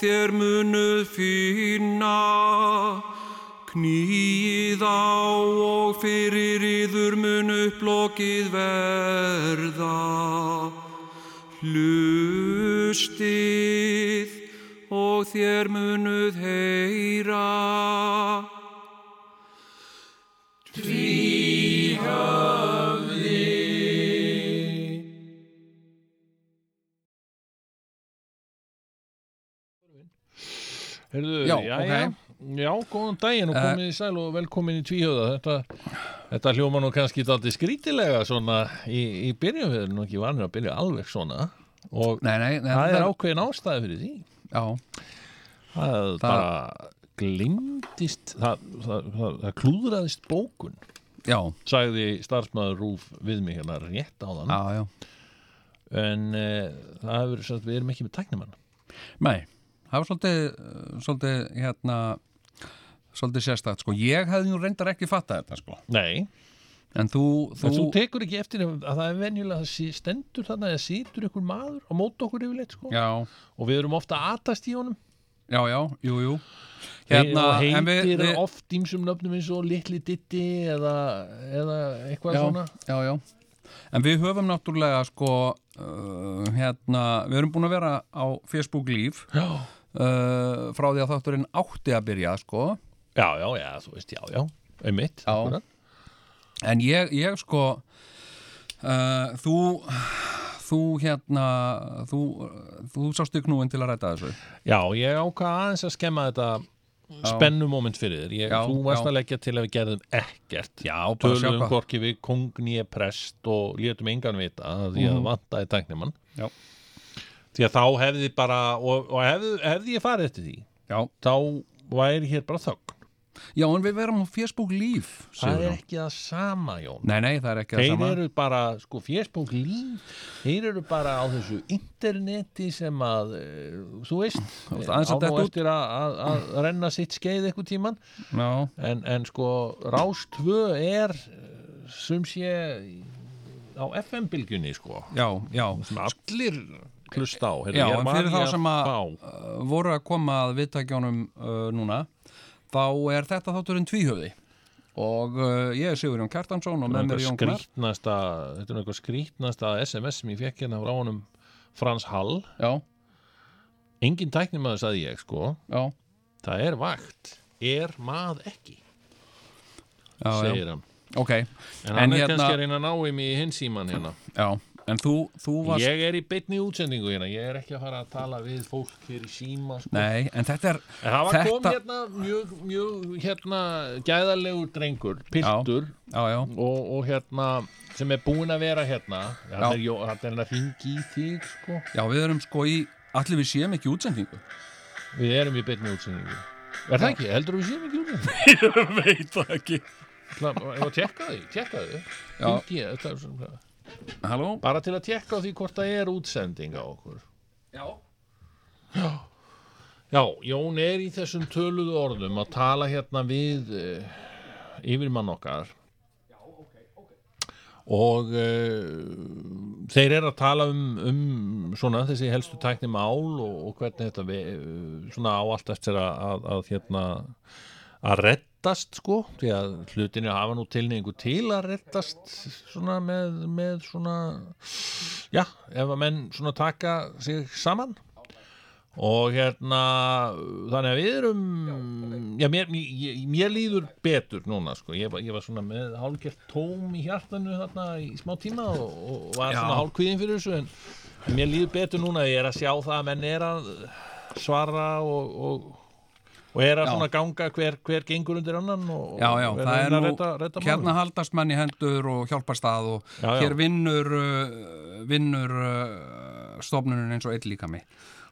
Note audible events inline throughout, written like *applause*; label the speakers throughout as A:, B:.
A: þér munuð finna. Knýið á og fyrir yður mun upplokið verða. Hlustið og þér munuð heyra.
B: Herðu,
C: Já,
B: já, já, já, góðan daginn og komið í sæl og velkomin í tvíhjóða. Þetta, þetta hljóma nú kannski daldi skrítilega svona í, í byrjun, við erum nú ekki vanir að byrja alveg svona og
C: Nei, nei, nei
B: það er
C: það-
B: ákveðin ástæði fyrir því.
C: Já,
B: Það, bara glimtist, það, það, það, það klúðraðist bókun,
C: já,
B: Mm. sagði starfsmæður Rúf við mig hérna rétt á þann.
C: já, já
B: En e, það hefur, sagt, við erum ekki með tæknimann.
C: Nei, það var svolítið, uh, svolítið hérna svolítið sérstakt, sko, ég hefði nú reyndar ekki fattað þetta, sko,
B: Nei,
C: en þú, þú,
B: en þú tekur ekki eftir að að það er venjulega að sí- stendur þarna eða situr ykkur maður á móti okkur yfirleitt sko.
C: já,
B: og við erum ofta aðtast í honum
C: já, já, jú, jú Hérna,
B: og
C: en
B: heitir
C: við- við-
B: oft ímsum nöfnum eins og litli ditti eða, eða eitthvað
C: já,
B: svona
C: já, já En við höfum náttúrulega sko uh, hérna, við erum búin að vera á Facebook Live
B: já,
C: uh, frá því að þátturinn átti að byrja sko,
B: já, já, já þú veist, já, já einmitt,
C: Já.
B: akkúrat.
C: en ég, ég sko uh, þú þú hérna þú, þú sástu knúin til að ræta þessu
B: já, ég ákvað aðeins að skemma þetta spennumoment fyrir þér ég,
C: Já,
B: þú varst
C: já.
B: að leggja til að við gerðum ekkert
C: Já, bara sjá
B: tölum
C: hvað.
B: hvorki við kongni prest og létum engan vita af því að mm -hmm. vantaði tæknimann
C: Já,
B: því að þá hefði bara og, og hefði, hefði ég farið eftir því
C: já,
B: þá væri hér bara þögn
C: já en við verum á Facebook Live
B: það er
C: Sigurjón.
B: ekki það sama Jón
C: Nei, nei, það er ekki það
B: þeir
C: sama
B: eru bara, sko, Facebook líf þeir eru bara á þessu interneti sem að, eh, þú veist
C: *laughs* veist, aðeins
B: á
C: að
B: nú
C: detta út.
B: eftir að, að, að renna sitt skeið eitthvað tíman
C: Já,
B: en, en sko, Rástvö er eh, sum sé á FM-bylgjunni sko,
C: já, já
B: sem allir hlusta á,
C: Já,
B: ég er
C: en
B: var
C: fyrir
B: ég
C: þá sem að-
B: fá.
C: Uh, voru að koma að viðtækjónum uh, núna þá er þetta þátturinn tvíhöfði og uh, ég er Sigurjón Kjartansson og með mér er Jón
B: Þetta er
C: Gnar
B: skrítnasta, þetta er eitthvað skrítnasta SMS sem ég fekk hérna frá honum Frans Hall.
C: Já,
B: Engin tæknimaður sagði ég, sko.
C: já,
B: Það er vakt. Er mað ekki,
C: já, já.
B: segir hann.
C: ok
B: En hann er
C: hérna-
B: kannski að reyna að ná um í hinn síman hérna.
C: Já, en þú, þú varst
B: Ég er í beinni útsendingu hérna. Ég er ekki að fara að tala við fólk hér í síma, sko.
C: Nei, en þetta er
B: En það var
C: þetta...
B: kom hérna mjög, mjög, hérna, gæðarlegur drengur, piltur,
C: Já, já,
B: og, og hérna, sem er búinn að vera hérna.
C: Já.
B: Þetta er, jó- þarna er hérna hringi í þig, sko.
C: já, við erum sko í allir við séum ekki í útsendingu
B: Við erum í beinni útsendingu Er það ekki? Heldur við séum ekki útsendingu?
C: Veit það ekki
B: Það var að tekka því, tekka því Hringi ég, þetta er svona-
C: Halló
B: Bara til að tekka á því hvort það er útsending á okkur
C: Já,
B: Já, Jón er í þessum töluðu orðum að tala hérna við uh, yfirmann okkar og uh, þeir eru að tala um, um svona þessi helstu tækni mál og, og hvernig þetta við, eh, svona á allt eftir að, að, að hérna að reddast sko því að hlutinu hafa nú tilneyingu til að reddast svona með, með svona já, ef að menn svona taka sig saman og hérna þannig að við erum já, mér, mér, mér líður betur núna sko, ég var, ég var svona með hálfgert tóm í hjartanu þarna í smá tíma og, og var
C: Já.
B: svona hálfkvíðin fyrir þessu en mér líður betur núna, ég er að sjá það að menn er að svara og, og, og er að
C: Já.
B: svona ganga hver, hver gengur undir annan og,
C: já, já,
B: og
C: það er
B: að
C: nú
B: reyta, reyta
C: Hérna haldast menn í hendur og hjálpast að og
B: Já, já.
C: hér vinnur uh, vinnur uh, stofnunin eins og eitt líka mig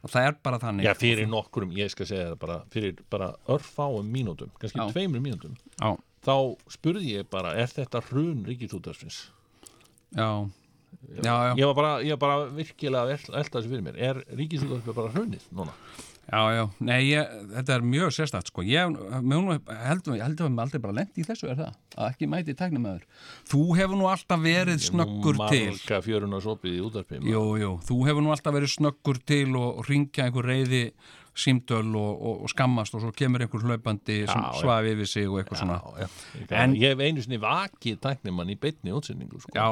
C: og það er bara þannig
B: Já, fyrir nokkurum, ég skal segja það bara fyrir bara örfáum mínútum kannski
C: Já.
B: tveimur mínútum
C: Já,
B: þá spurði ég bara, er þetta hrun ríkisútarsins?
C: já, já, já,
B: Ég var bara, ég var bara virkilega að vel- elta þessu fyrir mér er ríkisútarsins bara hrunið núna?
C: já, já. Nei, ég, þetta er mjög sérstætt sko. ég, mjög, heldur, heldur við aldrei bara lent í þessu er það, að ekki mæti tæknumæður Þú hefur nú alltaf verið snöggur til
B: Marga fjöruna sopið í útarpið
C: Jú, jú, þú hefur nú alltaf verið snöggur til og ringja einhver reyði símtöl og, og, og skammast og svo kemur einhver hlaupandi sem
B: Já, já.
C: svafi yfir sig og eitthvað svona
B: já, já.
C: En-
B: ég hef einu sinni vakið tæknimann í beinni útsendingu sko.
C: Já,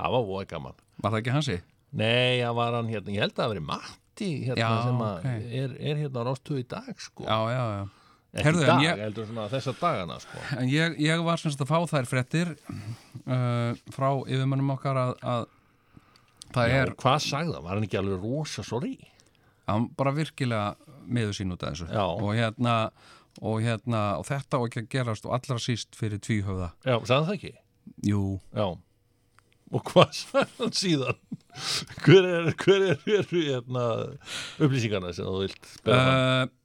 B: það var voða gaman
C: var það ekki hansi?
B: nei, það var hann hérna, ég held að það veri Matti hérna,
C: Já,
B: sem að
C: ok.
B: er, er hérna rástuð í dag sko.
C: Já, já, já
B: ekki
C: Heyrðu,
B: í
C: en
B: dag,
C: ég-
B: heldur svona þessa dagana sko.
C: En ég, ég var semst að fá þær fréttir uh, frá yfirmönnum okkar að, að það
B: já,
C: er,
B: og hvað sagði það, var hann ekki alveg rosa sorry
C: hann bara virkilega miður sín út af þessu
B: Já.
C: og hérna og hérna og þetta og ekki að gerast og allra síst fyrir tvíhöfða
B: já, sagði hann það ekki
C: Jú,
B: já og hvað *laughs* sagði hann síðan hver er, hver er, hver er hérna, upplýsingarna sem þú vilt bera fram?
C: uh,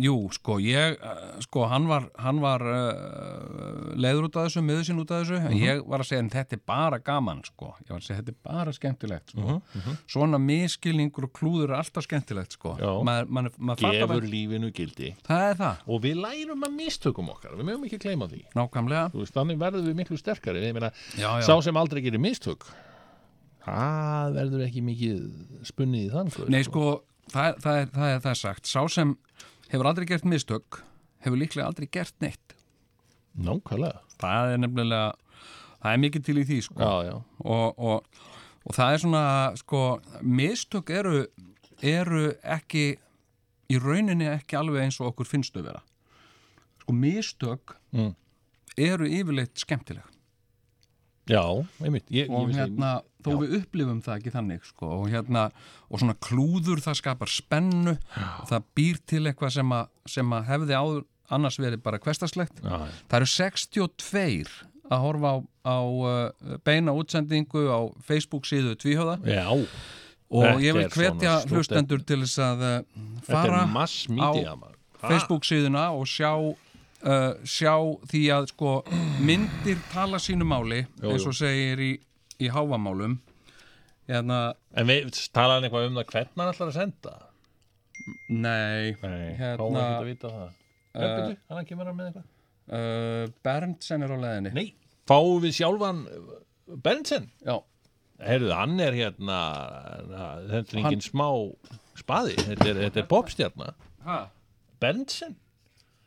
C: jú, sko ég, uh, sko hann var, hann var uh, leiður út af þessu, miður sín út af þessu
B: Mhm.
C: en ég var að segja en þetta er bara gaman sko, ég var að segja þetta er bara skemmtilegt sko.
B: Mhm,
C: svona miskilningur og klúður er alltaf skemmtilegt sko
B: Já.
C: maður ma, ma, fattar
B: gefur
C: það,
B: lífinu gildi
C: það er það,
B: og við lærum að mistökum okkar við mögum ekki gleyma því
C: nákvæmlega
B: Þú veist, þannig verðum við miklu sterkari Ég meina,
C: já, já.
B: sá sem aldrei gerir mistök það verður ekki mikið spunnið í þann guð,
C: Nei, sko, það, er- það, er, það, er, það er sagt sá sem hefur aldrei gert mistök hefur líklega aldrei gert neitt
B: nákvæmlega
C: það er nefnilega það er mikið til í því sko
B: já, já,
C: og, og, og það er svona sko, mistök eru, eru ekki í rauninni ekki alveg eins og okkur finnst þau vera sko mistök
B: Mm.
C: eru yfirleitt skemmtileg
B: já, einmitt ég,
C: og
B: ég vissi-
C: hérna, þó við upplifum það ekki þannig sko, og hérna, og svona klúður það skapar spennu og það býr til eitthvað sem að, sem að hefði áður annars verið bara kvestaslegt
B: já, já.
C: Það eru 62 að horfa á, á uh, beina útsendingu á Facebook síðu tvíhjóða
B: já,
C: og
B: Þetta
C: ég vil
B: er
C: hvetja
B: svona stúdent-
C: hlustendur til þess að uh,
B: þetta
C: fara
B: er mass media maður. Ha?
C: Facebook síðuna og sjá uh, sjá því að sko *clears throat* myndir tala sínu máli
B: Jú,
C: eins og segir í, í háfamálum hérna,
B: en við talaðum eitthvað um það hvern hann ætlar að senda
C: nei
B: Nei,
C: Hérna-
B: þá var ekki að vita það Uh, Byrju, hann kemur hann með eitthvað
C: uh, Berndsen er á leðinni
B: Nei, fáum við sjálfan uh, Berntsen
C: Já,
B: Herðu, hann er hérna na, þetta er engin smá spaði þetta er, þetta er popstjarna
C: ha,
B: Berntsen,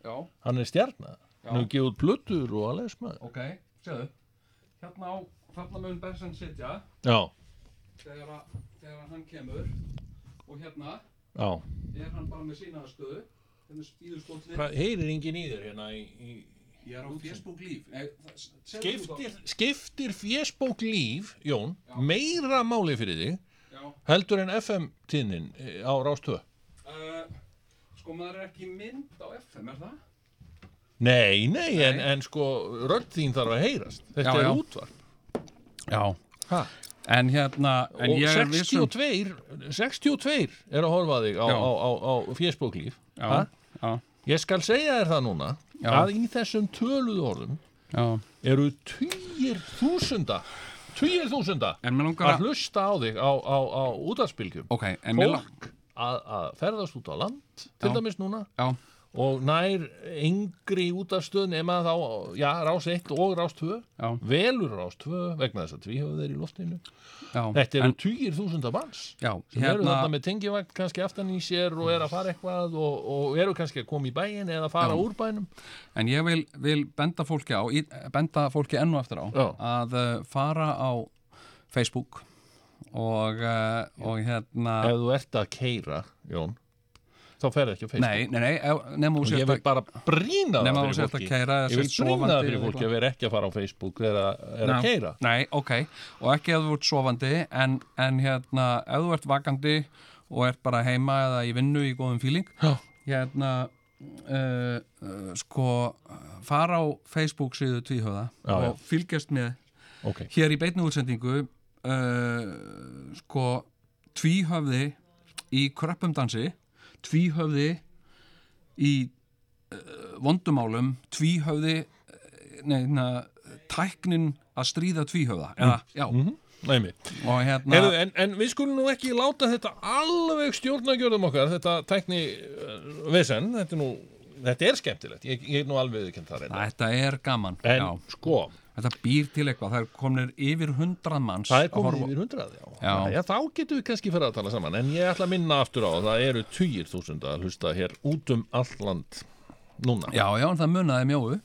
C: já,
B: hann er stjarna
C: Já.
B: hann hefur gefið út plötur og alveg smað
C: ok, séðu hérna á, hérna mun Berndsen sitja
B: já,
C: þegar, að- þegar hann kemur og hérna
B: já
C: er hann bara með sína aðstöðu hérna spýður skóllin
B: Hvað heyrir engin í þér hérna í, í...
C: ég er á Facebook líf Nei, það- segðu þú þá.
B: Skiptir, skiptir fjesbók líf Jón, meira máli fyrir þig
C: Já,
B: heldur en FM tíðnin eh, á Rástöð
C: uh, sko maður er ekki í mynd á FM, er það?
B: Nei, nei, En,
C: Nei.
B: en sko rödd þín þarf að heyrast þetta
C: Já,
B: er
C: já.
B: útvarp
C: Já,
B: ha.
C: en hérna en
B: og
C: ég er viss um-
B: 62, 62 er að horfa á þig á,
C: Já.
B: á, á, á fjesbóklíf
C: Já, já,
B: ég skal segja þér það núna
C: Já.
B: að í þessum töluðu orðum
C: já
B: eru týjir þúsunda týjir þúsunda
C: En mér langar
B: að
C: að
B: hlusta á þig á, á, á útvarpsbylgjum
C: Ok, en mér langar
B: fólk að, að ferðast út á land til
C: Já.
B: dæmis núna
C: Já,
B: og nær yngri útvarpsstöð nema þá, já, rás 1 og rás 2
C: já,
B: velur rás 2 vegna þess að tvíhöfuð er í loftinu
C: já
B: þetta eru
C: en,
B: en, týjir þúsunda manns
C: Já,
B: sem eru
C: hérna
B: þarna með tengjavagn kannski aftan í sér og er að fara eitthvað og, og eru kannski að koma í bæin eða fara úr bænum
C: En ég vil, vil benda fólki á í, benda fólki enn og eftir á
B: Já.
C: að uh, fara á Facebook og, uh, og hérna
B: ef þú ert að keira, Jón þá ferði ekki á Facebook
C: Nei, nei, nei, ef- nema
B: og
C: þú
B: ég
C: sért
B: vil
C: að
B: bara brýna
C: Nema
B: það
C: þú
B: fyrir
C: sért að
B: fólki
C: keyra eða
B: ég vil
C: sért
B: brýna
C: sofandi
B: það fyrir
C: eða
B: fólki að vera ekki að fara á Facebook er að, er
C: Já.
B: að keira
C: Nei, ok, og ekki að þú ert sofandi en, en hérna, ef þú ert vakandi og ert bara heima eða í vinnu í góðum fíling
B: Já.
C: hérna, uh, uh, sko fara á Facebook síðu tvíhöða
B: Já,
C: og fylgjast með
B: ok,
C: hér í beinni útsendingu uh, sko tvíhöfði í kröppum dansi tvíhöfði í uh, vondumálum tvíhöfði eh, nei, na, tæknin að stríða
B: Mm.
C: tvíhöfða eða, já,
B: Mhm. næmi
C: og hérna
B: Heru, en, en við skulum nú ekki láta þetta alveg stjórnagjörðum okkar þetta tækni uh, vesen þetta er, nú, þetta er skemmtilegt, ég, ég er nú alveg ekki það reyna
C: þetta er gaman
B: eh- en
C: já.
B: sko,
C: þetta býr til eitthvað, það er komnir yfir hundrað manns
B: Það er
C: að
B: komið
C: horfa-
B: yfir hundrað, já.
C: Já.
B: Jæja, þá getum við kannski fyrir að tala saman, en ég ætla að minna aftur á að það eru tugir þúsund að hlusta hér út um allt land núna.
C: Já, já, en það munaði mjóu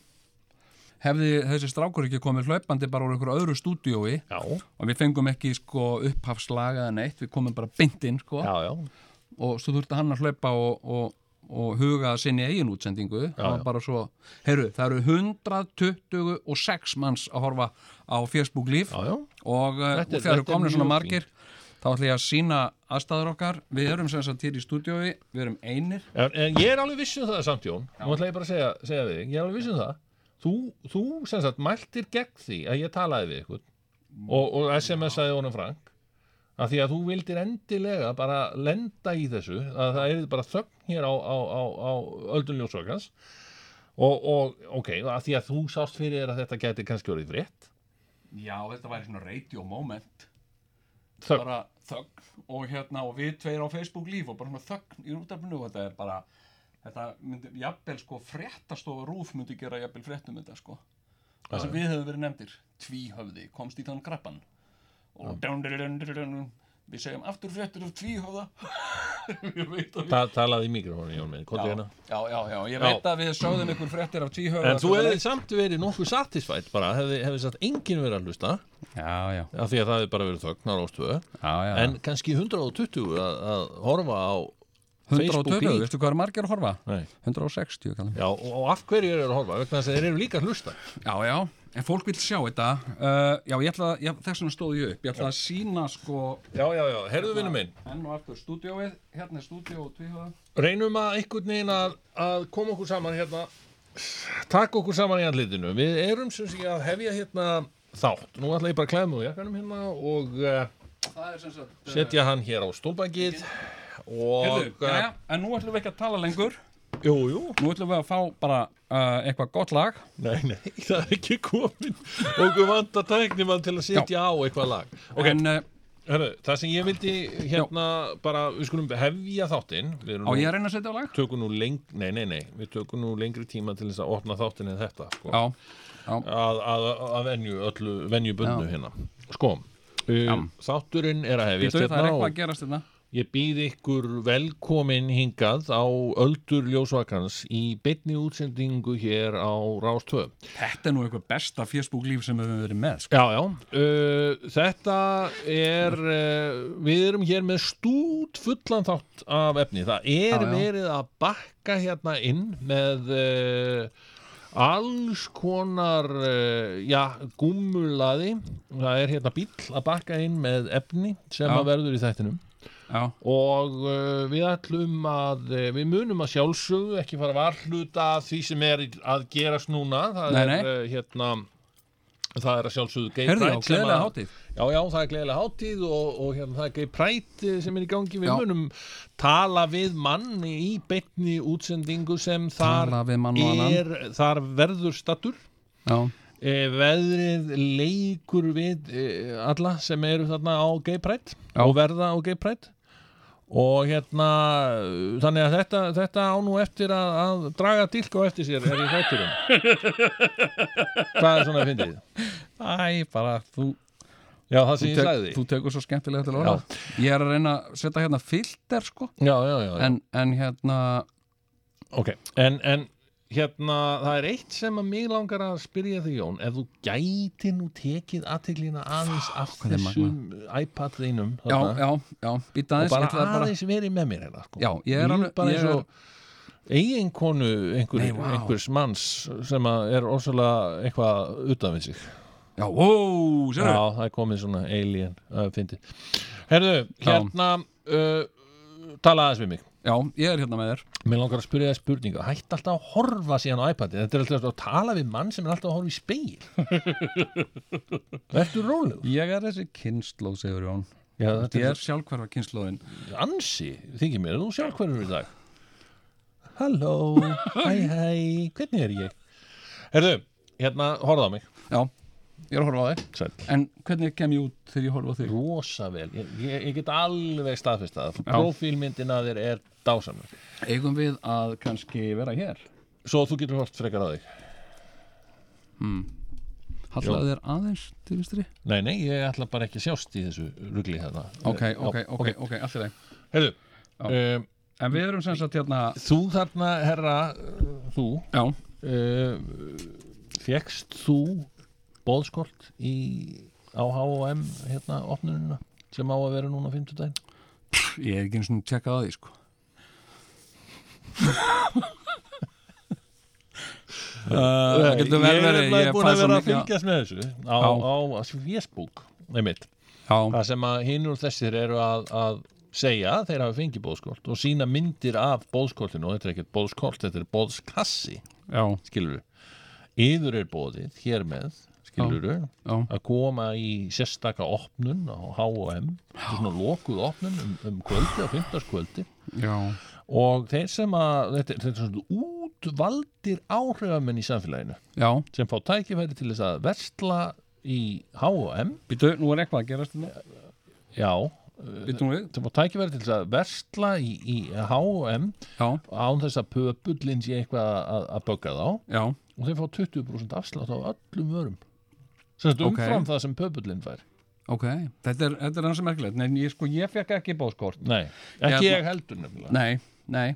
C: hefði þessi strákur ekki komið hlaupandi bara úr einhverju öðru stúdíói
B: Já,
C: og við fengum ekki sko upphafslaga eða neitt, við komum bara beint inn sko
B: já, já.
C: og svo þurfti hann að hlaupa og, og, og huga að sinni eigin útsendingu það var
B: já.
C: bara svo, heyrðu, það eru 126 manns að horfa á Facebook Live
B: Já, já.
C: og, uh, og
B: Þetta er-
C: þegar eru
B: þetta er
C: komnir svona
B: mjög
C: margir þá ætla ég að sína aðstæður okkar við erum sem sagt hér í stúdíói, við erum einir
B: En, en ég er alveg viss um það samt, Jón. Nú ætla ég bara að segja, segja við þig. Ég er alveg viss um það. Þú, þú sem sagt, mæltir gegn því að ég talaði við ykkur og, og SMS-aði honum Frank að því að þú vildir endilega bara lenda í þessu að það er bara þögn hér á, á, á, á öldun ljósvökkans og, og ok, að því að þú sást fyrir þér að þetta gæti kannski orðið frétt
C: Já, þetta væri svona radio moment
B: þögn,
C: bara þögn og hérna og við tveir á Facebook líf og bara svona þögn í útarpinu og þetta er bara þetta myndi, jafnvel sko fréttastofa rúf myndi gera jafnvel fréttum þetta sko það sem við höfum verið nefndir tvíhöfði, komst í þann grappan og dun, dun, dun, dun, dun, dun, við segjum aftur fréttur af tvíhöfða *laughs* ég veit að við
B: Ta, talaði í mikrofónu Jón minn, komdu
C: já,
B: hérna
C: já, já, já, ég
B: Já.
C: veit að við sögðum ykkur fréttir af tvíhöfða
B: En þú hefði samt verið nokkuð satisfætt bara, hefði, hefði satt enginn verið að hlusta
C: já, já,
B: af því að það hefði bara verið þögn á rástöðu
C: já, já
B: en kannski 120 að, að horfa á Facebook
C: 120,
B: Live
C: veistu hvað er margir að horfa?
B: Nei.
C: 160 kallum
B: Já, og, og af hverju eru þeir að horfa? Vegna þess að þeir eru líka að hlusta
C: Já, já, en fólk vil sjá þetta uh, Já, ég ætla að, þess vegna stóð ég upp Ég ætla að sína sko
B: Já, já, já, herðu vinnu minn
C: Enn og aftur stúdíóið, hérna er stúdíó og tvíhöða
B: Reynum að einhvern veginn að, að koma okkur saman hérna Takk okkur saman í andlitinu Við erum sem sé að hefja hérna þátt Nú ætla ég bara að klæða mig úr jakkanum hérna og uh,
C: Það er sem sagt uh,
B: setja hann hér á stólbækið
C: Heyrðu,
B: og eh,
C: jæja, en nú ætlum við ekki að tala lengur
B: Jú, jú,
C: Nú ætlum við að fá bara uh, eitthvað gott lag
B: nei, nei, það er ekki komin okkur vanda tæknimann til að setja á eitthvað lag Ok,
C: En uh,
B: Herru, það sem ég vildi hérna bara, við skulum hefja þáttinn Við erum
C: á ég
B: nú,
C: að reyna að setja á lag?
B: tökum nú lengri, nei, nei, nei Við tökum nú lengri tíma til þess að opna þáttinn en þetta sko.
C: Já,
B: Að, að, að venju, öllu, venju bundu hérna Sko, uh, þátturinn er að hefja
C: Býtu, það er eitthvað að
B: og
C: gerast hérna. þetta
B: ég býð ykkur velkomin hingað á Öldur Ljósvakans í beinni útsendingu hér á Rástöð
C: Þetta er nú eitthvað besta Facebook líf sem við höfum verið með sko.
B: Já, já, uh, þetta er, uh, við erum hér með stút fullan þátt af efni. Það er
C: Já, já.
B: verið að bakka hérna inn með uh, alls konar, uh, já, gúmulaði. Það er hérna bíll að bakka inn með efni sem
C: Já.
B: að verður í þættinum
C: Já,
B: og uh, við ætlum að uh, við munum að sjálfsögðu ekki fara að varhluta af því sem er í- að gerast núna það
C: Nei,
B: er
C: nei.
B: Uh, hérna það er að sjálfsögðu Gay
C: Heyrðu,
B: Pride
C: já,
B: sem
C: gleðilega
B: að-
C: hátíð.
B: já, já, það er gleðilega hátíð og, og hérna, það er Gay Pride eh, sem er í gangi við
C: Já.
B: munum tala við mann í beinni útsendingu sem þar
C: Tala við mann og annan.
B: er, þar verður stattur
C: já,
B: e, veðrið leikur við e, alla sem eru þarna á Gay Pride
C: Já.
B: og verða á Gay Pride og hérna eh, þannig að þetta, þetta á nú eftir að, að draga dilk á eftir sér er í þætturum hvað er svona að fyndið?
C: æ, bara þú
B: Já, það
C: Þú
B: sem ég
C: tek-
B: sagði
C: Þú tekur svo skemmtilega til orða Ég er að reyna að setja hérna filter sko
B: Já, já, já, já.
C: en, en hérna
B: ok en, en hérna, það er eitt sem að mig langar að spyrja þig Jón ef þú gæti nú tekið aðteglina aðeins af
C: hvað er
B: þessum iPad þínum
C: Já,
B: þarna.
C: já, já, býta
B: og
C: aðeins
B: bara
C: ég ætla
B: aðeins verið með mér hérna, sko.
C: Já, ég er
B: Líf
C: alveg-
B: bara
C: ég
B: eins og eiginkonu einhver,
C: Nei, vá.
B: einhvers manns sem að er orsalega eitthvað utan við sig
C: Já, ó,
B: Já,
C: sérðu
B: það er komið svona alien að fyndi Herðu, hérna uh, tala aðeins við mig
C: Já, ég er hérna með þér
B: Mér langar að spyrja það spurningu Hætt alltaf að horfa síðan á iPadið Þetta er alltaf að tala við mann sem er alltaf að horfa í
C: *laughs*
B: speil Vertu rólegur
C: Ég er þessi kynnslóð, segur Jón
B: Já, þetta
C: Ég
B: er
C: er sjálfhverfa kynnslóðin
B: ansi, þykir mér, þú sjálf hverjum í dag Halló, hæ hæ, hvernig er ég? Herðu, hérna, horfðu á mig
C: Já, ég er að horfa á þig
B: Sæll
C: En hvernig kem ég út þegar ég horfa á þig?
B: Rosa vel, ég, ég, ég get alveg staðfist það Profílmyndina þér er dásamur
C: Eigum við að kannski vera hér
B: Svo þú getur hort frekar á þig
C: Hallaðu þér aðeins til vinstri
B: Nei, nei, ég ætla bara ekki að sjást í þessu rugli hérna
C: Ok,
B: Eh, já,
C: ok, ok, ok, allt í þeim
B: Heyrðu,
C: Já.
B: um,
C: En við erum sem sagt hérna
B: þú þarna, herra eh, þú,
C: Já,
B: uh, fjekkst þú bóðskolt í á H&M hérna opnununa sem á að vera núna á 50 daginn
C: ég er ekki eins og tjekkað að því sko Uh, það getur vel verið
B: Eh, Ég er búin
C: fæ
B: að
C: svo
B: vera að
C: mikið-
B: fylgjast með þessu á,
C: Já.
B: á, á Facebook einmitt,
C: Já,
B: það sem að hinn og þessir eru að, að segja að þeir hafi fengið bóðskolt og sína myndir af bóðskoltinu og þetta er ekkert bóðskolt, þetta er bóðskassi
C: já,
B: skilur yður er bóðið hér með skilur
C: já,
B: að koma í sérstaka opnun á H&M þetta er svona lokuð opnun um, um kvöldi á fimmtarskvöldi
C: já
B: og þeir sem að þetta, þetta er svona útvaldir áhrifamenn í samfélaginu
C: Já,
B: sem fá tækifæri til þess að versla í H&M
C: býtu, nú er eitthvað að gerast þetta
B: já,
C: Býtu nú við
B: sem fá tækifæri til þess að versla í, í H&M
C: Já,
B: án þess að pöpullin sé eitthvað að, að bögga þá
C: já,
B: og þeir fá 20% afslátt á öllum vörum sem þetta
C: Ok.
B: umfram það sem pöpullin fær
C: ok Þetta er, þetta er hans merkilegt Nei, ég, sko, ég fekk ekki bóðskort
B: nei, ekki
C: Hérna.
B: ég heldur nefnilega
C: Nei, nei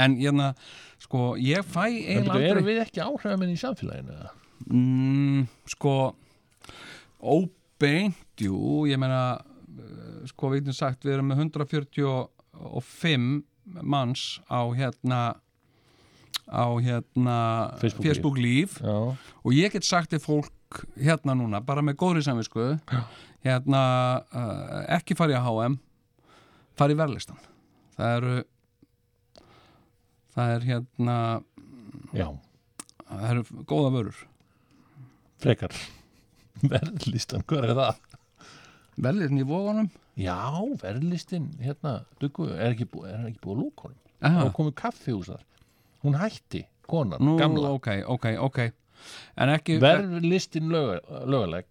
C: En hérna, sko, ég fæ
B: En
C: eiginlega
B: byrju,
C: aldrei
B: erum við ekki áhrifamenn í samfélaginu? eða?
C: mm, sko óbeint jú, ég meina eh, sko við getum sagt við erum með 145 manns á hérna á hérna
B: Facebook
C: Facebook líf
B: Já,
C: og ég get sagt til fólk hérna núna, bara með góðri samvisku hérna uh, ekki farið að HM farið verðlistan það eru það er hérna
B: já,
C: það eru góða vörur
B: frekar *laughs* Verðlistan, hvað er það?
C: verðlistan í vóðanum
B: Já, verðlistin, hérna, duggu, er ekki búið, er hann ekki búið að lúka honum?
C: Aha.
B: Það komið kaffihús þar Hún hætti, konan,
C: Nú,
B: gamla
C: ok, ok, ok En ekki Ver...
B: Verðlistin löga- lögalæk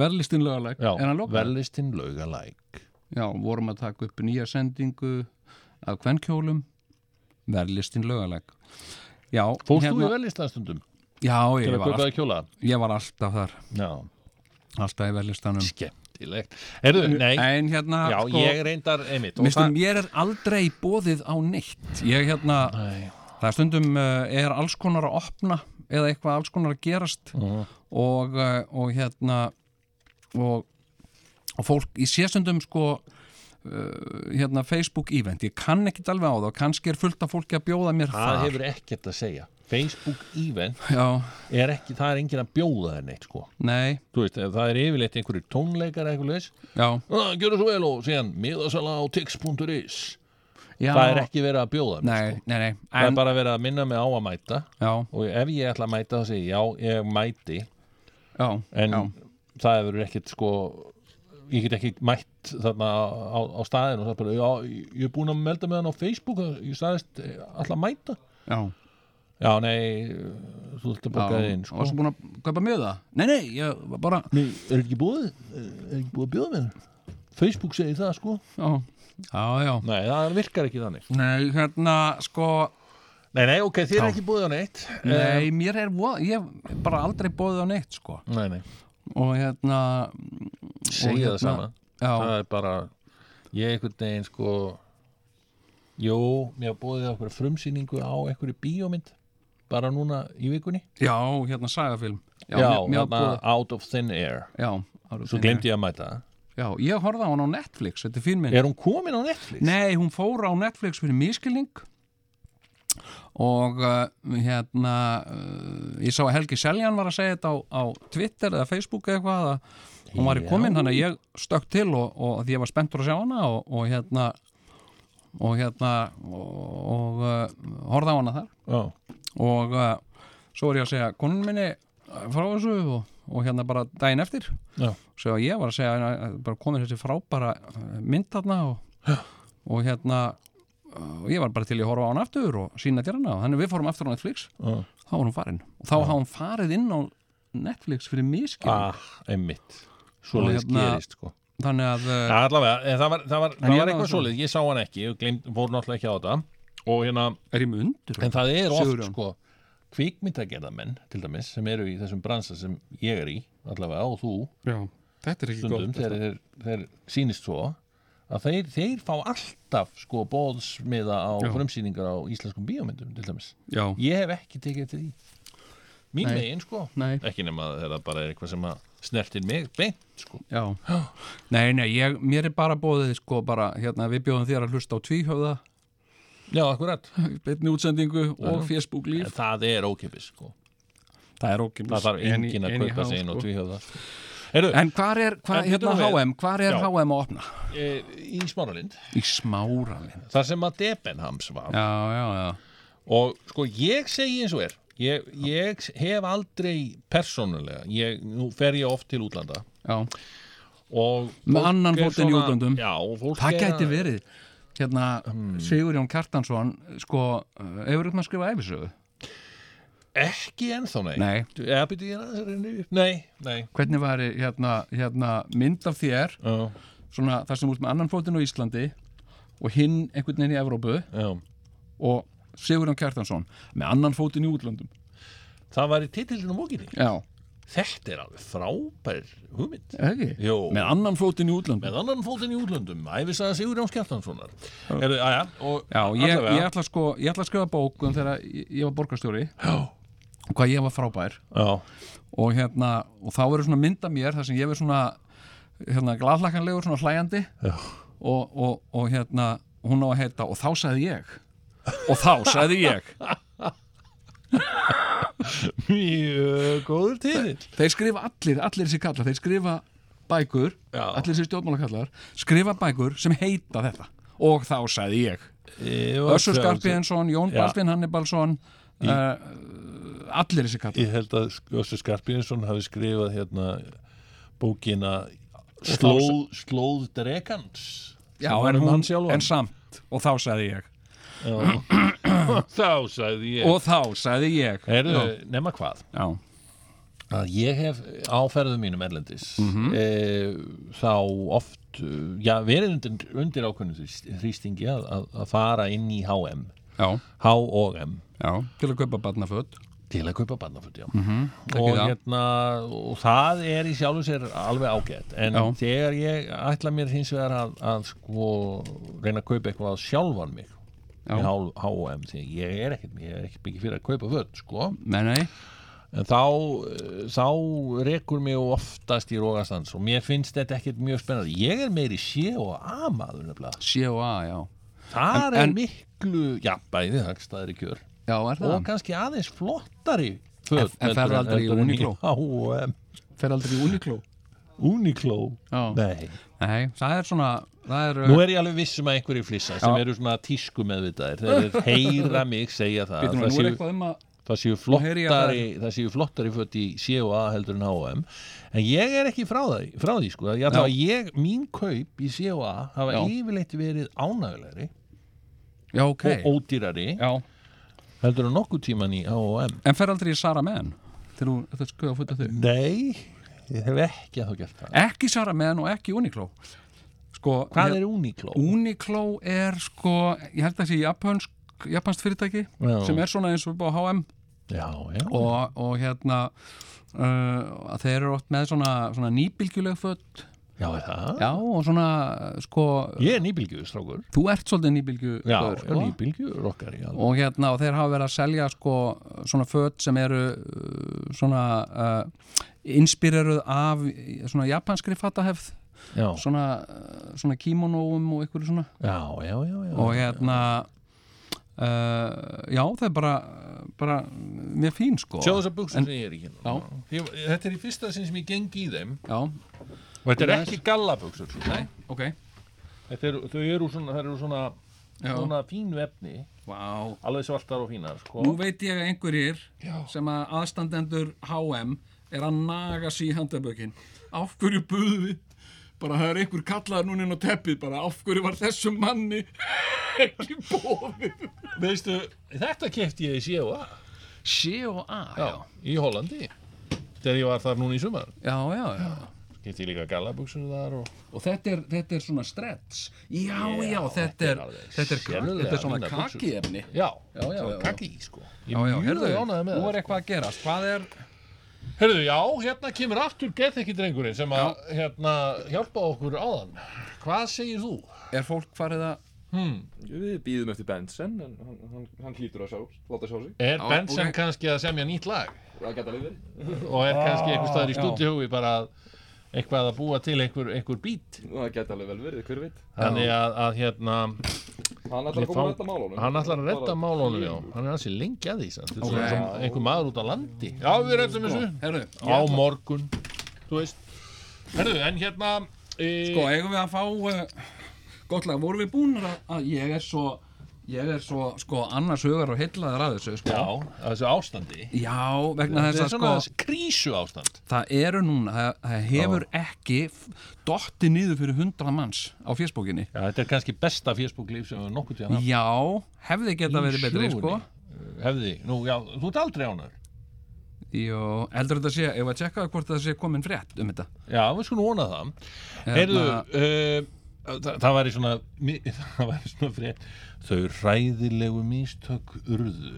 C: verðlistin löguleg
B: Já,
C: En að loka
B: verðlistin lögalæk
C: Já, vorum að taka upp nýja sendingu af kvenkjólum Verðlistin löguleg Já, hérna-
B: Fórst þú í verðlistanstundum?
C: Já,
B: Til
C: ég
B: að
C: var, all...
B: kaupaði kjóla?
C: ég var alltaf þar
B: Já,
C: Alltaf í verðlistanum
B: skemmtilegt Heyrðu, nei,
C: En hérna,
B: já,
C: sko
B: ég reyndar einmitt og
C: Mistum, mér er aldrei bóðið á neitt Ég hérna,
B: Nei,
C: það er stundum uh, er alls konar að opna eða eitthvað alls konar að gerast
B: Mhm.
C: og, uh, og hérna og, og fólk í sérstundum sko uh, hérna Facebook event ég kann ekkit alveg á það og kannski er fullt af fólki að bjóða mér
B: það
C: þar
B: hefur ekkert að segja Facebook event
C: Já,
B: er ekki, það er enginn að bjóða þér neitt sko.
C: nei,
B: þú veist, ef það er yfirleitt einhverju tónleikar eða eitthvað leis,
C: já,
B: gjörðu svo vel og síðan miðasala á tix.is
C: já
B: það er ekki verið að bjóða mér,
C: Nei, nei, nei,
B: það
C: en,
B: er bara verið að minna mig á að mæta
C: já,
B: og ef ég ætla að mæta þá segi ég, já, ég mæti
C: já,
B: en
C: já,
B: það hefur ekkert sko ég get ekki mætt þarna á, á staðinu og það er bara, já, ég er búin að melda með hann á Facebook ég staðist alltaf að mæta
C: já
B: já, nei, þú ætla að
C: Já,
B: bóka þig inn
C: og
B: sko.
C: svo búin að kaupa með það Nei, nei, ég var bara
B: Nei, er ekki búið? Er ekki búið að bjóða með það? Facebook segir það, sko.
C: Já, já, já
B: Nei, það virkar ekki þannig.
C: Nei, hérna, sko
B: Nei, nei, ok, þið er ekki búið á neitt.
C: Nei, mér er voð, ég hef bara aldrei bóðið á neitt sko
B: Nei, nei.
C: og hérna
B: Segja
C: hérna-
B: það sama.
C: já,
B: Það er bara, ég einhvern veginn, sko, jú, mér hafa búið á eitthvað frumsýningu á eitthvað bíómynd, bara núna í vikunni.
C: já, hérna sagafilm
B: Já,
C: mér- mér
B: þarna
C: boðið-
B: Out of Thin Air.
C: já, ára,
B: Svo glemdi ég að mæta það.
C: já, ég horfði á hann á Netflix, þetta er fín minn
B: Er hún komin á Netflix?
C: nei, hún fór á Netflix fyrir miskilning og uh, hérna uh, ég sá að Helgi Seljan var að segja þetta á, á Twitter eða Facebook eða eitthvað að hún var í
B: Já.
C: komin, þannig að ég stökk til og, og að ég var spenntur að sjá hana og, og hérna og hérna og, og uh, horfði á hana þar
B: Já.
C: og uh, svo er ég að segja konun minni uh, frá þessu og, og hérna bara daginn eftir
B: Já.
C: svo ég var að segja hérna, bara komin þessi frábæra uh, mynd þarna og, og hérna uh, og ég var bara til í að horfa á hann aftur og sína til hana og þannig við fórum aftur á Netflix
B: Já.
C: þá var hún farin og þá hafði hún farið inn á Netflix fyrir miskil
B: Ah, einmitt. Svo
C: Og
B: leiðis
C: hérna-
B: gerist, sko.
C: þannig að uh,
B: Já, allavega, en það var, það var, það
C: ég
B: var
C: náði
B: eitthvað
C: þessu.
B: svolítið, ég sá hann ekki, ég gleymd, fór náttúrulega ekki á þetta og hérna,
C: er ég með undur
B: en það er oft
C: Sigurjón.
B: sko, kvikmyndagerðamenn til dæmis sem eru í þessum bransa sem ég er í allavega og þú
D: já, þetta er ekki
B: stundum
D: gott
B: þegar þeir, þeir sýnist svo að þeir, þeir fá alltaf sko bóðsmiða á
D: Já.
B: frumsýningar á íslenskum bíómyndum til dæmis
C: já,
B: ég hef ekki tekið eftir því mín
C: Nei.
B: megin sko
C: nei
B: ekki nema að það bara er eitthvað sem að snertir mig beint sko
C: Já, nei, nei, ég, mér er bara bóðið sko bara, hérna, við bjóðum þér að hlusta á tvíhöfða,
B: já, akkurat,
C: beinni útsendingu og
B: Já.
C: Facebook líf
B: það er ókipis sko
D: það er ókinn
B: það þarf engin að kaupa sig inn og tvíhjóða Heyrðu,
C: sko. En hvar er,
B: En
C: hvar, hérna
B: bíddu nú við.
C: HM, hvar er
B: Já.
C: HM að opna?
B: e, í Smáralind
C: Í smáralinn
B: þar sem að Debenhams var
C: Já, já, já,
B: og sko ég segi eins og er ég, ég hef aldrei persónulega, ég, nú fer ég oft til útlanda
C: já
B: og
C: Með
B: fólk
C: annan
B: er
C: fótinn í
B: svona-
C: útlöndum.
B: já, og fólk er
C: Það
B: að-
C: gæti verið, hérna, Sigurjón Kjartansson, sko, eh, hefur eitthvað að skrifa æfisögu?
B: ekki ennþá nei,
C: Nei.
B: Eða, byrju, ég, er aðeins að reyna yfir. nei, nei.
C: Hvernig væri, hérna, hérna, mynd af þér,
B: Uh,
C: svona, þar sem út með annan fótinn á Íslandi og hinn einhvern veginn í Evrópu?
B: já.
C: og Sigurðan Kjartansson með annan fótinn í útlöndum
B: það var í titillinu mókinni
C: Já,
B: þetta er alveg frábær hugmynd
C: ekki?
B: Jó.
C: Með annan fótinn í útlöndum
B: með annan fótinn í útlöndum, æfisaða Sigurjón Skjartanssonar Heyrðu, aðja, og
C: Já, ég,
B: allavega.
C: ég, ætla sko, ég ætla að skrifa bók um þegar ég ég var borgarstjóri
B: já,
C: hvað ég var frábær
B: já.
C: og, hérna, og þá verður svona mynda mér þar sem ég verður svona hérna, gladlakanlegur, svona hlæjandi
B: Já.
C: og, og, og hérna hún á að heita og þá sagði ég og þá sagði
B: *laughs*
C: ég
B: Mjög eh, góður tíðill
C: þeir skrifa allir, allir þessi kallar þeir skrifa bækur,
B: Já.
C: allir þessi stjórnmálakallar skrifa bækur sem heita þetta og þá sagði ég Össur Skarpinsson, Jón
B: Já.
C: Baldvin Hannibalsson uh, allir þessi kallar
B: Ég held að Össur Skarpinsson hafi skrifað hérna bókina
C: Slóð-
B: Slóð, slóð drekans
C: Já,
B: Sem var
C: en,
B: um
C: hún,
B: hann sjálfan.
C: en samt og þá sagði ég
B: Þá sagði ég
C: og þá sagði ég
B: Heyrðu,
C: Já.
B: nema hvað
C: Já,
B: að ég hef á ferðum mínum erlendis
C: Mhm.
B: e, þá oft eh, já, verið undir, undir ákveðnum þrýst- þrýstingi að, að, að fara inn í HM
C: já,
B: H og M
C: já til að kaupa barnaföt
B: til að kaupa barnaföt, já og,
C: Mhm, það.
B: hérna, og það er í sjálfu sér alveg ágætt en
C: Já.
B: þegar ég ætla mér hins vegar að, að sko, reyna að kaupa eitthvað sjálfan mig
C: Já.
B: í H- H&M því ég er ekkert, ég er ekkert mikið fyrir að kaupa föt sko.
C: Nei, nei,
B: en þá, eh, þá rekur mig oftast í rógastans og mér finnst þetta ekkert mjög spennandi ég er meiri sé og amaður nefnilega
C: COA, já En-
B: þar er
C: en-
B: miklu, já bæði hagstæðri kjör
C: Já, er það?
B: og kannski aðeins flottari föt
C: En- en ferðu aldrei í Uniqlo?
B: H&M
C: Fer aldrei í Uniqlo
B: Uniqlo
C: Já.
B: Nei,
C: Nei, það er svona það er,
B: nú er ég alveg viss um að einhverju flissa sem
C: Já.
B: eru svona tísku meðvitaðir þeir heyra mig segja það það
C: Býtum, nú er
B: séu,
C: eitthvað um að
B: það séu
C: heyri ég að
B: flottari það séu flottari fött í COA heldur en H&M en ég er ekki frá, það, frá því sko. ég, ætla
C: Já.
B: að ég, mín kaup í COA hafa
C: Já.
B: yfirleitt verið ánægulegri
C: Já, ok
B: og ódýrari
C: Já,
B: heldur en nokkuð tíman í H&M
C: en fer aldrei í Sara Men þegar þú- þegar þú skoða að fóta þau
B: Nei, ég hef ekki að þá gert það
C: ekki Sara Men og ekki Uniqlo sko,
B: Hvað er Uniqlo?
C: Uniqlo er sko, ég held að það sé japansk, japansk fyrirtæki
B: Já.
C: sem er svona eins og upp á H&M
B: Já, já,
C: og, og hérna uh, að þeir eru oft með svona, svona nýbylgjuleg föt
B: já, er það?
C: já og svona uh, sko,
B: Ég er nýbylgjuð, strákur
C: þú ert svolítið nýbylgju
B: Já,
C: gaur,
B: já nýbylgjuð rockari já.
C: og hérna og þeir hafa verið að selja sko svona föt sem eru uh, svona uh, inspireruð af uh, svona japanskri fatahefð
B: Já,
C: svona, uh, svona kimonoum og einhverju svona
B: já, já, já, já.
C: og hérna uh, já það er bara bara mjög fín sko
B: Sjáðu þessar buksum sem ég er í hérna
C: Já.
B: Ég- Þetta er í fyrsta sinn sem ég geng í þeim
C: já,
B: og þetta er ekki gallabuksur sko.
C: nei, ok
B: Þetta er, þau eru svona, þær eru svona
C: Já.
B: svona fínu efni,
C: Vá.
B: alveg svartar og fínar sko.
C: nú veit ég að einhverjir sem að aðstandendur HM er að naga sig í handabökin af hverju buðu við bara það er einhver kallaður núna inn á teppið bara af hverju var þessum manni *laughs* ekki bóðið
B: Veistu, þetta kefti ég í COA
C: C og A
B: í Hollandi þegar ég var þar núna í sumar
C: já, já, já,
B: Kipti líka galabuksunum þar og
C: og þetta er, þetta er svona stretch já, já, þetta
B: þetta er
C: er
B: alveg
C: þetta er, kak,
B: sérlega
C: þetta er svona
B: fínar buxur.
C: kakiefni
B: Já,
C: Já, já,
B: svona
C: já, já.
B: kaki í sko Ég
C: já, já,
B: er
C: herðu,
B: mjög ánægði með það
C: nú
B: sko.
C: er eitthvað að gerast hvað er,
B: Herðu, já, hérna kemur aftur geðþekki drengurinn sem að hérna, hjálpa okkur áðan Hvað segir þú?
C: er fólk farið að
E: Við býðum eftir Benson en hann, hann, hann hlýtur að sjá, láta sjá sig.
B: Er
C: Já,
B: Benson
C: ok.
B: kannski að semja nýtt lag?
E: Það geta við verið.
B: Og er kannski einhver staðar í
D: já.
B: stúdíói bara að eitthvað að búa til einhver, einhver bít
E: Það geta alveg vel verið, hver veit.
B: Þannig að, að hérna,
E: Hann ætlar
B: Ég
E: að koma
B: fá-
E: að retta málunum.
B: hann ætlar að redda
E: Bara-
B: málunum, já, hann er ansi lengi að því, samt, þetta
C: Ok.
B: er svona eins og einhver maður út á landi. Já, við reddum þessu,
C: herru,
B: á morgun, þú veist. Herðu, en hérna, e,
C: sko, eigum við að fá uh, gott lag, vorum við búin að, að ég er svo ég er svo, sko, annars hugar og heillaður að þessu, sko
B: já, að þessu ástandi,
C: Já, vegna
B: þetta
C: þess
B: er
C: að
B: svona
C: sko,
B: þessi krísu ástand.
C: það eru núna, það, það hefur ekki f- dottið niður fyrir hundra manns á fésbókinni.
B: Já, þetta er kannski besta Facebook-líf sem við nokkuð tíðan haft.
C: Já, hefði geta
B: Í
C: verið betri, sko.
B: sögunni. Hefði, nú, já, þú ert aldrei ánæður.
C: Jó, heldur þetta sé, ef að tjekka hvort það sé komin frétt um þetta.
B: Já, við skulum vona það. Heyrðu,
C: Hérna-
B: uh, það, það væri svona, mi- *laughs* það væri svona frétt, þau ræðilegu místök urðu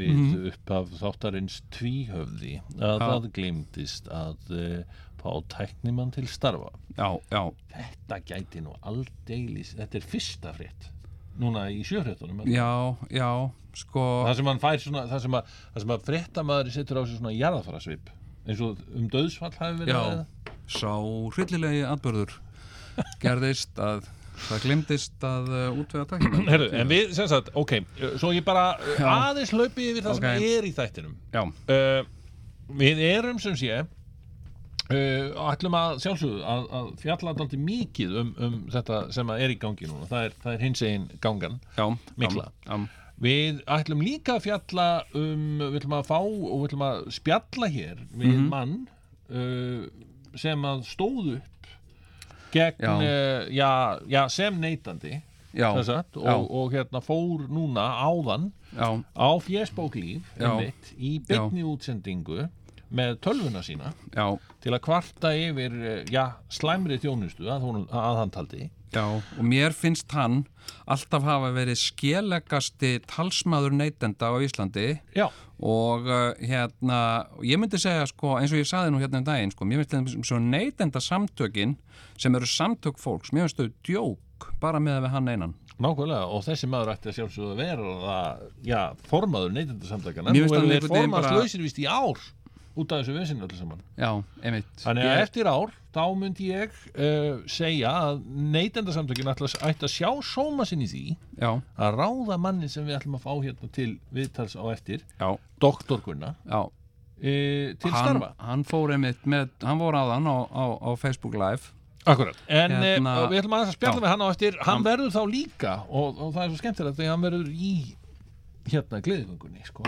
B: við
C: Mhm.
B: upphaf þáttarins tvíhöfði að það gleymdist að uh, fá tæknimann til starfa.
C: Já, já,
B: Þetta gæti nú aldeilis, þetta er fyrsta frétt, núna í sjöfréttunum. er það?
C: já, já, sko,
B: Það sem hann fær svona, það sem að, það sem að fréttamaður setur á sig svona jarðafærasvip, eins og um döðsfall hafi verið
C: Já.
B: að ræða.
C: sá hryllilegi atbörður gerðist að það glimtist að uh, útvega
B: *clears throat*
C: tæknum.
B: Herru, en við, sem sagt, ok, uh, svo ég bara uh,
C: Já.
B: aðeins laupi yfir það
C: Ok.
B: sem er í þættinum.
C: Já,
B: Uh, við erum sem sé, uh, ætlum að sjálfsögðu að, að fjalla dálítið mikið um, um þetta sem að er í gangi núna. Það er, það er hins einn gangan.
C: já.
B: Mikla.
C: Já,
B: Við ætlum líka að fjalla um, við ætlum að fá og við ætlum að spjalla hér við
C: Mhm.
B: mann uh, sem að stóð upp gegn,
C: Já.
B: uh, já, já, sem neytandi
C: já,
B: sem
C: já,
B: sagt, og, og hérna fór núna áðan
C: já,
B: á fjesbóklíf
C: Já.
B: einmitt, í beinni útsendingu með tölvuna sína
C: já,
B: til að kvarta yfir eh, já, slæmri þjónustu að, hún, að hann taldi
C: já. Og mér finnst hann alltaf hafa verið skelegasti talsmaður neytenda á Íslandi.
B: já,
C: og uh, hérna ég myndi segja sko, eins og ég saði nú hérna um daginn sko, mér finnst þetta neytenda samtökin sem eru samtök fólks mér finnst þau djók bara með að við hann einan
B: nákvæmlega og þessi maður ætti að sjálfsögðu að vera það, já, formaður neytendasamtakana
C: Mér
B: nú
C: finnst
B: eru
C: hann
B: þeir
C: einhvern veginn bara-
B: formannslausir vist í ár út af þessu vesinu öllu saman
C: já, einmitt
B: Þannig að
C: Ég-
B: eftir ár, þá myndi ég uh, segja að neytendasamtökin ætla- ætti að sjá sóma sinni í því
C: já,
B: að ráða manni sem við ætlum að fá hérna til viðtals á eftir,
C: já,
B: doktor Gunna,
C: já
B: e, til
C: hann,
B: starfa.
C: hann fór einmitt með, hann fór aðan á, á, á Facebook Live
B: Akkurat. En hérna,
C: Hérna-
B: við ætlum aðeins að spjalla
C: Já.
B: við hann á eftir, hann verður þá líka, og, og það er svo skemmtilegt því hann verður í hérna gleðgöngunni, sko.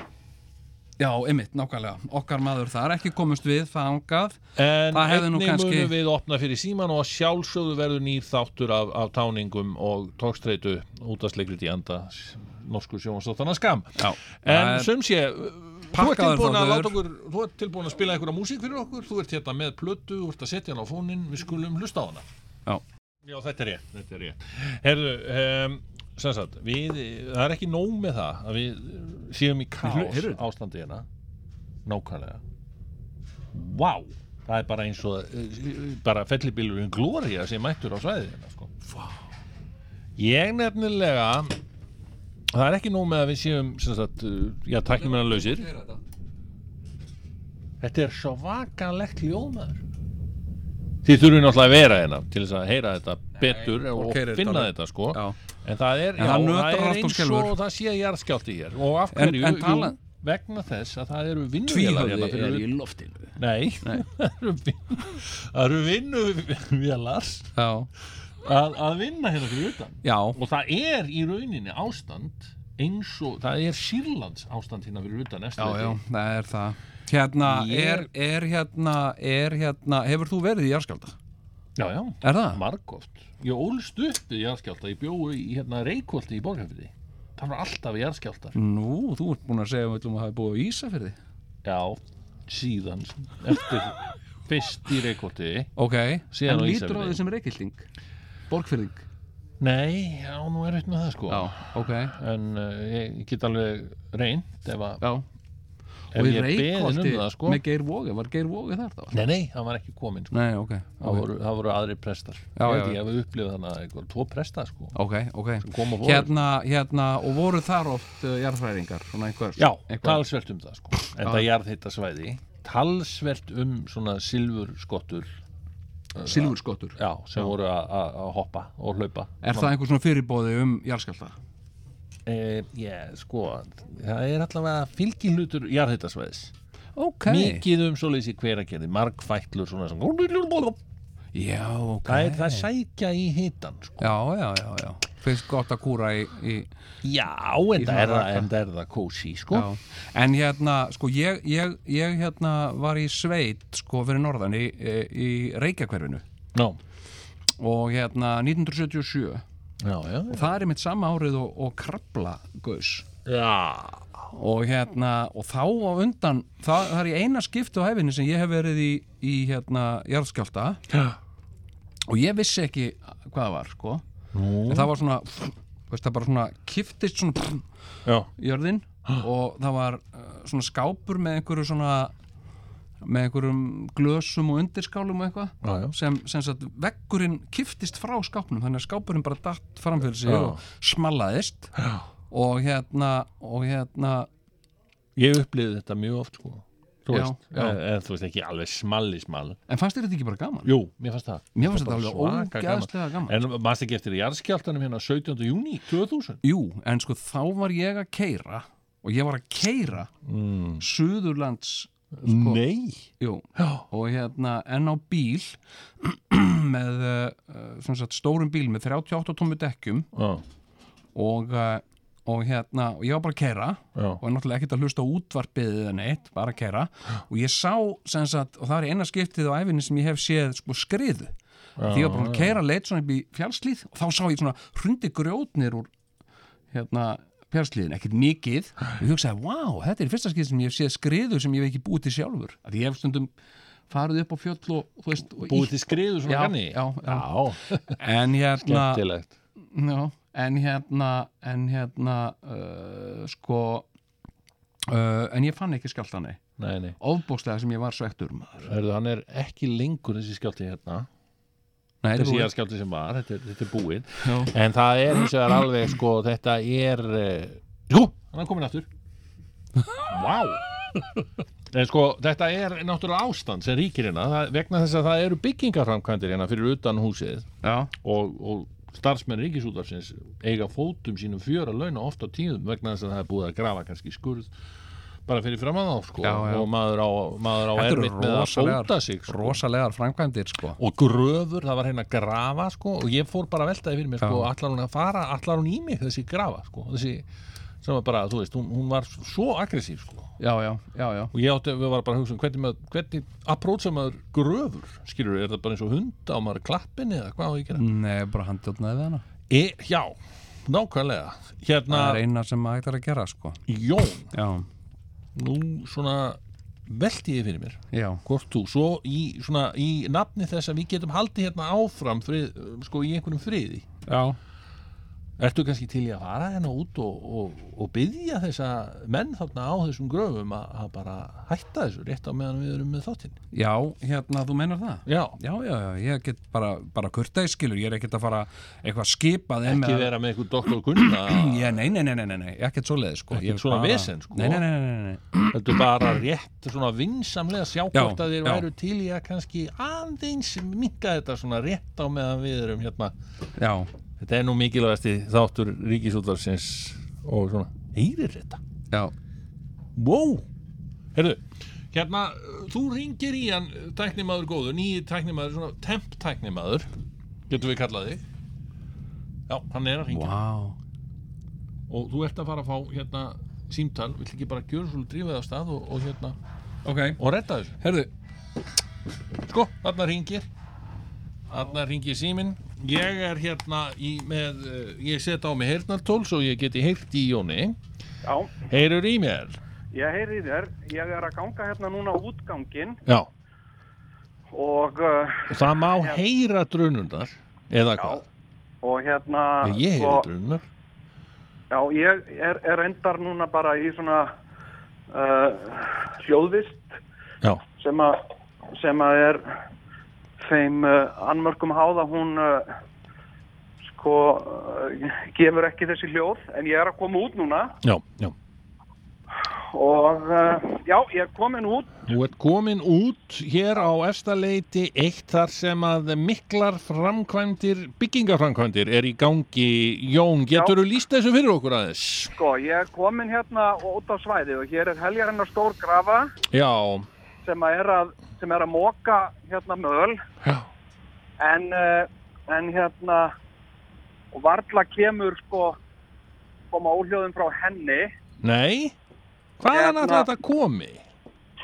C: já, einmitt, nákvæmlega, okkar maður þar ekki komust við þangað
B: En
C: Það hefði nú
B: einnig
C: kannski-
B: munum við opna fyrir síman og að sjálfsögðu verður nýr þáttur af, af táningum og tókstreitu út að sleikrit í anda s- norsku sjónastóttana skam.
C: já, það
B: En
C: er-
B: sem sé, þú ert
C: Pakkaður
B: tilbúin að
C: þáttur.
B: láta okkur, þú ert tilbúin að spila einhverja músík fyrir okkur, þú ert hérna með plötu, þú ert að setja hana á fónin, við skulum hlusta á hana.
C: Já.
B: Já, þetta er rétt, þetta er rétt. Herðu, um, sem sagt, við, það er ekki nóg með það að við séum í
C: hlu-
B: kaos
C: heyrðu þetta?
B: ástandi hérna, nákvæmlega. Vá, það er bara eins og, eh, bara fellibillurinn Gloria sem mættur á svæðið hérna, sko. Vá. Ég nefnilega, það er ekki nóg með að við séum, sem sagt, eh, já, tæknum hennar lausir. Þetta er svo vakalegt ljómaður Þið þurfum náttúrulega að vera hérna til þess að heyra þetta betur og
C: fólk heyrir þetta
B: finna
C: alveg.
B: þetta sko
C: já,
B: En það er,
C: En það
B: já,
C: nötrar allt og
B: eins
C: skelfur.
B: og það sé jarðskjálti hér og af
C: En-
B: hverju,
C: en tala-
B: jú, vegna þess að það eru vinnuvélar
C: tvíhöfði
B: hérna fyrir
C: er í loftinu
B: Nei, *laughs* það eru vin- það eru vinnuvélar
C: já,
B: að, að vinna hérna fyrir utan
C: já,
B: og það er í rauninni ástand eins og, það er Sýrlands ástand hérna fyrir utan næstu
C: Já,
B: leyti.
C: já, það er það Hérna,
B: Ég-
C: er, er hérna, er hérna Hefur þú verið í jarðskjálta?
B: já, já
C: Er það?
B: Margóft. Ég ólst upp við jarðskjálta, ég bjóðu í hérna Reykjóldi í Borgarfyrði. Það var alltaf jarðskjáltar.
C: Nú, þú um ert búin að segja um að hafa búið á Ísafirði *laughs*
B: Já, síðan, eftir fyrst í reikoti
C: ok,
B: Síðan
C: en
B: á
C: lítur á
B: Ísafirði.
C: því sem reykilding borgfyrðing
B: Nei, já, nú er eitt með það sko
C: já, ok,
B: En uh, ég get alveg reynd ef, að,
C: já
B: ef ég er beðin um það sko
C: með Geir Vóge, var Geir Vóge þar þá?
B: Nei, nei, hann var ekki kominn sko
C: nei, ok,
B: Það voru, það voru aðri prestar
C: Já,
B: Ég held
C: já,
B: ég hef upplifað þannig að eitthvað tvo prestar sko
C: ok, ok
B: Kom og voru
C: hérna, hérna, og voru þar oft uh, jarðfræðingar, svona einhver
B: Já,
C: einhver,
B: talsvert um það sko En það jarðhitta svæði Talsvert um svona silfurskottur
C: eh, silfurskottur
B: Já, sem voru að- að að hoppa og hlaupa
C: er það einhver svona fyrirbóði um jarðskjálta?
B: Eh, Ég, sko, það er allavega fylgihlutur jarðhittasvæðis
C: ok,
B: Mikið um svoleiðis í hveragerði, margfætlur svona sem
C: já, ok
B: Það er það sækja í hitan sko.
C: já, já, já, já fyrst gott að kúra í, í
B: Já, en það
C: svona
B: er, það-
C: raka.
B: en það er það kósi sko.
C: já. en hérna, sko, ég, ég, ég hérna var í sveit, sko, fyrir norðan í, í, í Reykjakverfinu
B: Já,
C: og hérna 1977
B: já, já,
C: það er mitt sama árið og, og krabla gaus
B: já.
C: og hérna, og þá á undan það, það er í eina skipti á hæfinni sem ég hef verið í, í hérna, jarðskjálta og ég vissi ekki hvað það var, sko en það var svona, veist það bara svona kiftist svona
B: Já. *gasps*
C: jörðin og það var uh, svona skápur með einhverju svona með einhverjum glösum og undirskálum og eitthvað
B: Já, já.
C: sem, sem sagt, veggurinn kiftist frá skápnum þannig að skápurinn bara datt framfyrir sig og smallaðist já. og hérna og hérna,
B: Ég upplýði þetta mjög oft sko. Þú
C: Já,
B: veist,
C: já.
B: En, en þú veist ekki alveg smalli small
C: en fannst þér þetta ekki bara gaman?
B: Jú, mér fannst það
C: Mér fannst
B: Bara
C: þetta alveg
B: svaka
C: ógeðslega gaman.
B: En maður ekki eftir jarðskjáltanum hérna 17. júni 2000
C: Jú, en sko þá var ég að keira og ég var að keira mm. Suðurlands sko,
B: Nei
C: Jú, og hérna enn á bíl *clears throat* með uh, sem sagt, stórum bíl með 38 tómmu dekkjum
B: Já,
C: og, uh, og hérna og ég var bara að keira
B: já,
C: og er náttúrulega ekkert að hlusta á útvarpið eða neitt, bara að keira og ég sá, sem sagt, og það er eina skiptið á æfinni sem ég hef séð sko skriðu því ég var bara að keira leitt svona upp í fjálslíð og þá sá ég svona hrundi grjótnir úr hérna fjálslíðin, ekkert mikið og ég hugsaði, wow, þetta er í fyrsta skiptið sem ég hef séð skriðu sem ég hef ekki búið til sjálfur að ég hef stundum farið upp á fjöll og, þú veist, og
B: búið til skriðu svona
C: Já,
B: ganni
C: já, já.
B: já.
C: en hérna
B: skemmtilegt
C: Já, en hérna, en hérna, uh, sko, uh, en ég fann ekki skjáltani.
B: Nei, nei,
C: Ofbókslega sem ég var svektur maður.
B: Hörðu, hann er ekki lengur þessi skjálti hérna
C: Nei,
B: þessi
C: þú-
B: jarðskjálti sem var, þetta, er- þetta er búið
C: Já.
B: en það er eins og það er alveg sko, þetta er eh, sko, hann er komin aftur vá en sko, þetta er náttúrulega ástand sem ríkir hérna, það, vegna þess að það eru byggingarframkvæmdir hérna fyrir utan húsið
C: Já,
B: og, og starfsmenn ríkisútarsins eiga fótum sínum fjöra launa ofta tíðum vegna þess að það er búið að grafa kannski skurð bara fyrir framann á sko
C: Já, já.
B: og maður á, maður á
C: þetta eru
B: erfitt með að fóta
C: rosalegar,
B: sig sko
C: rosalegar framkvæmdir, sko.
B: og gröfur, það var hérna grafa sko, og ég fór bara að velta því fyrir mér sko,
C: Já.
B: allar hún að fara, allar hún í mig þessi grafa sko, þessi sem var bara, þú veist, hún, hún var svo aggressív sko.
C: Já, já, já, já.
B: og ég átti, við varum bara að hugsa um hvernig, maður, hvernig approacha maður gröfur skilur, er það bara eins og hund á maður klappin eða hvað á ég að gera?
C: Nei, bara handjóðnaði við hana.
B: E, já, nákvæmlega hérna,
C: Það er eina sem maður ætlar að gera, sko.
B: Jón,
C: Já,
B: nú svona velti ég fyrir mér
C: já,
B: hvort þú, svo í, svona, í nafni þess að við getum haldið hérna áfram frið, sko, í einhverjum friði
C: já.
B: Ertu kannski til í að fara hérna út og, og, og byggja þessa menn þarna á þessum gröfum að, að bara hætta þessu rétt á meðan við erum með þáttinn?
C: Já, hérna, þú meinar það?
B: Já,
C: Já, já, já, ég get bara, bara kurteis, skilur, ég er ekkert að fara eitthvað skipað inn
B: ekki
C: með-
B: vera með einhver doktor Gunna,
C: *clears throat* Já, nei, nei, nei, nei, nei, nei, ekkert svoleiðið sko
B: Ekkert
C: Ég
B: svona
C: bara-
B: vesen, sko.
C: Nei, nei, nei, nei, nei, nei.
B: heldur bara rétt svona vinsamlega sjá hvort að þeir
C: já.
B: væru til í að kannski aðeins minka þetta svona rétt á meðan við erum hérna.
C: Já,
B: Þetta er nú mikilvægasti þáttur ríkisútvarsins og svona, heyrir þetta?
C: já,
B: Wow Herðu, hérna, uh, þú ringir í hann uh, tæknimaður góður, nýji tæknimaður svona temp tæknimaður getum við kallað þig Já, hann er að ringja
C: vá
B: og þú ert að fara að fá hérna símtal, vill ekki bara gjöra svolítið drífaði á stað og, og hérna,
C: Ok,
B: og redda þessu
C: herðu
B: Sko, þarna ringir þarna ringir síminn ég er hérna í með uh, ég set á mig heyrnartól svo ég geti heyrt í Jóni
F: Já,
B: Heyrur í mér?
F: ég heyri í þér. Ég er að ganga hérna núna útgangin
B: Já,
F: og, uh,
B: Það má heyra drunundar eða hvað?
F: og hérna
B: ég heyri
F: sko,
B: drununar.
F: Já, ég er, er endar núna bara í svona uh, hljóðvist
B: Já,
F: sem að sem að er þeim uh, annmörkum háða hún uh, sko uh, gefur ekki þessi hljóð en ég er að koma út núna
B: já, já.
F: og uh, já, ég er komin út
B: Þú ert komin út hér á efstaleiti eitt þar sem að miklar framkvæmdir, byggingaframkvæmdir er í gangi. Jón, getur þú líst þessu fyrir okkur aðeins?
F: sko, ég er komin hérna út á svæði og hér er heljarinnar stór grafa
B: Já,
F: sem að er að, sem er að móka hérna möl
B: Já.
F: en, uh, en hérna og varla kemur sko koma óhljóðum frá henni
B: nei? Hvaðan
F: Hérna.
B: er þetta komi?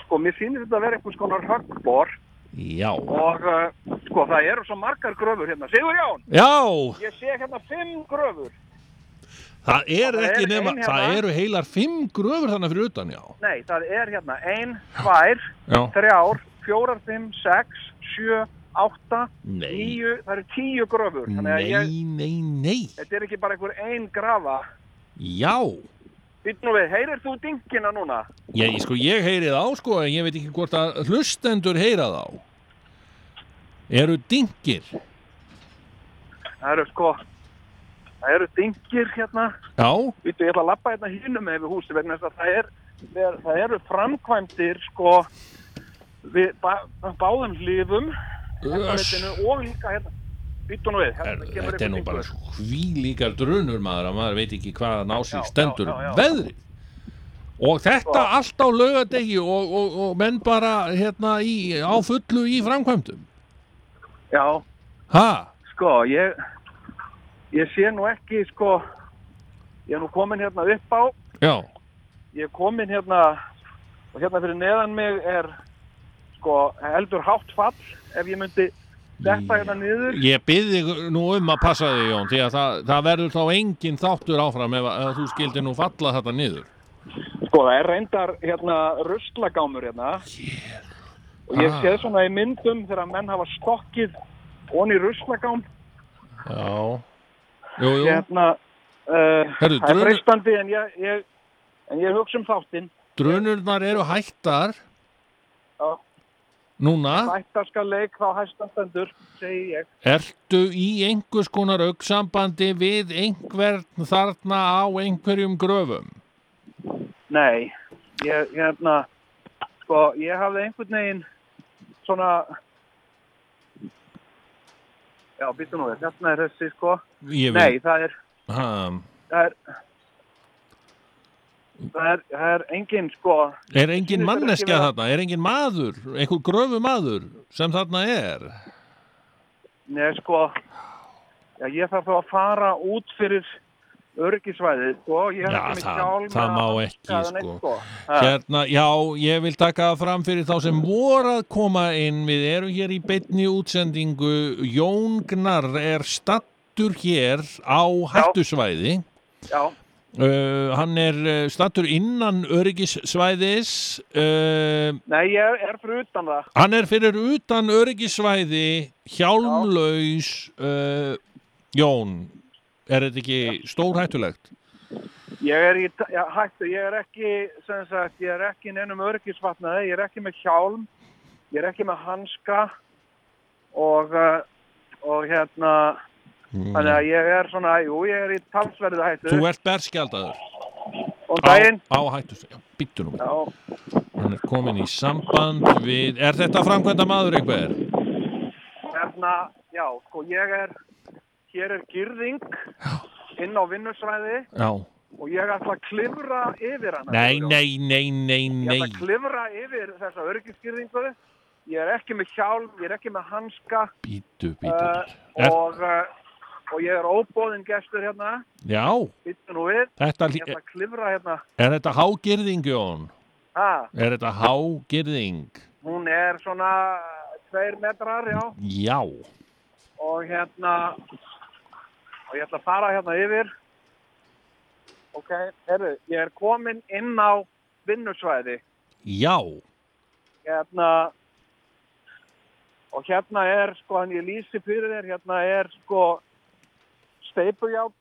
F: sko mér sýnir þetta að vera einhvers konar höggbor
B: Já,
F: og uh, sko það eru svo margar gröfur hérna Sigur Jón,
B: já,
F: ég sé hérna fimm gröfur
B: Það er
F: Það
B: ekki
F: er
B: nema,
F: ein hérna.
B: það eru heilar fimm gröfur þannig fyrir utan, já.
F: nei það er hérna ein, tvær,
B: Já.
F: þrjár, fjórar, fimm, sex, sjö, átta
B: Nei,
F: níu, það eru tíu gröfur þannig að
B: nei,
F: ég,
B: nei, nei,
F: þetta er ekki bara einhver ein grafa
B: já.
F: Býttu nú við, heyrir þú dingina núna?
B: Ég, sko, ég heyri þá, sko, en ég veit ekki hvort að hlustendur heyra þá. Eru dingir.
F: Það eru sko, það eru dingir hérna.
B: Já,
F: Býttu, ég ætla að lappa hérna hínum með við húsi vegna þess að það, er, það, er, það eru framkvæmdir sko við bá, báðum hlifum
B: öss.
F: hérna, og líka hérna. Býttu nú við,
B: Er,
F: hérna kemur
B: þetta er nú
F: einhver
B: bara
F: dyngur.
B: svo hvílíkar drunur maður að maður veit ekki hvað að ná
F: Já,
B: sig
F: já,
B: stendur
F: já, já.
B: veðrið og þetta
F: Sko.
B: allt á laugadegi og, og, og menn bara hérna í, á fullu í framkvæmdum
F: Já,
B: ha,
F: sko, ég, ég sé nú ekki sko, ég er nú komin hérna upp á,
B: já,
F: ég er komin hérna og hérna fyrir neðan mig er sko eldur hátt fall ef ég myndi detta hérna niður.
B: Ég byrði nú um að passa þig Jón því að það, það verður þá engin þáttur áfram ef, að- ef þú skildir nú falla þetta niður
F: Sko, það er reyndar hérna ruslagámur hérna og ég
B: Ah.
F: sé svona í myndum þegar menn hafa stokkið onni ruslagám
B: Já Jú, jú,
F: hérna uh,
B: Herru,
F: það er
B: drunur-
F: freistandi en ég, ég, en ég hugsa um þáttinn
B: drunurnar eru hættar
F: Já.
B: Núna,
F: ættaska leik þá hæstanstendur segi ég
B: ertu í einhvers konar auksambandi við einhvern þarna á einhverjum gröfum
F: nei, ég, hérna sko, ég hafði einhvern veginn svona já, býttu nú við, hérna er þessi sko
B: Ég
F: nei, það er
B: ha,
F: það er það er, það er engin sko
B: Er engin
F: Sýnist þér ekki
B: manneskja
F: vera-
B: þarna, er engin maður einhver gröfumadur sem þarna er
F: neða sko já, ég þarf þá að fara út fyrir öryggisvæðið sko ég er
B: Já,
F: ekki með
B: það-
F: hjálm
B: það
F: eða
B: má
F: hanska
B: ekki,
F: eða
B: sko.
F: neitt, sko. Ha,
B: Hérna, já, ég vil taka það fram fyrir þá sem voru að koma inn. Við erum hér í beinni útsendingu. Jón Gnar er stattur hér á hættusvæði.
F: já,
B: Uh, hann er uh, stattur innan öryggissvæðis. Uh,
F: nei ég er fyrir utan það
B: hann er fyrir utan öryggissvæði, hjálmlaus. Uh, Jón, er þetta ekki stórhættulegt?
F: ég er í já, hættu, ég er ekki sem sagt, ég er ekki í neinum öryggisvatnaði ég er ekki með hjálm ég er ekki með hanska og uh, og hérna þannig að ég er svona, jú, ég er í talsverðu hættu
B: Mm. Þú ert berskjaldaður
F: og
B: á,
F: daginn
B: á hættusvæði. Býttu nú.
F: Já,
B: Hann er komin í samband við, er þetta framkvæmda maður einhver?
F: hérna, já, sko ég er, hér er gyrðing inn á vinnusræði
B: Já.
F: og ég ætla að klifra yfir hana.
B: Nei, nei, nei, nei,
F: Ég
B: nei.
F: ætla að klifra yfir þessa örgisgyrðingu, ég er ekki með hjálm, ég er ekki með hanska
B: Býtu, býtu.
F: uh,
B: Er,
F: og, uh, og ég er óbóðin gestur hérna,
B: já,
F: býttu nú við,
B: þetta,
F: ég ætla að klifra hérna,
B: er þetta hágirðing, Jón?
F: ha,
B: Er þetta hágirðing?
F: hún er svona tveir metrar, já,
B: Já.
F: og hérna, og ég ætla að fara hérna yfir ok, herru, ég er komin inn á vinnusvæði
B: Já.
F: hérna og hérna er sko, hann ég lýsi fyrir þér, hérna er sko steipujátt,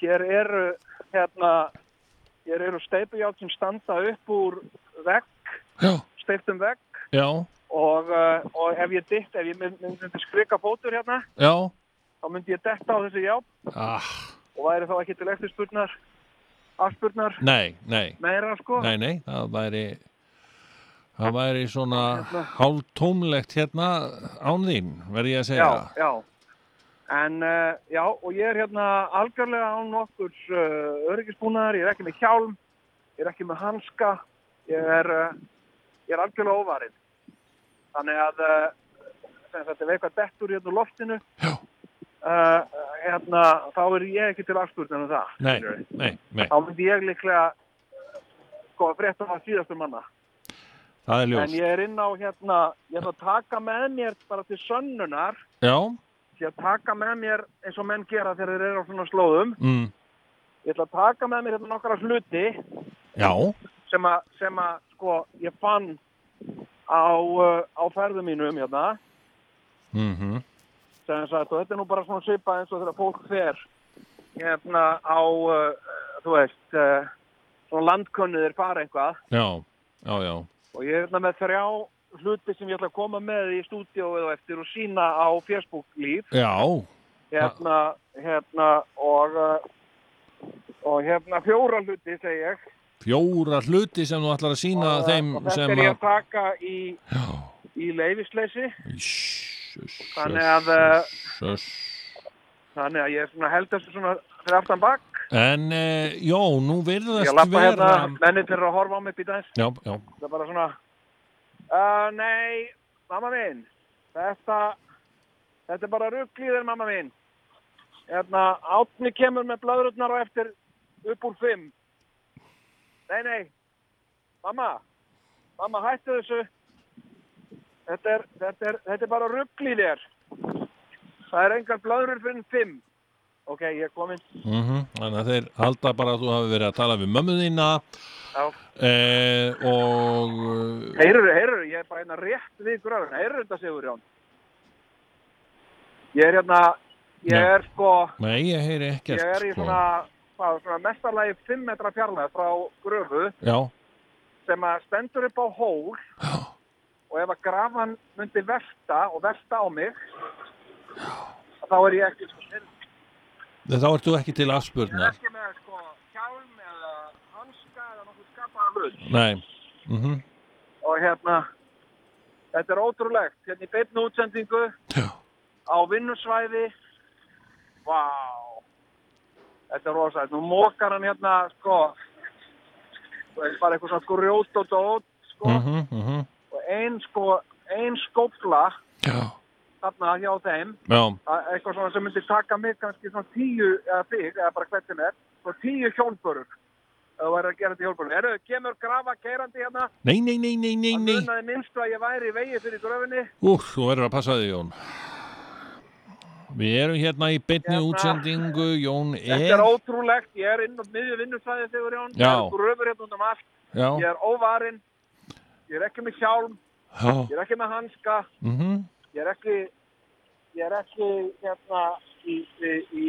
F: hér eru hérna, hér eru steipujátt sem standa upp úr vekk,
B: Já,
F: steiptum vekk
B: já,
F: og, uh, og ef ég ditt, ef ég mynd- mynd- myndi skrika fótur hérna,
B: já
F: þá myndi ég detta á þessi ját
B: ah,
F: og væri þá ekki til eftirspurnar, afspurnar
B: Nei, nei,
F: meira sko.
B: nei, nei Það væri Það væri svona hálftómlegt hérna án þín, verði ég að segja.
F: já, já. En uh, já, og ég er hérna algjörlega án nokkurs uh, öryggisbúnaðar, ég er ekki með hjálm, ég er ekki með hanska, ég er, uh, ég er algjörlega óvarinn. Þannig að uh, sem sagt, ef eitthvað dettur hérna úr loftinu, uh, hérna, þá er ég ekki til afspurnar um það.
B: Nei,
F: skilurðu.
B: nei, nei,
F: Þá myndi ég líklega eh, sko að frétta það síðastur manna.
B: það er
F: En
B: ljós.
F: ég er inn á hérna, ég er að taka með mér bara til sönnunar
B: Já,
F: ég ætla að taka með mér eins og menn gera þegar þeir eru á svona slóðum
B: mm,
F: ég ætla að taka með mér hérna nokkra hluti
B: já,
F: sem að, sem að sko, ég fann á, uh, á ferðum mínum hérna
B: mhm,
F: sem sagt, og þetta er nú bara svona svipað eins og þegar fólk fer hérna á uh, þú veist uh, svona landkönnuðir fara eitthvað
B: já, já, já,
F: og ég er hérna með þrjá hluti sem ég ætla að koma með í stúdíóið og eftir og sína á Facebook líf
B: já,
F: hérna, hérna og uh, og hérna fjóra hluti segi ég
B: fjóra hluti sem þú ætlar að sína
F: og, uh,
B: þeim
F: og þetta
B: sem
F: er
B: að
F: ég að taka í,
B: já,
F: í leifisleysi
B: Jesus,
F: Þannig að, eh,
B: Jesus.
F: þannig að ég svona held þessu svona fyrir aftan bak
B: en e, já, nú
F: ég
B: virðast
F: lappa
B: vera
F: hérna, mennir fyrir að horfa á mig býtaðins,
B: já, já,
F: það er bara svona uh, nei, mamma minn þetta þetta er bara rugglíðir mamma minn hérna, átni kemur með blöðrutnar og eftir upp úr fimm nei, nei mamma mamma, hættu þessu þetta er, þetta er, þetta er bara rugglíðir það er engar blöðrur fyrir en fimm ok, ég er komin
B: mhm þannig að þeir halda bara að þú hafi verið að tala við mömmu þína
F: Já.
B: e, og eh,
F: Heyrur, heyrur, ég er bara hérna rétt við gröfun, heyrur þetta Sigurjón? Ég er hérna, ég
B: Nei.
F: er sko,
B: nei, ég heyri
F: ég
B: ekkert
F: er í
B: sko.
F: svona, hvað, svona mestarlagi 5 metra fjarlæð frá gröfu
B: já,
F: sem að stendur upp á hól og ef að grafan myndi versta og versta á mig, þá er ég ekki, ég er
B: þá ert þú ekki til afspurnar
F: ekki með sko hjálm eða hanska eða nokkuð skapaða hlut.
B: nei, mhm
F: og hérna þetta er ótrúlegt, hérna í beinu útsendingu
B: Já.
F: á vinnusvæði vá þetta er rosalegt, nú mókar hann hérna sko þú veist, bara eitthvað svona grjót og dót sko,
B: mhm, mhm,
F: og ein sko ein skófla
B: já,
F: þarna hjá þeim
B: já,
F: að- eitthvað svona sem myndi taka mig kannski svona tíu eða þig, eða bara hvert sem er svona tíu hjólbörur ef þú væri að gera þetta hjólbörur, eru, kemur grafa keirandi hérna
B: nei, nei, nei, nei, nei,
F: Hann
B: nei.
F: munaði minnst að ég væri í vegi fyrir gröfinni.
B: Úr, þú verður að passa þig Jón Við erum hérna í beinni
F: Hérna.
B: útsendingu Jón
F: Þetta
B: er
F: er ótrúlegt. Ég er inn á miðju vinnusæði þegar Jón.
B: Já.
F: Það er gröfur hérna út um allt.
B: Já,
F: Ég er óvarinn. Ég er ekki með hjálm.
B: já,
F: Ég er ekki með hanska.
B: mhm
F: Ég er ekki, ég er ekki hérna í, í, í,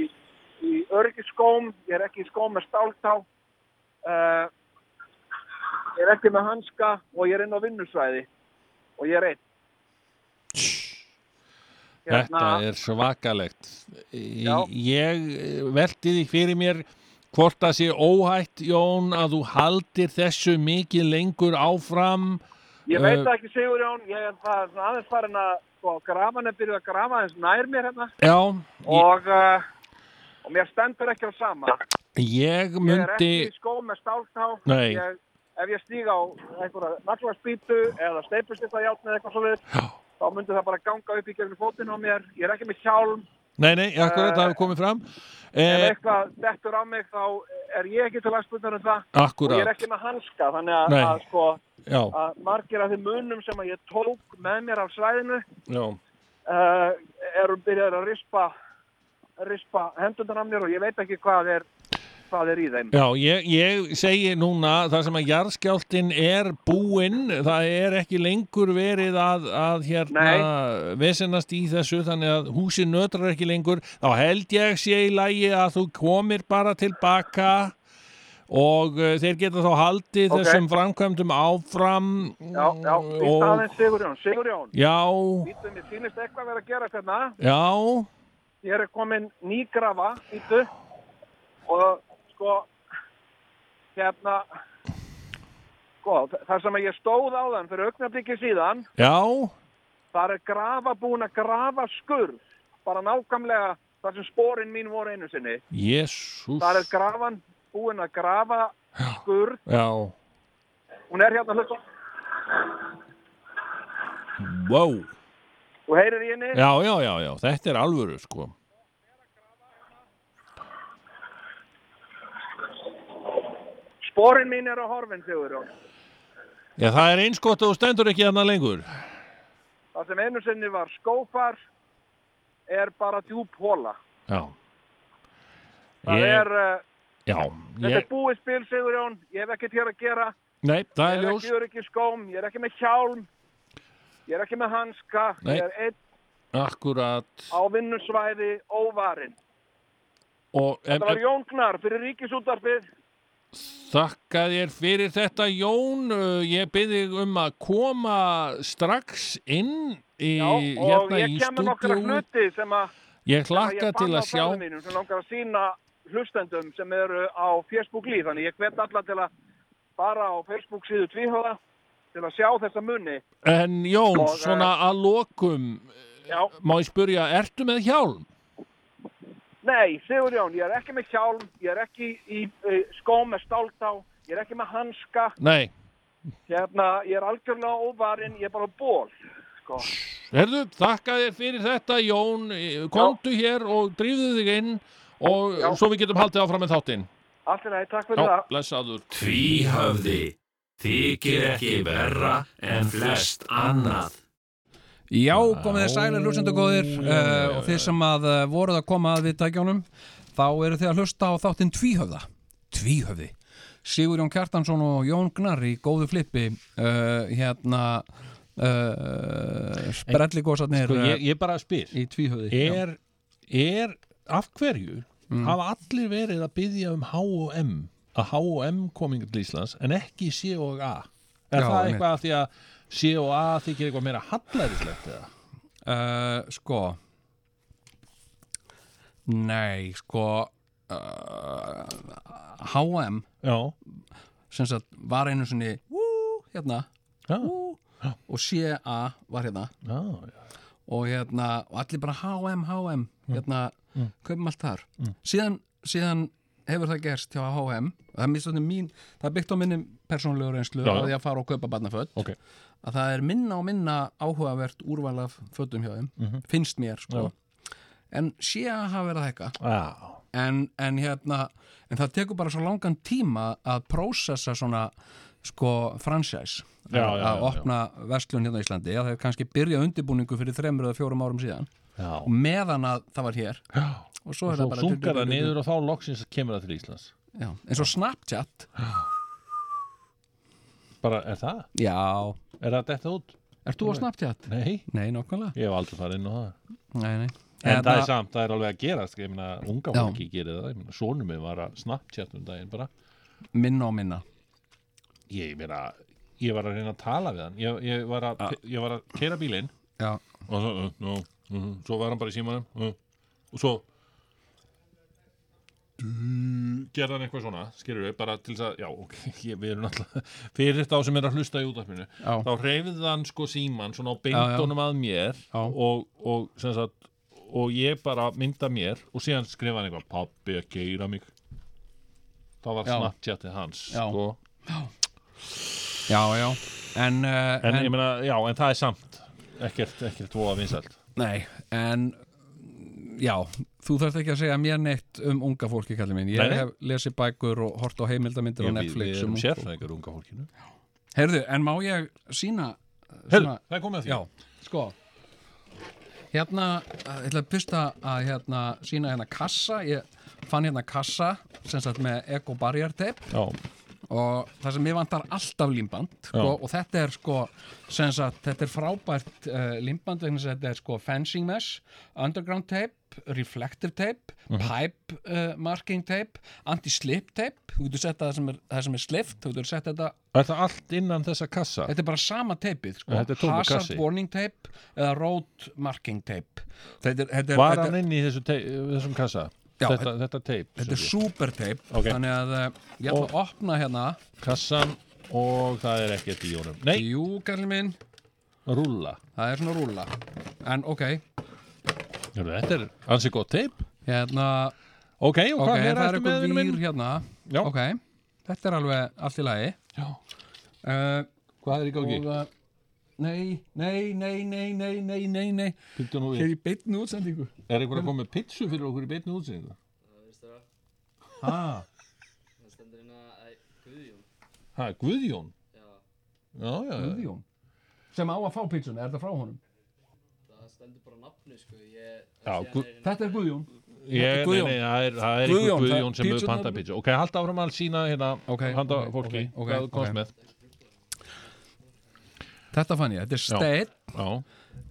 F: í örgisskóm. Ég er ekki í skóm með stáltá. Uh, ég er ekki með hanska og ég er inn á vinnusvæði. Og ég er einn. Hérna,
B: Þetta er svakalegt Í-
F: Já.
B: Ég eh, velti því fyrir mér hvort það sé óhætt Jón að þú haldir þessu mikið lengur áfram
F: Ég veit
B: Eh,
F: það ekki Sigurjón, ég er það svona aðeins farin að sko, grafan er byrjuð að grafa aðeins nær mér hérna
B: Já, ég,
F: og, uh, og mér stendur ekki á sama.
B: ég
F: Ég er
B: myndi
F: ekki í skó með stáltá,
B: Nei.
F: ég, ef ég stíg á einhverja naglarspýtu eða steipustýrtajátn eða eitthvað svolítið, þá myndi það bara ganga upp í gegnum fótinn á mér, ég er ekki með hjálm,
B: Nei, nei, akkurat,
F: Eh,
B: það hefur komið fram
F: ef
B: eh,
F: eitthvað dettur á mig þá er ég ekki til að spurnar um það og ég er
B: Akkurat,
F: ekki með hanska, þannig að,
B: Nei.
F: að sko
B: já,
F: að margir af þeim munum sem að ég tók með mér af svæðinu
B: já
F: uh, eru byrjaðir að rispa rispa hendunar á mér og ég veit ekki hvað er hvað er í þeim
B: Já, ég, ég segi núna það sem að jarðskjáltin er búinn, það er ekki lengur verið að, að hérna vesenast í þessu, þannig að húsi nötrar ekki lengur, þá held ég sé í lagi að þú komir bara tilbaka og uh, þeir geta þá haldið
F: Ok.
B: þessum framkvæmdum áfram
F: Já, já, í
B: og-
F: staðinn Sigurjón, Sigurjón,
B: Já,
F: býttu, mér sýnist eitthvað vera að gera hérna,
B: já,
F: ég er komin ný grafa, býttu, og sko, hérna, sko, þ- þar sem ég stóð á þann fyrir augnabliki síðan,
B: já,
F: þar er grafa búin að grafa skurð, bara nákvæmlega þar sem spórin mín voru einu sinni,
B: jésús,
F: þar er grafan búin að grafa skurð,
B: já,
F: hún er hérna hlutum,
B: wow,
F: og heyrir í henni,
B: já, já, já, já, þetta er alvöru sko.
F: spórin mín er á horfinn, Sigurjón,
B: Já, það er eins gott að þú stendur ekki þarna lengur.
F: það sem einu sinni var skópar, er bara djúb hóla.
B: Já.
F: Það
B: Ég-
F: er, uh,
B: Já,
F: þetta
B: ég,
F: er búið spil, Sigurjón, ég hef ekkert hér að gera,
B: nei, það er
F: ég er
B: ljós.
F: ekki öryggi skóm, ég er ekki með hjálm, ég er ekki með hanska,
B: Nei.
F: ég er einn
B: Akkurat.
F: á vinnusvæði óvarinn.
B: Og em,
F: Það var
B: em,
F: Jón Gnar fyrir ríkisútarfið,
B: þakka þér fyrir þetta, Jón. Uh, Ég byrði um að koma strax inn í,
F: já, og
B: hérna
F: ég
B: í
F: kem með nokkra
B: stúdíu.
F: hluti sem að
B: Ég
F: sem að
B: hlakka
F: ég
B: til
F: fann á
B: að sjá.
F: ferðum mínum sem langar að sína hlustendum sem eru á Facebook líf, þannig ég hvet alla til að bara á Facebook síðu tvíhóða til að sjá þessa munni.
B: En Jón,
F: Og, eh,
B: svona að lokum,
F: Já,
B: má ég spurja, ertu með hjálm?
F: Nei, Sigurjón, ég er ekki með hjálm, ég er ekki í uh, skóm með stáltá, ég er ekki með hanska,
B: Nei.
F: hérna, ég er algjörlega óvarinn, ég er bara á ból. Sko.
B: Herðu, þakka þér fyrir þetta, Jón. Kondu hér og drífðu þig inn og
F: Já.
B: svo við getum haldið áfram með þáttinn.
F: Allt er nægt, takk fyrir
B: Já,
F: það.
B: blessaður.
G: Tvíhöfði þykir ekki verra en flest annað.
C: Já, komið þið sælir hlustendur góðir
B: Já, já, já,
C: uh, og þið sem að uh, voruð að koma að við tækjónum þá eru þið að hlusta á þáttinn Tvíhöfða Tvíhöfði Sigurjón Kjartansson og Jón Gnar í góðu flippi uh, hérna uh, sprelligósarnir
B: Sko, ég,
C: uh,
B: ég bara spyr
C: í Tvíhöfði já.
B: er, er af hverju hafa allir verið að byggja um H&M að H&M komingur til Íslands en ekki C&A er
C: Já,
B: það
C: einmitt.
B: eitthvað að því að C&A þykir eitthvað meira hallaríslegt eða
C: Uh, sko Nei, sko uh, H&M
B: já,
C: sem sagt var einu sinni Wú, hérna
B: já,
C: og CA var hérna
B: já, já.
C: og hérna, og allir bara H&M, H&M
B: Mm.
C: hérna, kaupum allt þar síðan, síðan hefur það gerst hjá H&M, það er mistöndin mín það er byggt á minni persónulegu reynslu
B: Já, já.
C: að því að fara og kaupa barnaföld
B: Ok.
C: að það er minna og minna áhugavert úrval af földum hjá þeim,
B: Mhm.
C: finnst mér sko. en sé að hafa verið að hækka
B: já.
C: en, en hérna en það tekur bara svo langan tíma að prósessa svona sko franchise
B: Já, já,
C: að- að
B: já,
C: opna verslun hérna á Íslandi að það er kannski byrjað undirbúningu fyrir þremur eða fjórum árum síðan
B: já.
C: og meðan að það var hér
B: já.
C: og svo, er
B: svo
C: það bara
B: sungar það niður og þá loksins kemur það til Íslands
C: já, eins og Snapchat
B: bara, er það?
C: já,
B: Er það detta út?
C: ert þú á Snapchat?
B: Nei,
C: Nei, nokkvæmlega
B: ég hef aldrei farið inn á það
C: nei, nei.
B: En
C: Hérna-
B: það er samt, það er alveg að gerast, ég meina, unga
C: Já.
B: fólki gerir það, ég meina, sonum minn var að Snapchat um daginn bara,
C: minna og minna
B: ég meina, ég var að reyna að tala við hann, ég, ég var að, ég var að keira bílinn
C: já,
B: og svo, uh, no, uh, svo var hann bara í símanum uh, og svo gerði hann eitthvað svona, skilur við, bara til þess að, já, ok, *laughs* ég, við erum alltaf, fyrir þá sem er að hlusta í útvarpinu,
C: Já.
B: þá reyfði hann sko síman svona á
C: já.
B: beindunum að mér
C: Já.
B: og, og, sem sagt, og ég bara mynda mér og síðan skrifa hann eitthvað, pabbi að geira mig, þá var
C: Já.
B: Snapchatið hans,
C: Já.
B: sko,
C: já, já en, uh,
B: en, ég meina, já, en það er samt, ekkert, ekkert voða vinsælt.
C: Nei, en já, þú þarft ekki að segja mér neitt um unga fólki, kallið minn. Ég
B: Nei, nei.
C: hef lesið bækur og hort á heimildamindir á
B: Ég- Við
C: Netflix.
B: við erum
C: um ungt fólk.
B: sérfræðingar unga fólkinu.
C: Heyrðu, en má ég sína
B: Herðu, það er komið að því.
C: Já, sko Hérna, eh, ég ætla að pista að hérna sína hérna kassa, ég fann hérna kassa sem sagt með Eco Barrier Tape
B: já,
C: og það sem ég vantar alltaf límband sko,
B: Já.
C: og þetta er sko sem sagt, þetta er frábært uh, límband vegna þess að þetta er sko fencing mesh underground tape, reflective tape
B: Mhm.
C: pipe uh, marking tape anti-slip tape þú getur sett það sem er, það sem er slift þú getur sett þetta,
B: er það allt innan þessa kassa
C: þetta er bara sama teipið sko,
B: Ja, þetta er tómur kassi.
C: hazard warning tape eða road marking tape þetta er, þetta er,
B: var
C: þetta er,
B: hann inn í þessu teip, þessum kassa
C: Já,
B: þetta, þetta teip
C: þetta er
B: sem
C: super tape
B: Ok.
C: þannig að uh, ég ætla
B: Og-
C: að opna hérna
B: sé. kassan og það er ekkert í honum nei,
C: jú, kallið minn,
B: rúlla
C: það er svona rúla en ok,
B: Heyrðu, þetta er ansi gott teip
C: Hérna,
B: ok, og
C: ok,
B: hvað er
C: það er
B: þetta með
C: eitthvað
B: vinur
C: vír
B: minn
C: hérna
B: Já.
C: Ok, þetta er alveg allt í lagi Já uh,
B: hvað er í gangi?
C: Og uh, Nei, nei, nei, nei, nei, nei, nei, nei
B: Bíddu nú
C: Þegar
B: við.
C: ég beinni útsendingu
B: er einhver að koma með pitsu fyrir okkur í beinni útsendingu? ha,
H: Það stendur hérna að Guðjón
B: ha, Guðjón
H: Já,
B: já, já, já,
C: Guðjón Sem á að fá pítsuna, er þetta frá honum?
H: það stendur bara nafni sko ég,
B: Já,
H: síðan
B: Gu-
H: er hérna-
C: Þetta er Guðjón
B: Ég, nei,
C: Guðjón.
B: nei, það er, það er
C: Guðjón,
B: einhver
C: það-
B: Guðjón sem hefur
C: pítsurnar-
B: panta pítsu Ok, halda áfram að sína hérna
C: Ok,
B: handa
C: ok,
B: fólki,
C: ok, ok,
B: hvað þú komst
C: ok.
B: með
C: Þetta fann ég, þetta er steinn
B: Já,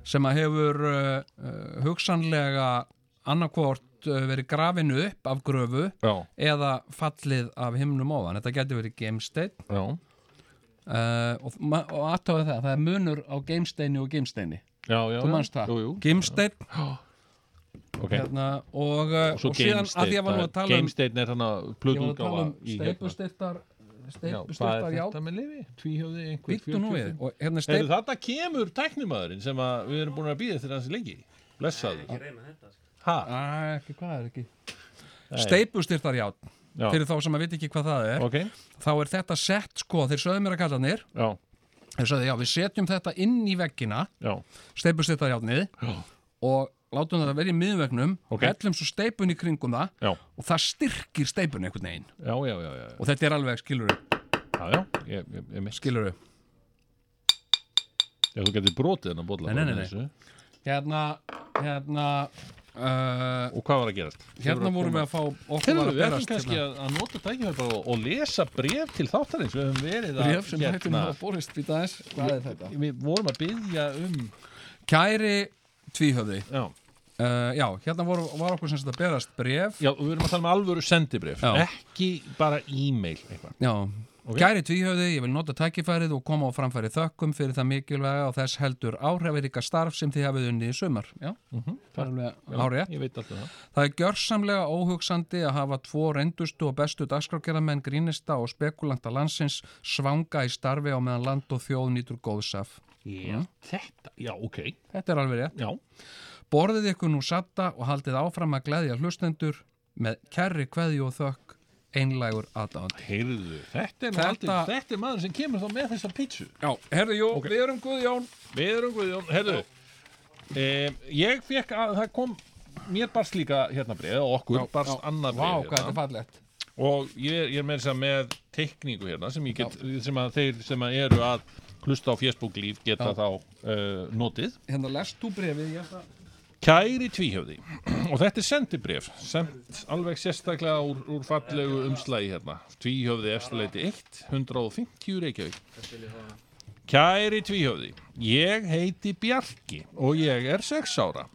C: sem að hefur uh, uh, hugsanlega annarkvort uh, verið grafin upp af gröfu
B: já,
C: eða fallið af himnum ofan. Þetta getur verið gemsteinn
B: já,
C: uh, og, ma- og aðtöðu það, það er munur á geimsteini og geimsteini
B: já, já
C: þú manst það,
B: Jú, jú,
C: geimstein
B: ok
C: hérna, og, uh,
B: Og svo
C: síðan að því að var nú að
B: gamesteinn,
C: tala um
B: gamesteinn er þannig að
C: ég var að tala
B: plöðungáfa
C: um
B: hérna.
C: steipustyrtar
B: Já, hvað
C: steipustyrtar
B: er
C: já,
B: þetta með lifi? Tvíhjóði einhver
C: byggt nú við og hérna
B: Eru
C: steip,
B: þetta kemur tæknimaðurinn sem að við erum búin að býða þér hans lengi? Blessaður Ha,
C: að, ekki, hvað er ekki steipustyrtar já,
B: já,
C: fyrir þá sem að veit ekki hvað það er
B: ok,
C: þá er þetta sett sko, þeir sögðu mér að kalla nýr
B: já,
C: þeir sögðu já, við setjum þetta inn í veggina
B: já
C: steipustyrtarjátnið
B: Já.
C: og látum þetta verið í miðvegnum
B: Ok.
C: hellum svo steipun í kringum það
B: Já,
C: og það styrkir steipun einhvern veginn
B: já, já, já, já,
C: og þetta er alveg skiluru,
B: já, já, ég, ég, ég mitt
C: skiluru.
B: Já, þú getur brotið hennar bolla
C: Nei, nei,
B: bara
C: nei,
B: með
C: nei.
B: þessu.
C: hérna hérna uh,
B: Og hvað var að gerast?
C: hérna vorum við að fá okkur
B: Hérna,
C: var að
B: við ætlum
C: berast
B: kannski
C: hérna,
B: að, að nota tækifæri bara og, og lesa bref til þáttarins Við höfum verið að hérna.
C: bréf sem hættum að borist við aðeins, hvað er þetta?
B: Við vorum að byggja um
C: Kæri tvíhöfði
B: Já,
C: uh, já, hérna voru, var okkur sem sagt að berast bref
B: já og við erum að tala um alvöru sendibref
C: Já.
B: Ekki bara e-mail eitthvað
C: Já, kæri tvíhöfði, ég vil nota tækifærið og koma á framfæri þökkum fyrir það mikilvæga og þess heldur áhrifaríka starf sem þið hafið unnið í sumar. Já, það er alveg árið.
B: Ég veit alltaf það
C: Það er gjörsamlega óhugsandi að hafa tvo reyndustu og bestu dagskrágerðamenn grínista og spekulanta landsins svanga í starfi á meðan land og þjóð nýtur góðsaf.
B: Já, þetta, já, ok
C: Þetta er alveg rétt.
B: Já,
C: Borðið ykkur nú satta og haldið áfram að gleðja hlustendur með kærri kveði og þökk einlægur aðdáðandi.
B: heyrðu Þetta er,
C: Þetta-
B: þetta... Aldrei, þetta er maður sem kemur þá með þessa pítsu
C: Já, herðu, jú, við erum Guðjón.
B: Við erum Guðjón, heyrðu eh, Ég fekk að það kom Mér barst líka hérna bref og okkur barst annað bref
C: Vá,
B: hérna.
C: hvað þetta er fallegt.
B: og ég, er- ég er með þess að með teikningu hérna sem, ég get, sem að þeir sem að eru að hlusta á Facebook líf geta þá uh, notið
C: Hérna, lest þú brefið, ég ætla.
B: Kæri tvíhjöfði *clears throat* og þetta er sendibref sendt alveg sérstaklega úr, úr fallegu umslægi hérna tvíhjöfði eftirleiti 1 150 Reykjavík Kæri tvíhjöfði ég heiti Bjarki og ég er 6 ára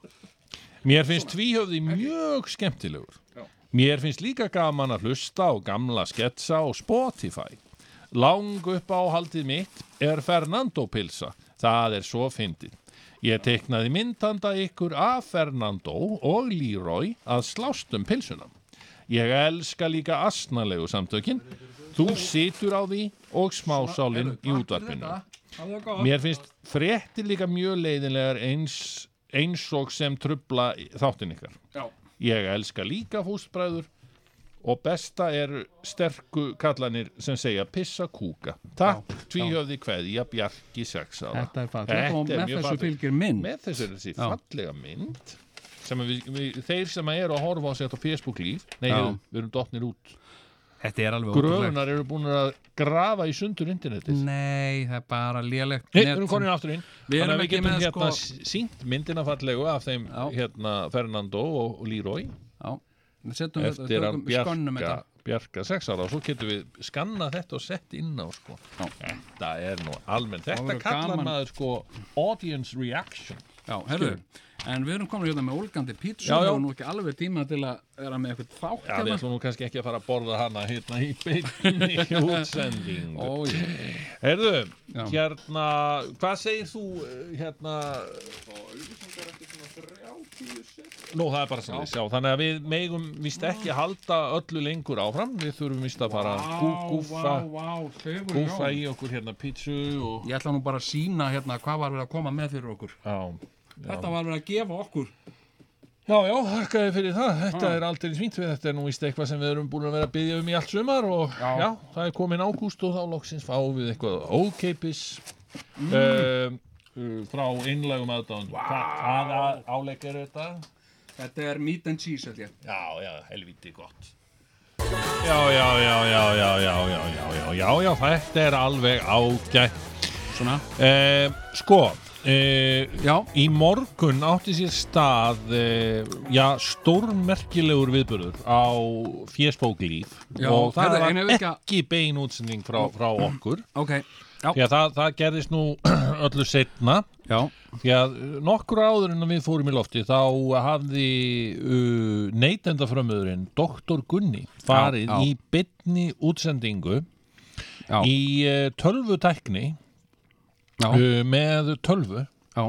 B: Mér finnst tvíhjöfði mjög skemmtilegur Mér finnst líka gaman að hlusta á gamla sketsa og Spotify Lang upp á haldið mitt er Fernando pilsa. Það er svo fyndið. Ég teiknaði myndanda ykkur af Fernando og Leroy að slást um pilsuna. Ég elska líka asnalegu samtökin. Þú situr á því og smásálinn í útvarpinu.
C: Hafðu það gott.
B: Mér finnst fréttir líka mjög leiðinlegar eins, eins og sem trubla þáttin ykkar.
C: Já.
B: Ég elska líka fústbræður og besta eru sterku kallanir sem segja pissa kúka. Takk, tvíhjöfði kveðja Bjarki sex ára.
C: Þetta er fallegt
B: Þetta er
C: og með
B: mjög
C: þessu
B: fallegt.
C: fylgir minn.
B: Með þessu er þessi fallega mynd sem að við, við, þeir sem eru að horfa á sér á Facebook líf, nei,
C: Já.
B: heyrðu, við erum dotnir út
C: Þetta er alveg
D: gröfunar eru búin að grafa í sundur internetið
C: Nei, það er bara lélegt
D: Nei, við erum konin aftur inn
C: Við
D: um Þannig
C: erum
D: að
C: ekki
D: við getum
C: með
D: hérna
C: sko
D: sko... sínt myndina fallegu af þeim
C: Já.
D: hérna Fernando og, og Leroy
C: Já, við setjum þetta,
D: eftir að
C: tökum skonnum
D: bjarga,
C: þetta
D: bjarga sex ára og svo getum við skanna þetta og sett inn á sko.
C: Já.
D: þetta er nú almennt þetta
C: verður
D: kallar
C: gaman.
D: maður sko audience reaction
C: Já, herru, en við erum komin hérna með ólgandi pítsu
D: Já, já.
C: Við erum nú ekki alveg tíma til að vera með eitthvað þátt
D: Já, við
C: hérna.
D: ætlum nú kannski ekki að fara að borða hana hérna í beinni *laughs* útsending.
C: Ó, ég-
D: Heyrðu,
C: Já.
D: hérna, hvað segir þú, eh, hérna... Nú, það er bara sem já, þannig að við megum vist ekki halda öllu lengur áfram, við þurfum vist að bara gú, gúfa,
C: vá, þegur
D: gúfa í okkur hérna pítsu og...
C: Ég ætla nú bara að sína hérna hvað var verið að koma með fyrir okkur
D: Já,
C: Þetta var verið að gefa okkur
D: já, já, þakka þér fyrir það, þetta er aldrei svínt við, þetta er nú vist eitthvað sem við erum búin að vera að byggja um í allt sumar og já,
C: Já.
D: það er komin ágúst og þá loksins fáum við eitthvað ókeipis mm. frá einlægum aðdáðan. Wow. Hvaða áleik er þetta?
C: Þetta er meat and cheese, held ég
D: Já, já, helviti gott Já, já, já, já, já, já, já, já, já, já, já, þetta er alveg ágætt
C: Svona
D: e, Sko, e,
C: Já,
D: í morgun átti sér stað, e, já, stórmerkilegur viðbörður á Fjesbóklíf
C: Já,
D: og það
C: heyrðu, en ef
D: var
C: við ekki að-
D: ekki bein útsending frá, frá okkur
C: ok
D: því að það, það gerðist nú *clears throat* öllu setna
C: Já,
D: Því að uh, nokkur áður en við fórum í lofti þá hafði uh, neytendaframöðurinn Dr. Gunni farið
C: Já, já.
D: í bytni útsendingu
C: já,
D: í uh, tölvutækni
C: já,
D: uh, með tölvu
C: já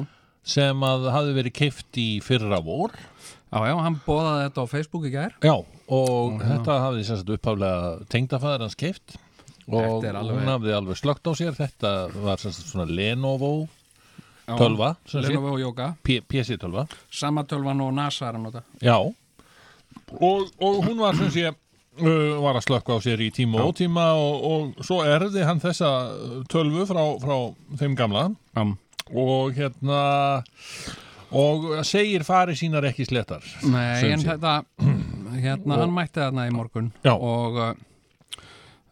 D: sem að hafði verið keift í fyrra vor
C: Já, já, hann bóðaði þetta á Facebook í gær
D: Já,
C: Mhm.
D: og þetta hafði sem sagt upphaflega tengdafæður hans keift og
C: Þetta er alveg-
D: hún hafði alveg slögt á sér þetta var sem sagt svona Lenovo tölva, sem sagt,
C: Lenovo Yoga
D: P- PC tölva
C: Sama tölvan og NASA er að nota
D: Já og, og hún var sem sé uh, var að slökka á sér í tíma og ótíma og, og svo erði hann þessa uh, tölvu frá, frá þeim gamla
C: Já,
D: og hérna og segir fari sínar ekki slettar
C: Nei,
D: Sum
C: en
D: sé.
C: þetta, *clears throat* hérna, hann mætti þarna í morgun
D: Já.
C: Og uh,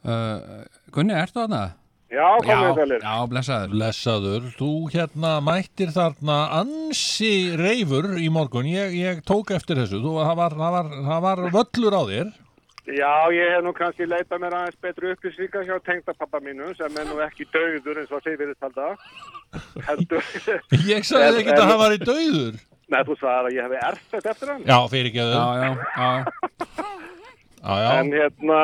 C: uh, Gunni, ertu þarna?
F: Já, komið
C: já,
F: þalir.
C: já, blessaður
D: Lesaður, þú hérna mættir þarna ansi reifur í morgun, ég, ég tók eftir þessu, þú, það, var, það, var, það var völlur á þér
F: Já, ég hef nú kannski leitað mér aðeins betru upplýsingar hjá tengdapappa mínu sem er nú ekki dauður eins og þeir virðist alltaf. Heldur,
C: *laughs*
D: Ég sagði
F: En-
D: ekki að
F: en-
D: það var í dauður
F: neða þú sagði að ég hefði erfett eftir hann.
D: Já, fyrir ekki
C: Já,
D: að þau
C: já, já,
D: Já, já,
F: En hérna,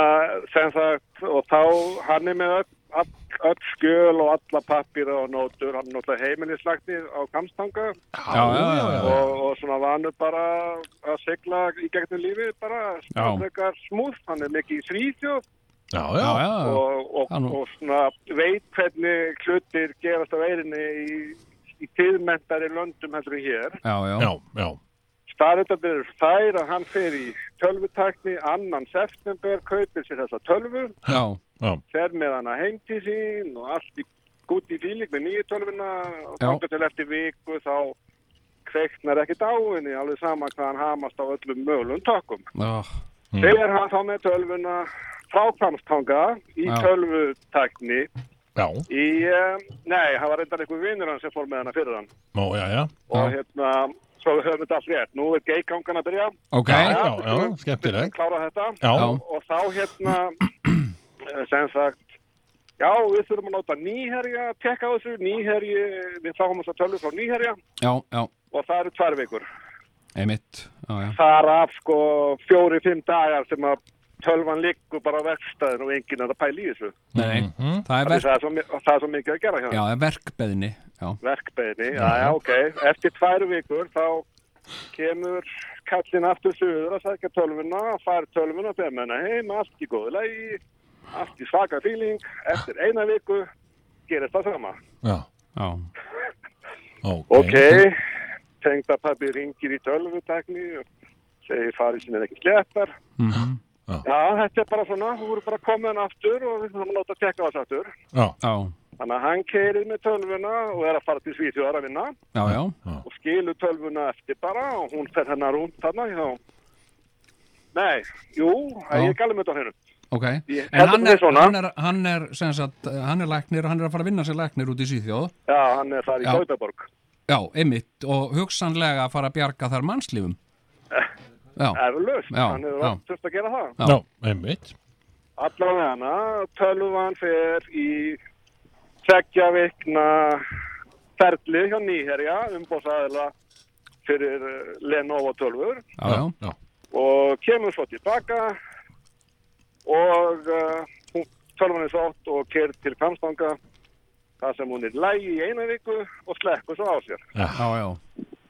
F: sem sagt, og þá hann er með öll, öll, öll skjöl og alla pappir og nótur, hann er náttúrulega heimilislagnir á Kamstanga
C: já, já, já, já.
F: og, og svona vanur bara að sigla í gegnum lífið bara, stjórnleikar smúð, hann er mikið í Svíþjóð
D: já,
C: já,
D: já.
C: já.
F: og, og,
C: Já, nú.
F: og svona veit hvernig hlutir gerast á veirinni í, í tíðmentari löndum heldur en hér.
C: já, já,
D: já, já.
F: Staðrættandir eru þær að hann fer í tölvutakni annan september, kaupir sér þessa tölvu
C: já,
F: fer með hana heim til sín og allt í gúti í fíling með nýju tölvuna og
C: Já.
F: þangar til eftir viku þá kveiknar ekkert á henni alveg sama hvað hann hamast á öllum mögulegum tökum.
C: já, Hmm.
F: Þegar hann þá með tölvuna frá Hvammstanga í
C: Já.
F: tölvutakni
D: Já,
F: í, um, nei, hann var reyndar einhver vinnur hann sem fór með hana fyrir hann
D: Ó, já, já,
F: og hérna, svo við höfum þetta allt rétt. Nú er geigangan að byrja.
C: ok,
D: já,
C: já,
D: já, já, skemmtileg
F: Klára þetta.
D: Já,
C: Já.
F: og þá
D: *clears throat*
F: hérna eh, sem sagt já við þurfum að nota nýherja tekka á þessu, nýherji við fáum þess að tölvu frá nýherja
C: já, já,
F: og það eru tvær vikur
C: einmitt, já, já,
F: þar af sko fjóri-fimm dagar sem að tölvan liggur bara á verkstæðin og enginn er að pæla í þessu
C: nei, það er
F: Því
C: verk,
F: það er, svo, mi- það er svo mikið að gera hjá
C: já,
F: þeim.
C: það er verkbeðni, já,
F: verkbeðinni, já, já, ok eftir tvær vikur þá kemur kallin aftur suður að sækja tölvuna, fær tölvuna og fer með hana heim, allt í góðu lagi allt í svaka fíling eftir eina viku gerist það sama
D: já,
C: já,
D: ok
F: ok, tengdapappi ringir í tölvutekni og segir farið sem er ekki slettar
D: Já.
F: já, þetta er bara svona þú voru bara komin aftur og við þurfum að láta tekka þess aftur
D: Já,
C: já,
F: þannig að hann keirir með tölvuna og er að fara til Svíþjóðar að vinna
C: já, já,
F: og skilur tölvuna eftir bara og hún fer hennar rúnt þarna hjá Nei, jú, já. ég er galið með þetta hérna
C: ok
I: Ég-
C: en
I: heldur
C: hann
I: þið
C: er,
I: svona?
C: hann, er, hann, er, sem sagt, eh, hann er læknir og hann er að fara að vinna sér læknir út í Svíþjóð
I: Já, hann er þar í
C: Já.
I: Kaupaborg.
C: já, einmitt, og hugsanlega að fara að bjarga þar mannslífum já,
F: Eh,
I: Eflaust,
C: Já,
I: hann hefur
C: já.
I: oft þurft að gera það.
C: Já.
D: Já, einmitt
I: Allavega hana, tölvan fer í tveggja vikna ferli hjá nýherja umbóðsæðila fyrir eh, Lenovo tölvur
C: já, já,
D: já.
I: og kemur svo tilbaka og uh, hún- tölvan er sátt og kerð til Kamstanga þar sem hún er lægi í eina viku og slekkur svo á sér.
C: já, já.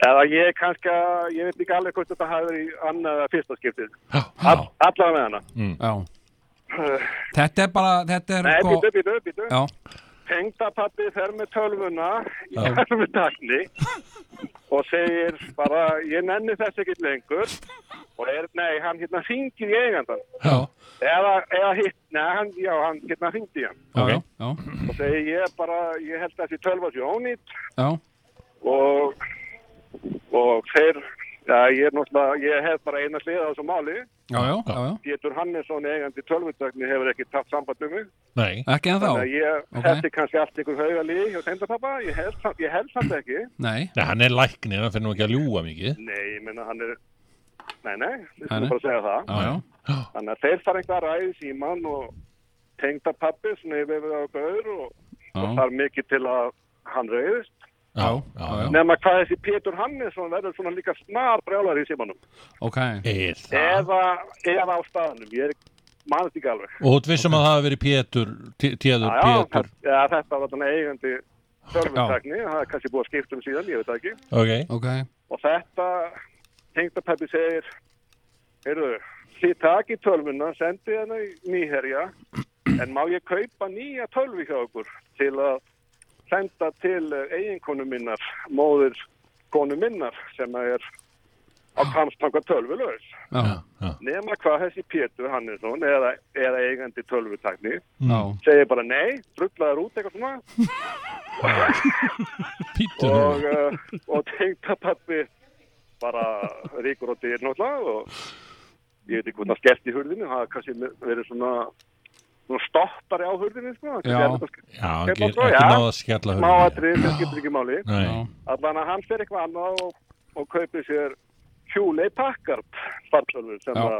I: Eða ég kannski, ég veit ekki alveg hvort þetta hafi verið í annað eða fyrsta skiptið.
D: Já,
I: All, allavega með hana.
C: já. þetta er bara þetta er
I: Nei,
C: sko-
I: býtu, býtu, býtu.
C: já,
I: tengdapappi fer með tölvuna í tölvutakni og segir bara ég nenni þess ekkert lengur og er, nei, hann hérna hringir í eigandan
C: já,
I: eða, eða hitt, nei, hann, já, hann hérna hringdi í hann
C: já,
D: Ok.
C: já, já,
I: og segir ég bara, ég held þessi tölva sér ónýtt
C: já.
I: og, og þeir, já, ég er náttúrulega, ég hef bara eina hliða á þessu máli
C: Já, já, já, já,
I: Pétur Hannesson eigandi tölvutakni hefur ekki tatt samband um mig
D: nei,
C: ekki en
I: þannig að
C: þá
I: ég,
C: ok.
I: þetta er kannski allt ykkur haugalíði hjá tengdapappa, ég held, samt- ég held samt ekki
C: Nei,
D: nei, hann er læknir, hann fyrir nú ekki að ljúga mikið
I: Nei, ég meina hann er Nei, nei, við
C: Nei, nei.
I: skulum bara segja það
C: já, já,
I: Þannig að þeir fara einhver ræði síman og tengda pappi sem hefur verið á gaur og, og
C: já,
I: þar mikið til að hann reyðist
D: Já,
C: já, já.
I: nema hvað þessi Pétur Hannesson verður svona líka snar brjálar í símanum
C: ok
D: Er það?
I: eða, eða á staðanum, ég er mannst ekki alveg
D: Og þú ert vissum að það hafi verið Pétur, Té-
I: Já,
D: Téður,
I: já,
D: Pétur
I: þetta- já, þetta var þannig eigandi tölvutakni, það er kannski búið að skipta um síðan, ég veit það ekki
D: Ok,
C: Ok,
I: og þetta tengdapeppi segir heyrðu, þið taki tölvuna sendi hana í nýherja en má ég kaupa nýja tölvi hjá okkur til að senda til eh, eiginkonu minnar móður konu minnar sem að er á kamstanga tölvulaus
C: já, já,
D: já,
I: nema hvað þessi Pétur Hannesson eða, eða eigandi tölvutakni
C: já,
I: segir bara nei, drullaður út eitthvað svona
D: Pétur
I: og, uh, og tengdapappi bara ríkur og dyr náttúrulega og ég veit ekki hvernig hann skellt í hurðinu það hafði kannski verið svona, svona stoppari á hurðinu sko. Kannski
C: Já.
I: er þetta sk-
D: Já, hann
I: Kaupa
D: ger-
I: svo,
D: ekki
I: já.
D: náða að skella
I: smá
D: hurðinni.
I: atrið sem skiptir ekki máli
D: Nei,
I: allan að hann fer eitthvað annað og, og kaupir sér Hewlett Packard fartölfur sem
C: Já.
I: að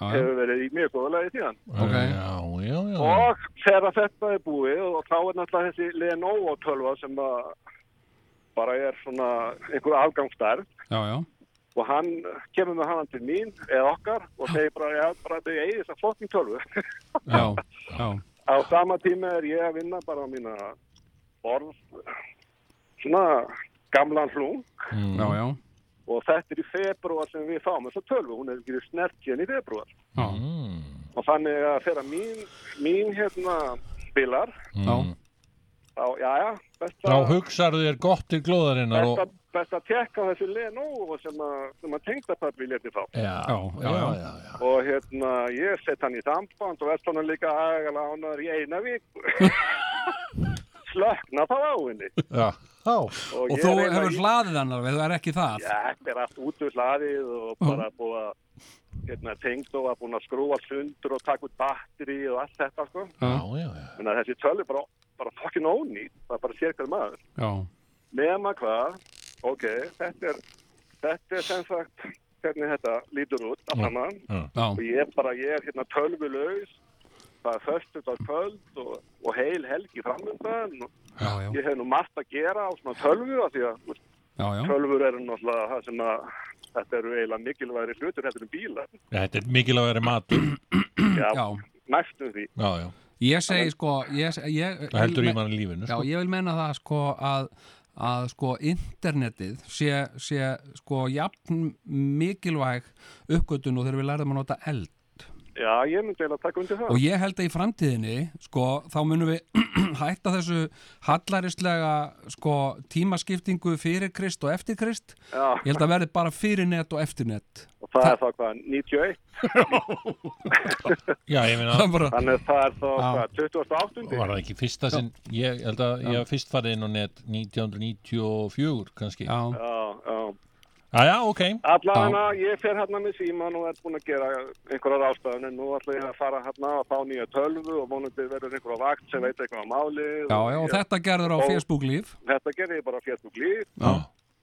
C: já, já,
I: hefur verið í mjög góða lagi síðan
C: Ok.
D: já, já, já
I: og þegar þetta er búið og þá er náttúrulega þessi Lenovo tölva sem að bara er svona einhver afgangstarf
C: já, já,
I: og hann kemur með hann til mín eða okkar og segir bara, já, bara þau eigi þess að flokking tölvu. *laughs*
C: já, já,
I: á sama tíma er ég að vinna bara á mína borð, svona gamlan hlung
C: já, já,
I: og þetta er í februar sem við fáum þessa tölvu, hún er ekki snert hérna í februar
C: já,
D: Mm,
I: og þannig að þegar mín, mín hérna bilar,
C: já,
D: mm.
I: þá, já, já, best
D: Þá
I: að...
D: hugsarðu þér gott til glóðarinnar
I: Best
D: og
I: að, best að tekka á þessu Lenovo sem að, sem að tengdapappi leti fá.
D: Já,
C: Já, já, já.
D: já, já.
I: Og hérna, ég sett hann í samband og verðst hann líka agalega ánæður í eina viku.
C: *laughs*
I: Slökna þá á henni.
D: Já, já.
I: ég
C: Og þú
I: er eiginlega
C: hefur
I: í-
C: hlaðið hann alveg, þú er ekki það
I: Já, Þetta er allt út úr hlaðið og bara búið að, hérna, tengd og að búin að skrúa sundur og taka út batteri og allt þetta, sko.
D: já, já, já.
I: Menna, þessi tölu er bara, bara fokkin ónýtt, það er bara sér hver maður.
C: Já,
I: Nema hvað, ok, þetta er, þetta er sem sagt, hvernig þetta lítur út, allt saman.
C: já,
I: og ég er bara, ég er hérna tölvulaus það er föstut á kvöld og, og heil helgi framöndan og
C: já, já,
I: ég hef nú margt að gera á svona tölvu af því að þú veist,
C: já, já,
I: tölvur eru náttúrulega það sem að þetta eru eiginlega mikilvægri hlutur heldur en bíla
D: Þetta er mikilvægari matur.
I: já,
C: Mm, já.
I: næstum því
D: Já, já.
C: Ég segi sko, ég, se- ég,
D: Það heldur
C: ég-
D: í manni lífinu.
C: Já,
D: Sko.
C: ég vil menna það sko að, að sko internetið sé, sé sko jafn mikilvæg uppgötun og þegar við lærðum að nota eld
I: já, ég myndi eiginlega taka undir það
C: og ég held að í framtíðinni sko þá munum við *clears throat* hætta þessu hallarislega sko tímaskiptingu fyrir krist og eftir krist
I: já,
C: ég held að verði bara fyrir net og eftir net
I: og það er þá hvað, 91
D: Já, ég meina,
C: það er bara,
I: þannig að það er þá
C: Já.
I: hvað, 28.
D: var það ekki fyrsta sinn, ég held að ég hef fyrst farið inn á net 1994 kannski.
C: já,
I: já, já,
D: Já, já, ok.
I: Allavega, ég fer hérna með síman og er búin að gera einhverjar ástæðan en nú ætla ég að fara hérna að fá nýja tölvu og vonandi verður einhverja vakt sem veit eitthvað um á máli
C: Já, já, og þetta gerður á
I: Og-
C: Facebook líf
I: þetta gerir ég bara á Facebook líf
C: Já,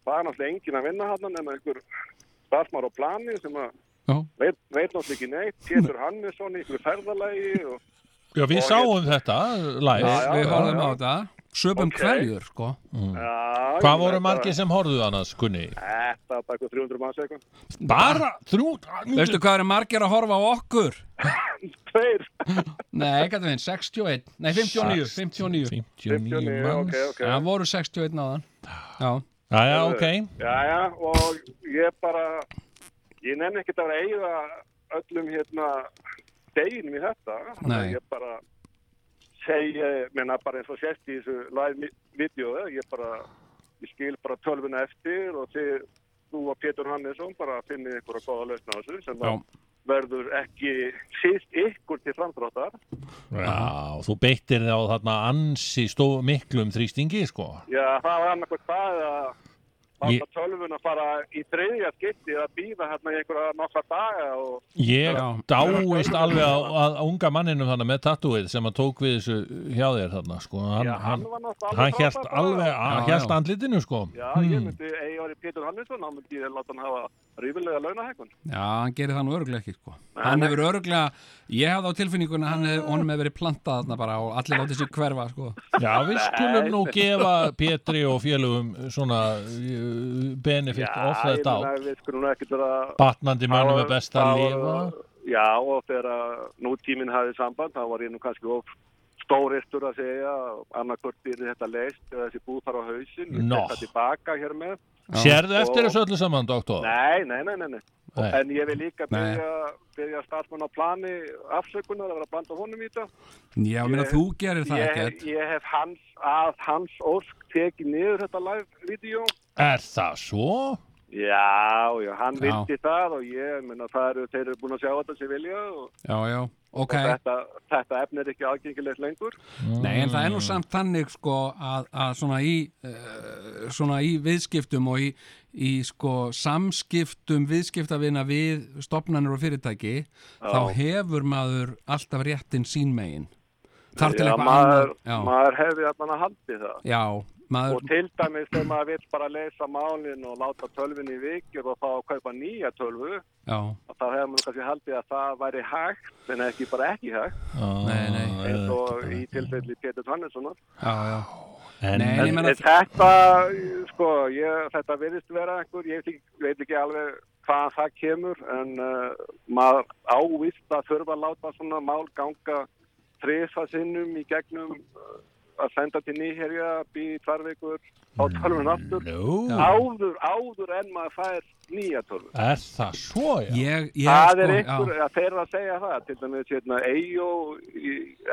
I: það er náttúrulega engin að vinna hérna nema einhver starfsmar á plani sem að
C: Já.
I: veit, veit náttúrulega ekki neitt Pétur Hannesson í einhverju ferðalagi og
D: Já, við
I: Og
D: sáum þetta live.
I: Já, já,
C: við
I: já,
C: horfum
I: já.
C: á þetta Söpum
I: Ok.
C: hverjur, sko
I: Já,
D: Hvað
I: ég
D: voru
I: meina,
D: margir sem horfðu annars, Gunni?
I: Þetta er bara eitthvað 300 manns eitthvað
D: Bara þrjú...
C: Veistu hvað er margir að horfa á okkur?
I: Tveir,
C: Nei, gæti við, 61 Nei, 59, 59
D: 59
I: 59,
D: manns.
I: ok, ok
C: Það voru 61 áðan Já,
D: Já, já, ok.
I: Jæja, og ég bara, ég nenni ekkert að vera að eyða öllum hérna deginum í þetta. Þannig að
C: Nei.
I: Ég bara segja, menna bara eins og sérst í þessu live-vídeóðu, eh, ég bara, ég skil bara tölvuna eftir og þið, þú og Pétur Hannesson bara finnið ykkur að góða lausna á þessu sem
C: Já.
I: að verður ekki síst ykkur til framdráttar.
D: Já, þú beittir þið á þarna ansi stó miklum þrýstingi, sko.
I: Já, það var annarkvæmt það að það
D: Ég-
I: var tölvuna bara í þriðja skipti að býða hérna í einhverja nokkra daga og
D: Ég
C: Já.
D: dáist alveg að, að unga manninum þarna með tattúið sem að tók við þessu hjá þér þarna, sko. Hann,
I: Já,
D: hann,
I: var náttúrulega
D: hann
I: alveg
D: hjælt
I: frábær bara.
D: alveg, hann
C: Já, Hmm.
D: hjælt
C: já.
D: andlitinu, sko.
I: Já, ég myndi, ef ég var í Pétur Hannesson, þá myndi ég láta hann hafa rífilega launahekkun.
C: já, hann gerir það nú örglega ekki, sko Hann hefur örglega, ég hafði á tilfinninguna hann hef, honum hefur verið plantað þarna bara og allir látið sér hverfa, sko
D: Já, við skulum
I: *laughs*
D: nú gefa Pétri og félögum svona eh, benefit of
I: ég
D: that out.
I: meina, við skulum nú ekkert vera...
D: Batnandi mönnum er
I: hafa-
D: best að
I: hafa-
D: lifa.
I: Já, og þegar að nútíminn hafið samband, þá var ég nú kannski of stóristur að segja, annarkvört er þetta leist eða þessi búð þar á hausin, ég
D: Nó.
I: tek það tilbaka hér með.
D: Sérðu
I: Og-
D: eftir þessu öllu saman, doktor?
I: Nei, nei, nei, nei, nei.
D: Nei.
I: En ég vil líka
C: Nei.
I: byrja, byrja starfsmann á plani afsökunar að vera að blanda honum í þetta.
C: Já, meina,
I: Ég-
C: þú gerir það
I: Ég,
C: ekkert
I: ég hef hans, að hans ósk tekið niður þetta live-vídeó.
D: Er það svo?
I: Já, já, hann
C: Já.
I: vildi það og ég, menna, það eru, þeir eru búin að sjá þetta sem vilja og,
C: Já, já, ok
I: og þetta, þetta efni er ekki aðgengilegt lengur.
C: Nei, en það
I: Mm.
C: er nú samt þannig sko að, að svona, í, uh, svona í viðskiptum og í, í sko samskiptum viðskiptavina við stopnanir og fyrirtæki þá hefur maður alltaf réttin sín megin þar til
I: Já,
C: eitthvað
I: maður,
C: annað já,
I: maður hefði að manna haldið það.
C: já,
I: Og
C: maður,
I: til dæmis þegar maður vill bara leysa málinn og láta tölvinni í vikjur og fá að kaupa nýja tölvu,
C: já,
I: og þá hefði maður kannski haldið að það væri hægt, en ekki bara ekki hægt,
C: Nei, nei.
I: eins og í tilfelli Pétur Tannessona.
C: já, já
D: En,
C: Nei, ég
I: En,
C: meina
I: en þetta, sko, ég, þetta virðist vera einhver, ég veit ekki, veit ekki alveg hvaðan það kemur, en uh, maður ávist að þurfa að láta svona mál ganga þrisa sinnum í gegnum uh, að senda til nýherja, býði tvær vikur, á
C: Mm,
I: tölvun aftur,
D: nú,
I: áður, áður en maður fær nýja tölvun.
D: er það svo, já?
C: ég, ég
I: Það er
C: sko,
I: einhver, að þeir eru að segja það, til dæmis hérna Eyjó í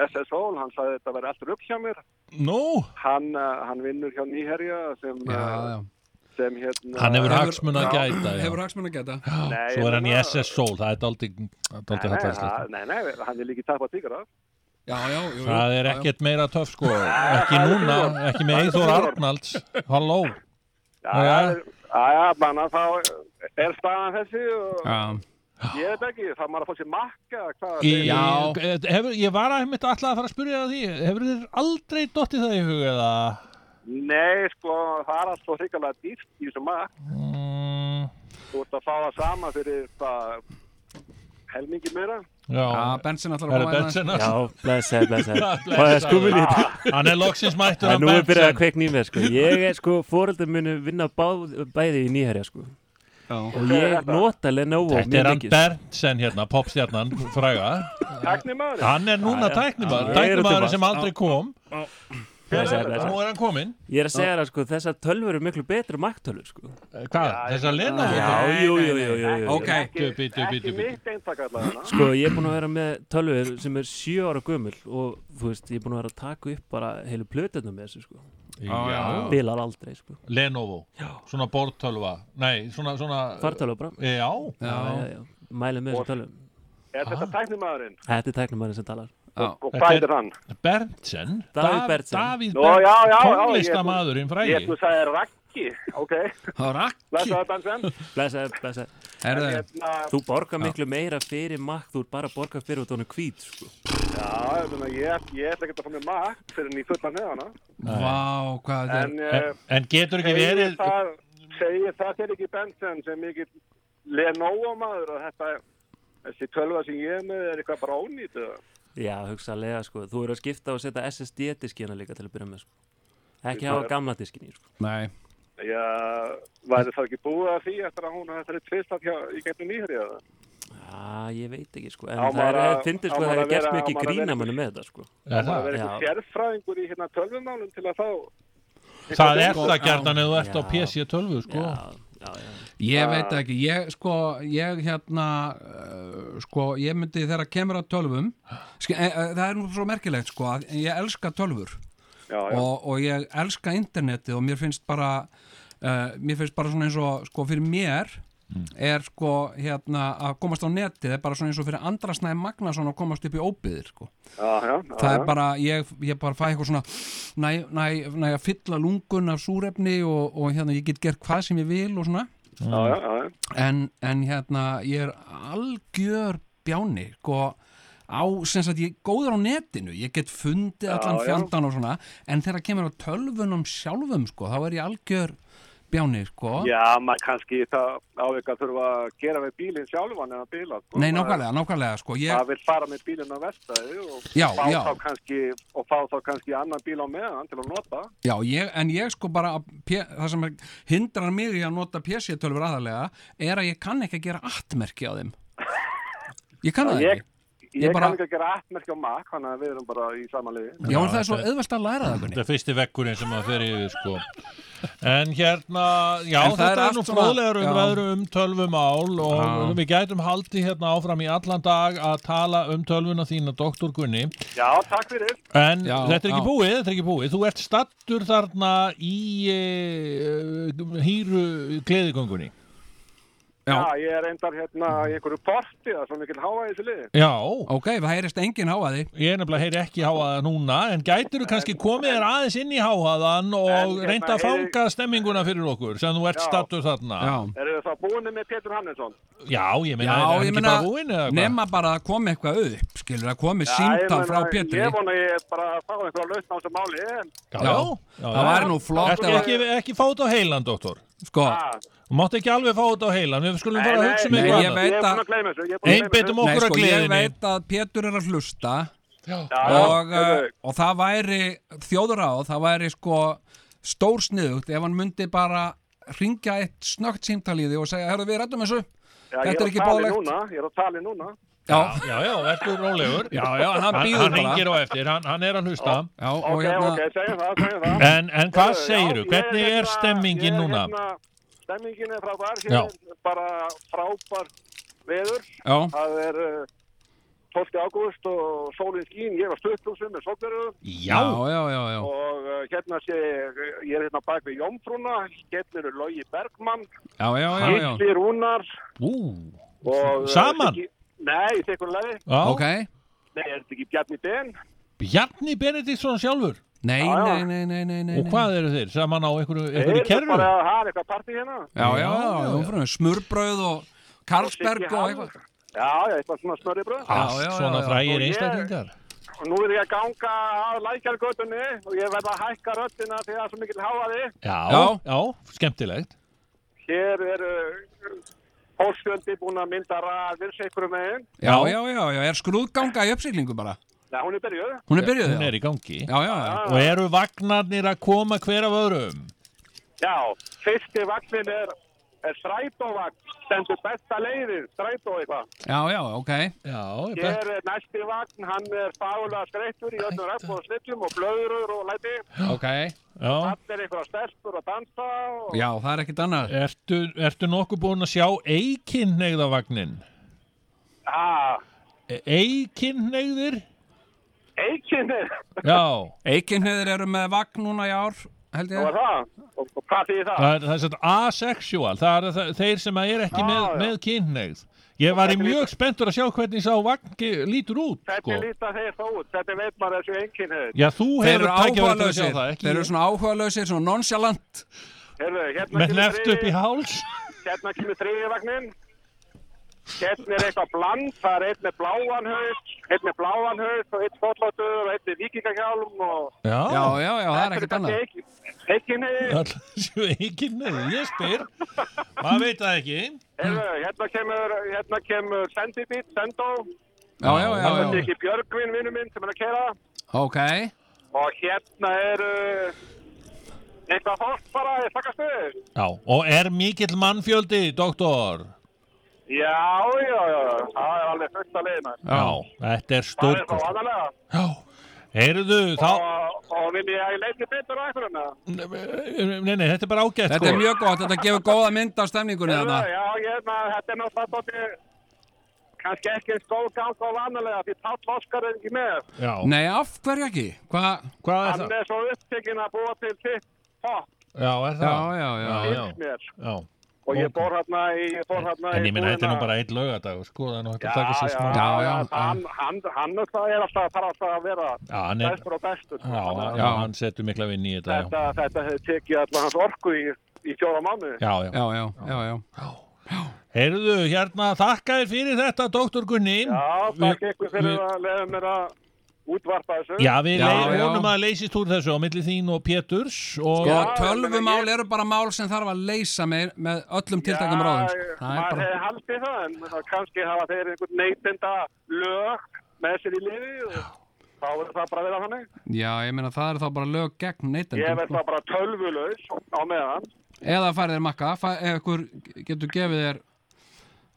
I: SSO, hann sagði þetta verið allt rugg hjá mér,
D: Nú,
I: hann, uh, hann vinnur hjá nýherja sem...
C: já, já,
I: uh,
C: já.
I: sem hérna
D: hann hefur
C: Hefur-
D: hagsmun að
C: já,
D: gæta, já.
C: hefur hagsmun að gæta
I: Nei,
D: Svo er hann í
I: ég meina-
D: SS Soul, það er daldi, daldi
I: Nei,
D: hattarslegt.
I: það- Nei, nei, hann vil ekki tapa tíkara
C: já, já, jú, jú,
D: Það er
C: já, já.
D: ekkert meira töff
I: *laughs*
D: sko Ekki núna, ekki með Eithor Arnalds Halló
I: Já,
D: Já, já.
I: það er- já, já, manna þá er staðan þessi og
C: já,
I: ég veit ekki, það maður að fá sér makka hvað
D: Í,
I: þeir-
C: Já.
D: hefur, Ég var að mitt alltaf að fara að spyrja þig að því Hefur þér aldrei dottið það í hug eða
I: Nei, sko, það er allt svo hrikalega dýrt í þessu makk
D: mm,
I: Þú ert að fá það sama fyrir það helmingi meira
D: Já,
C: já, bensin allar
D: það er Benson
J: Já, blessaði, blessaði
D: Já, blessaður.
J: Það er skumulít
D: Hann er loksins mættur
J: Það er
D: hann
J: nú er byrjað að
D: Benson
J: kveikna í mér sko Ég er sko, fóreldur munu vinna báð, bæði í nýherja sko
C: já,
J: Og ég nota Lenovo sko.
D: Þetta er hann Benson hérna, popstjarnan fræga
I: Takni maður
D: Hann er núna
J: Já, já.
D: tæknimaður
J: Já,
D: Tæknimaður
J: ég er
D: sem aldrei kom
J: Blessaði,
D: Nú
J: blessaði
D: er hann kominn
J: Ég er að segja það sko, þessar tölvur eru miklu betri maktölvur sko
D: Eh, Hvað, þess að lena
J: Já, jú, jú, jú, jú, jú.
C: ok,
D: Bíddu, bíddu, bíddu,
I: Ekki
D: bíddu.
I: mitt eintak allavega
J: Sko, ég er búin að vera með tölvur sem er sjö ára gömul og þú veist, ég er búin að vera að taka upp bara heilu plötunum með þessu sko
D: Já,
J: Bilar aldrei sko
D: Lenovo, svona bortölva Nei, svona, svona
J: Fartölva bara
D: Já,
J: Já,
C: já,
J: já, já. Mæli með þessum tölvum
I: Er þetta tækni maðurinn?
J: Þetta er tæknumæri sem talar
C: já.
I: Og
D: Ah. Þetta
I: hvað
D: er-
I: er hann?
D: Berntsen
J: Davíð Berntsen.
D: Davíð
I: Nú, já, já, já,
D: Berntsen,
I: ég-
D: tónlistamadurinn
I: Ég
D: frægi
I: þú sagði Raggi Akki, ok.
C: Það var Akki.
I: Læsaðu dansen.
J: Blessaður, blessaður.
C: Herðu. En
I: hérna-
J: Þú borgar
I: Já.
J: miklu meira fyrir makk, þú er bara að borga fyrir út á honum hvít, sko.
I: Já, ég, meina, ég, ég ætla ekki að fá mér makt fyrir en í fullan hefana.
C: Vá, hvað þetta
I: En,
C: er
I: eh,
D: En getur ekki
I: segir
D: verið
I: Það, segir það til ekki Benson sem mikið Lenovo maður og þetta, þessi tölva sem ég er með er eitthvað bara ónýtt eða?
J: Já, hugsaðlega, sko. Þú eru að skipta og setja SSD-diskina líka til að byrja með, sko. Ekki
I: Ég
J: hafa
I: bara-
J: gamla diskinni, sko.
C: Nei.
I: Já, væri það ekki búið að því eftir að hún þetta er tvist að hjá í gegnum nýhrið eða?
J: Já, ég veit ekki, sko. En
I: Á
J: það er,
I: maður
J: það
I: að- á
J: finnir, sko,
I: maður
J: það
I: að
J: er gert
I: vera- á
J: mikið
I: maður að vera
J: grína
I: einhver-
J: manni með þetta, sko.
D: Er
I: Það verður eitthvað
J: Já.
I: sérfræðingur í hérna tölvumálum til að fá
D: Það er
C: Sko,
D: það gerðan
C: já.
D: eða þú ert á
J: Já.
D: PC12 sko
C: Ég veit
I: Ah.
C: ekki, ég sko, ég hérna, uh, sko, ég myndi þegar að kemur að tölvum, sk- e, e, það er nú svo merkilegt sko, að ég elska tölvur
I: Já, já.
C: Og, og ég elska internetið og mér finnst bara, uh, mér finnst bara svona eins og, sko, fyrir mér er sko, hérna, að komast á netið er bara svona eins og fyrir andra snæði Magnason að komast upp í óbyðir, sko.
I: Já, já,
C: það
I: já,
C: er bara, ég, ég bara fæ eitthvað svona næ, næ, næ að fylla lungun af súrefni og, og hérna ég get gert hvað sem ég vil og svona
I: já, já, já,
C: Mm.
I: já.
C: en, en hérna ég er algjör bjáni sko, á, sem sagt, ég er góður á netinu ég get fundið allan
I: já.
C: fjandan og svona en þegar kemur á tölvunum sjálfum sko, þá er ég algjör bjáni sko.
I: Já, maður kannski það ávika þurfa að gera við bílinn sjálfan eða bíla. sko.
C: nei,
I: Maður-
C: nákvæmlega, nákvæmlega sko. ég,
I: maður vil fara með bílinn á vestæði og,
C: Já,
I: fá
C: já.
I: þá kannski, og fá þá kannski annan bíl á meðan til að nota
C: Já, ég, en ég sko bara að P- það sem hindrar mig í að nota PC-tölfur aðalega er að ég kann ekki að gera attmerki á þeim Ég kann það
I: ég,
C: ekki
I: ég,
C: Ég bara-
I: kann ekki að gera attmerki á makk þannig að við erum bara í sama liði
C: Já, en það er svo auðvelt að læra það
D: Þetta er fyrsti vekkurinn sem að fer yfir sko En hérna, já,
C: En það er
D: þetta er
C: allt
D: nú
C: svona-
D: fróðlegar
C: já.
D: umræður um tölvumál
C: Já.
D: og við gætum haldið hérna áfram í allan dag að tala um tölvuna þína, doktor Gunni
I: Já, takk fyrir
D: En
C: Já,
D: þetta er
C: já.
D: ekki búið, þetta er ekki búið Þú ert stattur þarna í e, hýru gleðigöngunni
I: Já, ég er endar hérna í einhverju porti það er svo mikil háa í þessu liði
D: Já,
C: Ok, það heyrist enginn háaði
D: ég er nefnilega heyri ekki háaða núna en gætur þú kannski komið þér aðeins inn í háaðan
I: En,
D: og
I: hérna,
D: reynda að
I: heyri-
D: fanga stemminguna fyrir okkur sem þú ert
I: Já.
D: stattur þarna
C: Já,
I: Eru þið þá búinni með Pétur Hannesson?
D: Já, ég meina,
C: já
D: er hann
C: ég
D: ekki
C: meina
D: bara búinn eða hvað?
C: nema bara að koma eitthvað upp skilur, að komi
I: ég
C: síntal
I: meina,
C: frá Pétri
I: Ég vona ég bara að fá einhverja lausn á þessu máli en,
D: Já,
C: Já, það væri nú flott
D: Ertu
C: ef að-
D: ekki, ekki fá þetta á heilan, doktor?
C: Sko,
I: að,
D: Þú mátt ekki alveg fá þetta á heilan, við skulum fara að hugsa um
C: nei,
D: eitthvað
C: ég
D: annað.
C: veit
I: Ég er
C: að-
I: búin að gleyma þessu ég er búinn að gleyma
D: Einbeitum
I: þessu.
C: nei,
D: okkur að
C: sko ég
D: gleðinni.
C: veit að Pétur er að hlusta
I: Já,
C: og, uh,
I: heyrðu,
C: og það væri þjóðuráð, það væri sko stórsniðugt ef hann myndi bara ringja eitt snögt símtalíði og segja, herru við rættum þessu
I: já,
C: þetta
I: ég
C: er
I: að
C: ekki
I: tala
C: boðlegt.
I: núna, Ég er að tala núna
C: Já,
D: Já, já, ertu rólegur.
C: já, já, hann býður
D: hann
C: bara
D: hringir á eftir, hann, hann er að hlusta.
C: Já, og
I: Ok,
C: hérna,
I: ok, segjum það, segjum það
D: En, en hvað
I: Heyrðu,
D: segirðu? *laughs*
I: já,
D: Hvernig
I: ég hérna-
D: er stemmingin
I: ég er
D: núna?
I: Hérna, stemmingin er frábær,
D: Já.
I: hér er bara frábær veður.
C: já,
I: Það er uh, 12. ágúst og sólinn skín, ég var stuttlúsum með sókverðu
D: Já,
C: já, já, já, já.
I: og uh, hérna sé ég, ég er hérna bak við Jómfrúna, hérna eru Logi Bergmann,
C: já, já, já, já.
I: Hildi Rúnar
D: ú,
I: og... uh,
D: Saman?
I: Siggi- Nei, þetta er leið.
D: já.
C: ok,
I: Nei, er þetta ekki Bjarni Ben?
D: Bjarni Benediktsson sjálfur.
C: nei,
I: Já, já.
C: nei, nei, nei, nei, nei.
D: Og hvað eru þeir? Saman á einhverju, einhverju
I: Heyrðu
D: kerru?
I: bara að það er eitthvað partí hérna.
C: Já, já,
D: Já, já,
C: já, já, smurbröð og Karlsberg
I: Siggi
C: og
I: Hall.
C: eitthvað
I: Já, já, eitthvað svona smörri bröð.
C: Já, já,
D: Allt
C: já,
D: svona
C: já.
D: frægir
I: Og ég-
D: einstaklingar.
I: Og nú er ég að ganga að lækjargötunni og ég verð að hækka röddina því að það er svo mikil háaði.
D: Já,
C: Já.
D: já, skemmtilegt.
I: Hér eru uh, fólksfjöldi búin að mynda raðir sikrum meginn.
C: Já,
D: Já.
C: já, já, já, er skrúðganga í uppsiglingu bara
I: Nei, hún er byrjuð.
C: Hún er byrjuð,
D: Hún
C: já,
D: er í gangi.
C: já, já, já.
D: Og eru vagnarnir að koma hver af öðrum?
I: Já, fyrsti vagnin er, er strætóvagn, stendur besta leiðið, strætó eitthvað.
C: já, já, ok
D: Já, ég bet.
I: Hér er næsti vagn, hann er fálega skreittur í öllum röpp og slittum og blöður og læti.
C: Ok,
D: Já.
I: Allt er eitthvað stelpur að dansa og...
C: já, það er ekkit annað
D: Ertu, ertu nokkuð búin að sjá eikinnegðavagnin?
I: Ah,
D: E, Eikinnegðir?
I: eikinnir,
D: Já,
C: Eikinhöður eru með vagn núna í ár, held
I: það
C: ég
I: var það. Og, og hvað þýðir það?
D: það er, það er satt asexual, það er það, þeir sem er ekki með,
I: Já, já.
D: með kynneigð. Ég var í mjög spenntur að sjá hvernig sá vagn ge- lítur út,
I: Þetta
D: sko.
I: líta þeir þó út, þetta veit maður þessu einkinn hefur.
D: Já, þú
C: Þeir
D: hefur
C: eru
D: tækifæri til að sjá
C: áhugalausir,
D: það, ekki
C: þeir eru
D: ég.
C: svona áhugalausir, svona nonchalant
I: Heyrðu, hérna
D: Með
I: kemur
D: neft upp í
I: þriðji-
D: háls
I: Hérna kemur þriði vagnin. Hérna er eitthvað bland, það er einn með bláan haus, einn með bláan haus og einn skollóttur og einn með vikingahjálm og...
D: Já,
C: já, já, já það er ekkert annað
I: Ekkinni,
D: Öll séu ekki neður, ég spyr Maður veit það ekki
I: heyrðu, hérna kemur, hérna kemur sendibít, sendó,
C: Já, já, já,
I: það er
C: já,
I: ekki Björgvin, vinnu minn, sem er að kera.
C: ok
I: Og hérna er uh, eitthvað fólk bara í slakastuðu.
D: Já, og er mikill mannfjöldi, doktor
I: Já, já, já, það er alveg fullt að leiðina.
D: Já, þetta er
I: Það er þá
D: stórkost
I: aðalega.
D: Já, heyrðu, þá
I: Og, og vil ég leita betur á ekkur hérna?
D: Nei, nei, þetta er bara ágætt
C: Þetta
D: sko.
C: er mjög gott, þetta gefur góða mynd á stemningunni
I: Já,
C: þarna
I: já, ég veit að þetta er náttúrulega dóttir, kannski ekki eins góð gang og vanalega því Páll Óskar er ekki með.
D: Já,
C: Nei, af hverju ekki? Hvað?
D: hvað er
I: Hann
D: það?
I: er svo upptekinn að búa til sitt pop,
D: Já, er
C: Já,
D: það?
C: já, já
D: já,
I: finnst mér.
D: já.
I: Og ég fór hérna í, ég fór hérna í
D: En ég minna, þetta er nú
I: búðina.
D: bara einn lögadag sko, það er nú hægt
I: Já,
D: að taka sér
I: já,
D: smá
I: já,
C: Já, já,
I: hann, hann, hann náttúrulega er alltaf að fara alltaf að vera
D: Já, hann er
I: bestur og bestur. sko.
D: Já,
I: Þannig að
D: já, hann setur mikla vinn í þetta
I: Þetta,
D: já.
I: þetta hefði tekið alltaf hans orku í, í fjóra mánu.
D: já, já
C: Já, já, já, já
D: Heyrðu, hérna, þakka þér fyrir þetta, doktor Gunni
I: Já,
D: Við-
I: takk ykkur fyrir að leiða mér að útvarpa þessu.
D: Já, við
C: Já,
D: leið,
C: já.
D: vonum að leysist úr þessu á milli þín og Péturs og
C: Sko,
I: Já, ég
C: tölvumál
I: meina, ég-
C: eru bara mál sem þarf að leysa með, með öllum tiltakum
I: Já,
C: ráðum sko. Það er
I: maður
C: bara
I: hefði haldið það en menn, kannski hafa þeir einhvern neytenda lög með sér í liði og þá verður það bara að vera þannig
C: Já, ég meina, það er þá bara lög gegn
I: ég
C: neytendum
I: verð
C: sko.
I: það bara tölvulaus á meðan
C: Eða færið þér makka, fæ, ef ykkur getur gefið þér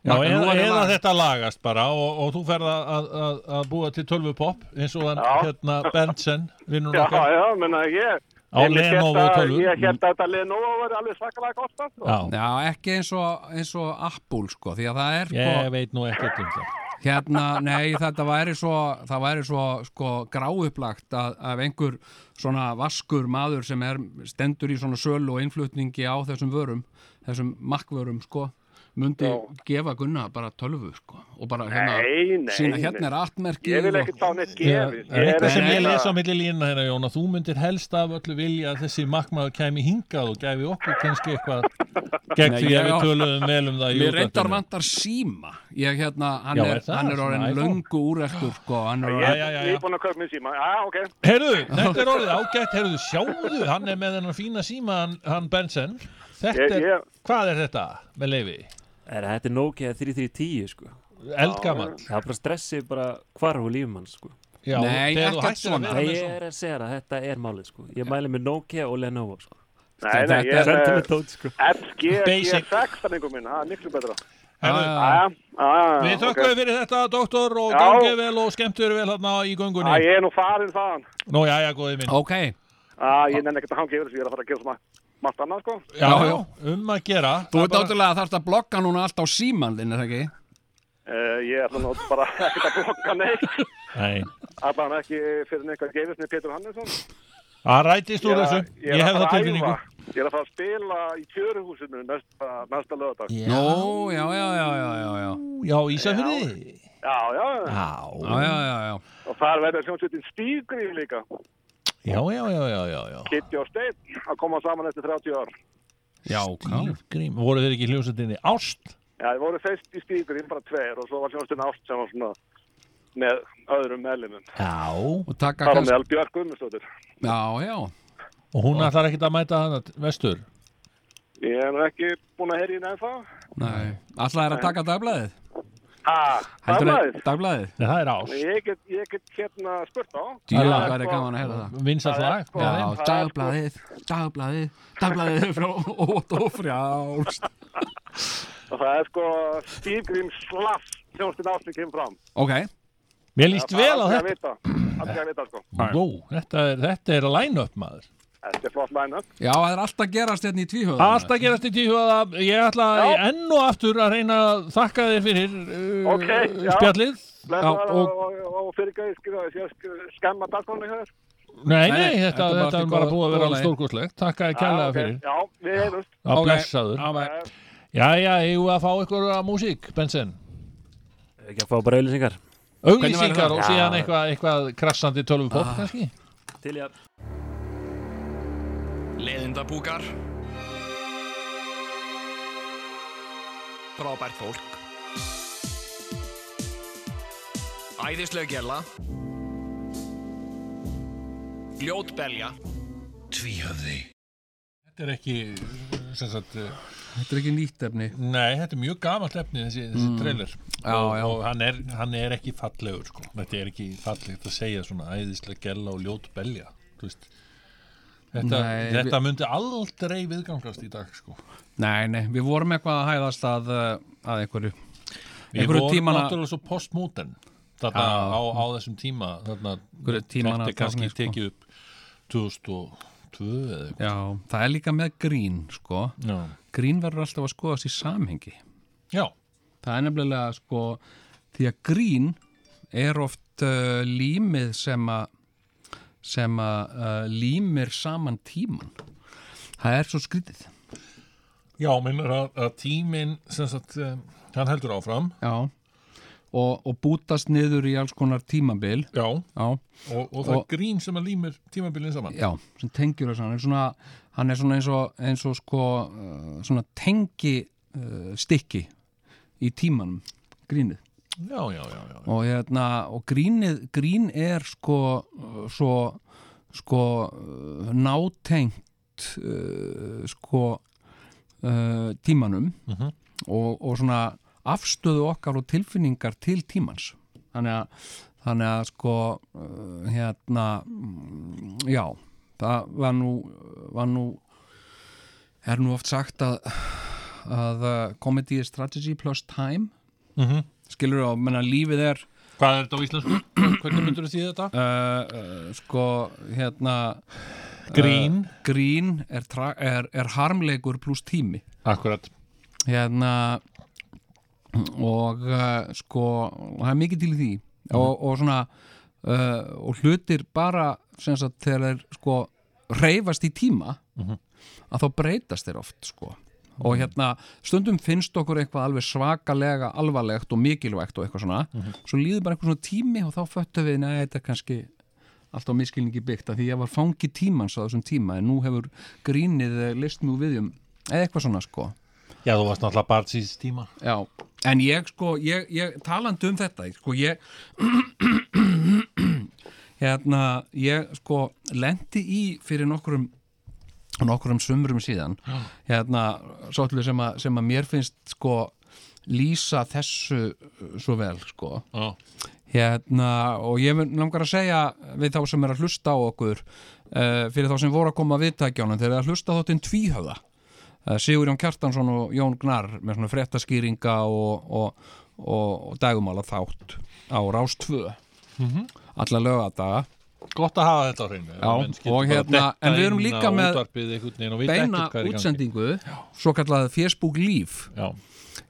D: Já,
C: Magga, nú
D: eða,
C: er það
D: eða
C: lag.
D: þetta lagast bara og, og þú ferð að, að- að, að búa til 12 pop eins og hann
I: Já.
D: hérna Berntsen vinnur
I: já,
D: okkar
I: já, menna ég
D: Á
I: einmitt
D: Lenovo
I: hérna-
D: tölvu.
I: ég held að þetta Lenovo verði alveg svakalega kosta sko.
D: Já,
C: Já, ekki eins og, eins og Apple, sko, því að það er sko,
D: ég veit nú ekkert um það
C: hérna, nei, þetta væri svo, það væri svo, sko, gráupplagt að, af einhver svona vaskur maður sem er stendur í svona sölu og innflutningi á þessum vörum, þessum makkvörum, sko, myndi gefa Gunna bara tölvu, sko, og bara hérna,
I: Nei, nei,
C: sína
I: nei.
C: hérna er attmerkið
I: ég vil ekki þá neitt gefið
D: Það er eitthvað sem ég
I: hérna-
D: lesa á milli línuna hérna Jón að þú myndir helst af öllu vilja að þessi markmaður kæmi hingað og gæfi okkur kannski eitthvað gegn
C: Nei,
D: því
C: já.
D: að við töluðum vel um það í
C: Mér reyndar
D: útvarpinu.
C: vantar síma Ég hérna, hann
D: Já,
C: er,
D: er það?
C: hann er orðin
D: Svona iPhone?
C: löngu úrættur sko, hann er
I: ég
C: orðin
D: já, já,
I: er
D: já.
I: nýbúin að köpa mér síma já, ok
D: Heyrðu, þetta er orðið ágætt, heyrðu, sjáðu, hann er með hennar fína síma, hann, hann Benson Þetta
I: Ég-
D: er,
I: ég-
D: hvað er þetta með leifi?
J: Er, þetta er Nokia 3310 sko
D: Eldgamall
J: Það er bara stressið bara hvarf úr lífum hans sko
D: Já,
C: Nei,
D: þegar þú
C: ekkert
D: hættir að
C: svona.
D: vera
J: Nei,
D: með
J: ég
D: svona.
J: er að segja það, þetta er málið sko Ég mæli með Nokia og Lenovo sko
I: nei, nei, ég er
J: Sendu mig
I: með
J: tótt sko
I: FG
D: Basic.
I: G6 þannig minn, það er miklu betra
D: Heyrðu,
C: Já, já,
I: Já, já, já,
D: Við
I: Ah, ok.
D: þökkum okay. fyrir þetta, doktor, og
I: Já.
D: gangið vel og skemmtur vel hérna í
I: Já,
D: göngunni.
I: ég er nú farin þaðan
D: Nú, já, já, góði minn.
C: Ok,
I: Já, ég nenni ekkert að hanga yfir þessu, ég er að fara að gera svona margt annað, sko.
D: Já,
C: já,
D: já, um að gera.
C: þú
D: Það
C: ert átulega að þarfst að blokka núna allt á síman þinn, er það ekki?
I: Uh, ég ætla nú bara *laughs* ekkert að blokka neitt.
D: Nei,
I: Allan ekki fyrir neitt geifisni Pétur Hannesson.
D: það rætist úr þessu. Ég, hef það tilfinningu.
I: Ég er að fara að spila í tjöruhúsinu næsta, næsta lögadag.
D: Já.
C: Nú, já, já, já, já, já, já,
D: Já, Ísafjörði.
I: Já, já,
D: Já,
C: já, já, já, já.
I: og þar verður sjónsveitin Stígri líka.
D: já, já, já, já, já, já.
I: Kitty og Steinn að koma saman eftir 30 ár.
C: Já, já.
D: Grím, voru þeir ekki í hljómsveitinni Ást?
I: Já, þið voru fyrst í Stígri, bara tveir, og svo var sjónsveitin Ást sem var svona með öðrum meðlumum.
D: Já.
C: Og taka
I: Þar á
C: kannski,
I: meðal Björk Guðmundsdóttir.
C: já, já,
D: Og hún ætlar ekkert að mæta hann vestur.
I: Ég er nú ekki búin að heyri henni ennþá.
C: nei, alltaf er að taka dagblæðið
I: Ha, það er
C: Heldurðu-
I: maður.
C: Dagblæðið,
D: Nei, það er Ást.
I: Ég get, ég get hérna spurt á.
C: djúla,
D: er
C: hvað er
I: sko-
C: gaman að heyra það?
D: Vinsað
I: Það er
D: lag.
I: sko-
D: með
C: Já,
D: þeim.
I: það er
C: dagblæðið, dagblæðið, dagblæðið frá Ótt og frjálst
I: Og það er sko Stígrím Slaff þjónstinn ástin kemur fram.
C: Ok,
D: Mér líst vel á þetta.
I: þetta. Aldrei að vita sko.
D: Vó, þetta er, þetta er line-up maður.
I: Þetta er flott læna.
C: já, það er allt að gerast hérna í tvíhöðum
D: Alltaf gerast í tíhuaða, ég ætla
I: Já.
D: enn og aftur að reyna að þakka þér fyrir uh,
I: Ok, já.
D: spjallið.
I: Blessaðar
C: Já,
I: og,
C: og-
I: og, og fyrirgæði skrifa þess ég sk- skemma dagskonu hjá þér.
D: Nei, nei,
C: Nei,
D: þetta,
C: þetta er bara
D: þetta
C: allt í
D: er bara
C: góðu-
D: búið að
C: góðu
D: vera alveg
C: lagi.
D: stórkostlegt. Takk að kærlega
I: Já, ok.
D: fyrir.
I: Já, við heyrumst.
D: Að blessaður.
C: Já, bæ.
D: Jæja, eigum við að fá ykkur að músík, Benson.
J: Ekki að fá bara auðlýsingar
C: væri
D: Auglýsingar
C: það?
D: og síðan eitthvað, eitthvað krassandi tölvupopp kannski.
J: Til ég að
A: Leðindabúkar frábært fólk Æðislega gæla Ljót belja
D: Tvíhöfði Þetta er ekki sem sagt, eh,
C: Þetta er ekki nýtt efni
D: Nei, þetta er mjög gamalt efni þessi, þessi
C: Mm.
D: trailer
C: Já,
D: og,
C: já.
D: og hann, er, hann er ekki fallegur sko. þetta er ekki fallegt að segja svona æðislega gella og ljót belja þú veist. þetta,
C: Nei,
D: þetta
C: við-
D: myndi aldrei viðgangast í dag sko.
C: Nei, nei, við vorum eitthvað að hæðast að, uh, að einhverju
D: Við
C: einhverju
D: vorum
C: tímana
D: náttúrulega svo postmodern þarna
C: Já.
D: á, á þessum tíma þarna
C: Einhverju tímana
D: þetta er kannski
C: tákni, sko.
D: tekið upp 2002 eða eitthvað
C: Já, það er líka með grín, sko
D: Já.
C: Grín verður alltaf að skoðast í samhengi
D: Já
C: Það er nefnilega, sko því að grín er oft uh, límið sem að sem að uh, límir saman tíman Það er svo skrítið
D: Já, minnur að, að tíminn sem sagt, um, hann heldur áfram
C: Já og, og bútast niður í alls konar tímabil
D: Já,
C: já.
D: og, og það er grín sem að límir tímabilin saman
C: Já, sem tengjur þess að hann er svona, hann er svona eins og, eins og sko, uh, svona tengi uh, stykki í tímanum, grínið.
D: já, já, já, já.
C: Og, hérna, og grínið, grín er sko, uh, svo, sko, uh, nátengt, uh, sko, uh, tímanum
D: Mhm.
C: og, og svona afstöðu okkar og tilfinningar til tímans. Þannig að, þannig að sko, uh, hérna, mm, já, það var nú, var nú, er nú oft sagt að, að uh, comedy is strategy plus time.
D: Mhm.
C: Skilur þú, menna lífið er...
D: Hvað er þetta á íslensku? Hvernig myndur þú því þetta?
C: Uh, uh, sko, hérna...
D: Eh,
C: uh,
D: Grín.
C: grín er, tra- er, er harmleikur pluss tími.
D: Akkurat
C: hérna og uh, sko og það er mikið til í því
D: Mhm.
C: og, og svona uh, og hlutir bara sem sagt þegar þeir sko reyfast í tíma
D: Mhm.
C: að þá breytast þeir oft sko og hérna stundum finnst okkur eitthvað alveg svakalega alvarlegt og mikilvægt og eitthvað svona
D: Mhm.
C: svo líður bara eitthvað svona tími og þá föttu við neða þetta er kannski alltaf miskilningi byggt að því ég var fangi tímans á þessum tíma en nú hefur grínið eh, list mjög viðjum eða eitthvað svona sko
D: Já, þú varst náttúrulega barn síðs tíma
C: Já, en ég sko, ég, ég talandi um þetta, sko, ég *clears throat* hérna, ég sko lendi í fyrir nokkrum nokkrum sumrum síðan
K: Já.
C: hérna, svolítið sem, að- sem að mér finnst sko lýsa þessu uh, svo vel sko
D: Já.
C: hérna og ég mun- langar að segja við þá sem er að hlusta á okkur uh, fyrir þá sem voru að koma að viðtækjónum þeir eru að hlusta þóttinn tvíhöfða uh, Sigur Jón Kjartansson og Jón Gnar með svona fréttaskýringa og, og, og, og dagumála þátt á Rás 2
D: Mhm.
C: alla lögadaga
D: Gott að hafa þetta á hreinu
C: Já, og hérna, en við erum líka með beina
D: beina
C: útsendingu svo kallað Facebook Live
D: Já.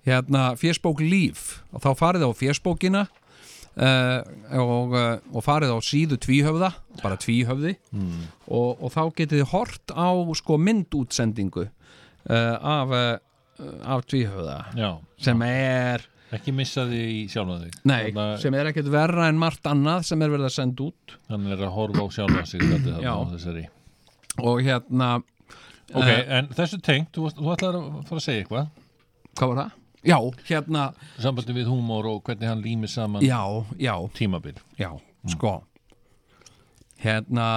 C: hérna Facebook Live og þá farið á Facebookina uh, og, uh, og farið á síðu tvíhöfða, bara tvíhöfði
D: Mm.
C: og, og þá getið þið hort á sko myndútsendingu uh, af, uh, af tvíhöfða
D: Já.
C: sem er
D: Ekki missa því í sjálfan þig
C: Nei,
D: Þarna-
C: sem er ekkert verra en margt annað sem er verið að senda út
D: Hann er að horfa á sjálfan sig Þetta
C: Já. Eh.
D: er þarna á þessari
C: og hérna
D: Ok,
C: eh,
D: en þessu tengt, þú, varst- þú ætlar að fara að segja eitthvað
C: Hvað var það? Já, hérna
D: Sambandi við húmór og hvernig hann límir saman
C: Já, já
D: Tímabil
C: Já, sko hérna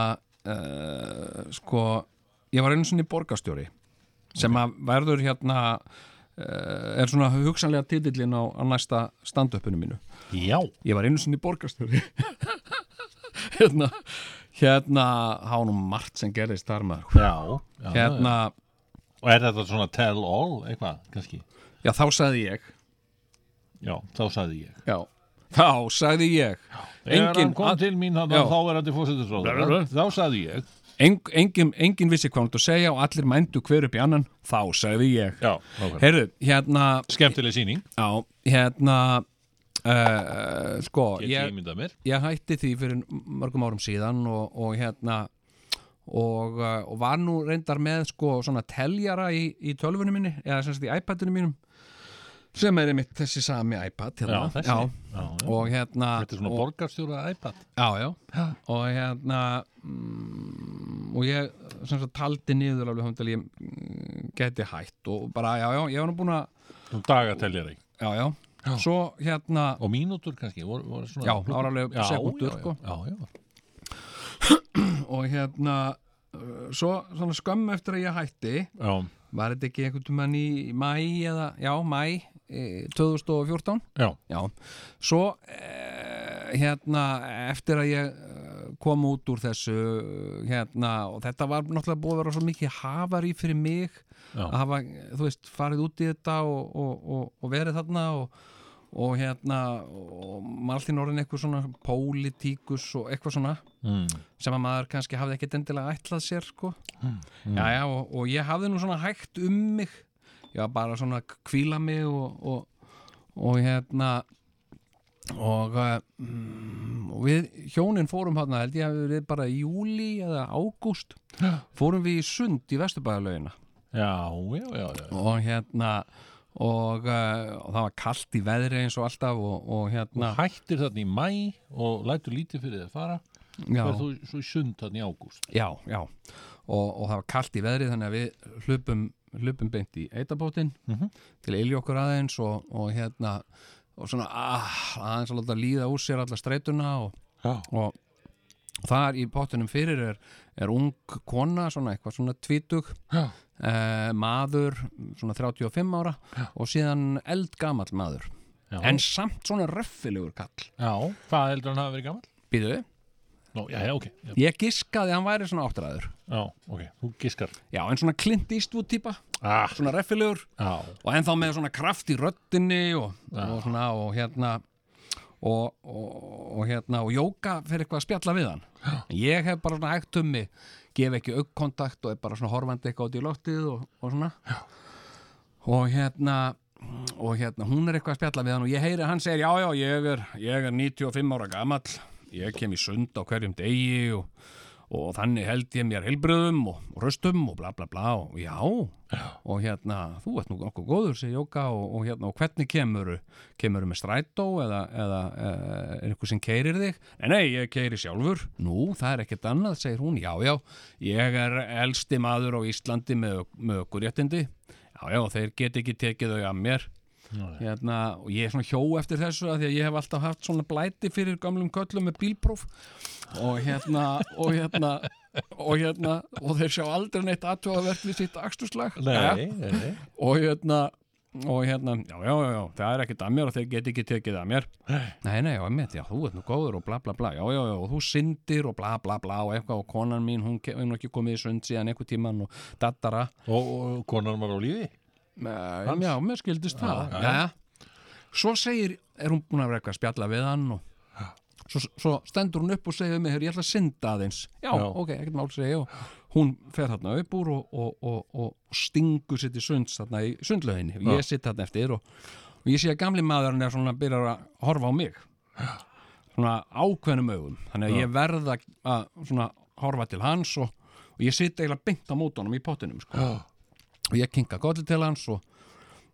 C: uh, sko ég var einu sinni borgarstjóri sem að verður hérna uh, er svona hugsanlega titillin á, á næsta standöppinu mínu
D: Já
C: Ég var einu sinni borgarstjóri *laughs* hérna hérna hafa nú margt sem gerðist þar maður
D: Já, já,
C: hérna
D: já. Og er þetta svona tell all, eitthvað, kannski
C: Já, þá sagði ég
D: Já, þá sagði ég
C: Já, þá sagði ég
D: Þegar hann kom
C: að-
D: til mín hann
C: Já.
D: þá er hann til fósitisróður Þá sagði ég
C: Eng, engin, engin vissi hvað hann átti að segja og allir mændu hver upp í annan, þá sagði ég
D: Já, nákvæmlega.
C: Heyrðu, hérna
D: Skemmtileg sýning
C: Já, hérna uh, Sko
D: Get ég ímyndað mér.
C: ég hætti því fyrir mörgum árum síðan og, og hérna og, uh, og var nú reyndar með sko svona teljara í, í tölfunum minni eða sem sagt í iPadinu mínum sem er einmitt þessi sami iPad hérna.
D: Já, þessi. Já, já.
C: og hérna
D: Þetta er svona
C: og-
D: borgarstjóra iPad
C: Já, já, og hérna mm, og ég sem sagt taldi niður alveg hann til ég mm, geti hætt og bara, já, já, ég var nú búin að
B: Nú dagateljari
C: Já, já Svo hérna
B: Og mínútur kannski voru, voru svona,
C: Já, það var alveg
B: Já,
C: sekúndur,
B: já, já,
C: sko.
B: já, já.
C: og hérna uh, svo svona skömm eftir að ég hætti
B: Já.
C: var þetta ekki einhvern tímann í mæ eða, já, mæ eh, 2014
B: Já.
C: svo eh, hérna eftir að ég eh, kom út úr þessu hérna og þetta var náttúrulega búið að vera svo mikið hafari fyrir mig
B: Já.
C: að hafa, eh, þú veist, farið út í þetta og, og, og, og verið þarna og og hérna og Martin orðin eitthvað svona pólitíkus og eitthvað svona
B: Mm.
C: sem að maður kannski hafði ekkert endilega ætlað sér sko
B: Mm, mm.
C: já, já, og, og ég hafði nú svona hægt um mig ég var bara svona að kvíla mig og, og, og hérna og, eh, mm, og við hjónin fórum hérna held ég að við verið bara í júli eða ágúst fórum við í sund í Vesturbæðalögina
B: Já, já, já, já.
C: og hérna og, uh, og það var kallt í veðri eins og alltaf og, og hérna
B: Þú hættir þarna í mæ og lætur lítið fyrir þið að fara
C: Já.
B: Ferð þú svo í sund þarna í ágúst
C: Já, já og, og það var kallt í veðri þannig að við hlupum, hlupum beint í eitabótin
B: Mhm.
C: til að ilja okkur aðeins og, og hérna og svona ah, aðeins að láta líða úr sér alla streituna og, og þar í pottinum fyrir er, er ung kona svona eitthvað svona tvítug
B: Já.
C: eh, maður svona 35 ára og síðan eldgamall maður
B: Já.
C: en samt svona röffilegur kall
B: Já, hvað heldur hann hafa verið gamall?
C: býðu
B: Nó, já, já, ok já.
C: ég giskaði að hann væri svona áttræður
B: já, ok, þú giskar
C: já, en svona Clint Eastwood típa
B: ah.
C: svona reffilegur
B: Já.
C: og ennþá með svona kraft í röddinni og, og svona og hérna og, og, og hérna og jóka fyrir eitthvað að spjalla við hann ég hef bara svona hægt um mig gef ekki augkontakt og er bara svona horfandi eitthvað út í loftið og, og svona já. og hérna og hérna hún er eitthvað að spjalla við hann og ég heyri að hann segir já já ég er, ég er 95 ára gamall ég kem í sund á hverjum degi og, og þannig held ég mér heilbröðum og, og röstum og bla bla bla og já, og hérna þú ert nú nokkuð góður segir Jóka og, og hérna og hvernig kemur kemur með strætó eða, eða e, er einhver sem keirir þig nei nei ég keiri sjálfur nú það er ekkert annað segir hún já já ég er elsti maður á Íslandi með, með ökurréttindi já já þeir get ekki tekið þau af mér hérna, og ég er svona hjó eftir þessu af því að ég hef alltaf haft svona blæti fyrir gamlum köllum með bílpróf og hérna og hérna og hérna og þeir sjá aldrei neitt aðtjóðavert við sitt aksturslag
B: Nei,
C: Jæja.
B: nei, nei.
C: og hérna og hérna, já, já, já, já, það er ekkert að mér og þeir get ekki tekið að mér nei, nei, já, emmitt, já, þú ert nú góður og bla, bla, bla já, já, já, og þú syndir og bla, bla, bla og eitthvað, og konan mín, hún ke- hún er ekki komið í sund síðan einhver tíman og dattara
B: og, og konan var á lífi
C: Nei,
B: Hans?
C: já, mér skildist
B: Já,
C: það
B: já.
C: já, Svo segir, er hún búin að vera eitthvað að spjalla við hann og svo, svo stendur hún upp og segir mig, "Heyrðu, ég ætla að synda aðeins Já,
B: Já.
C: ok, ekkert mál segja og hún fer þarna upp úr og, og, og, og stingur sitt í sunds þarna í sundlöginni og
B: Já.
C: ég sitt þarna eftir og, og ég sé að gamli maðurinn er svona byrjar að horfa á mig svona ákveðnum augum þannig að
B: Já.
C: ég verða að svona horfa til hans og, og ég sitt eiginlega beint á mótunum í pottinum sko. og ég kinka kolli til hans og,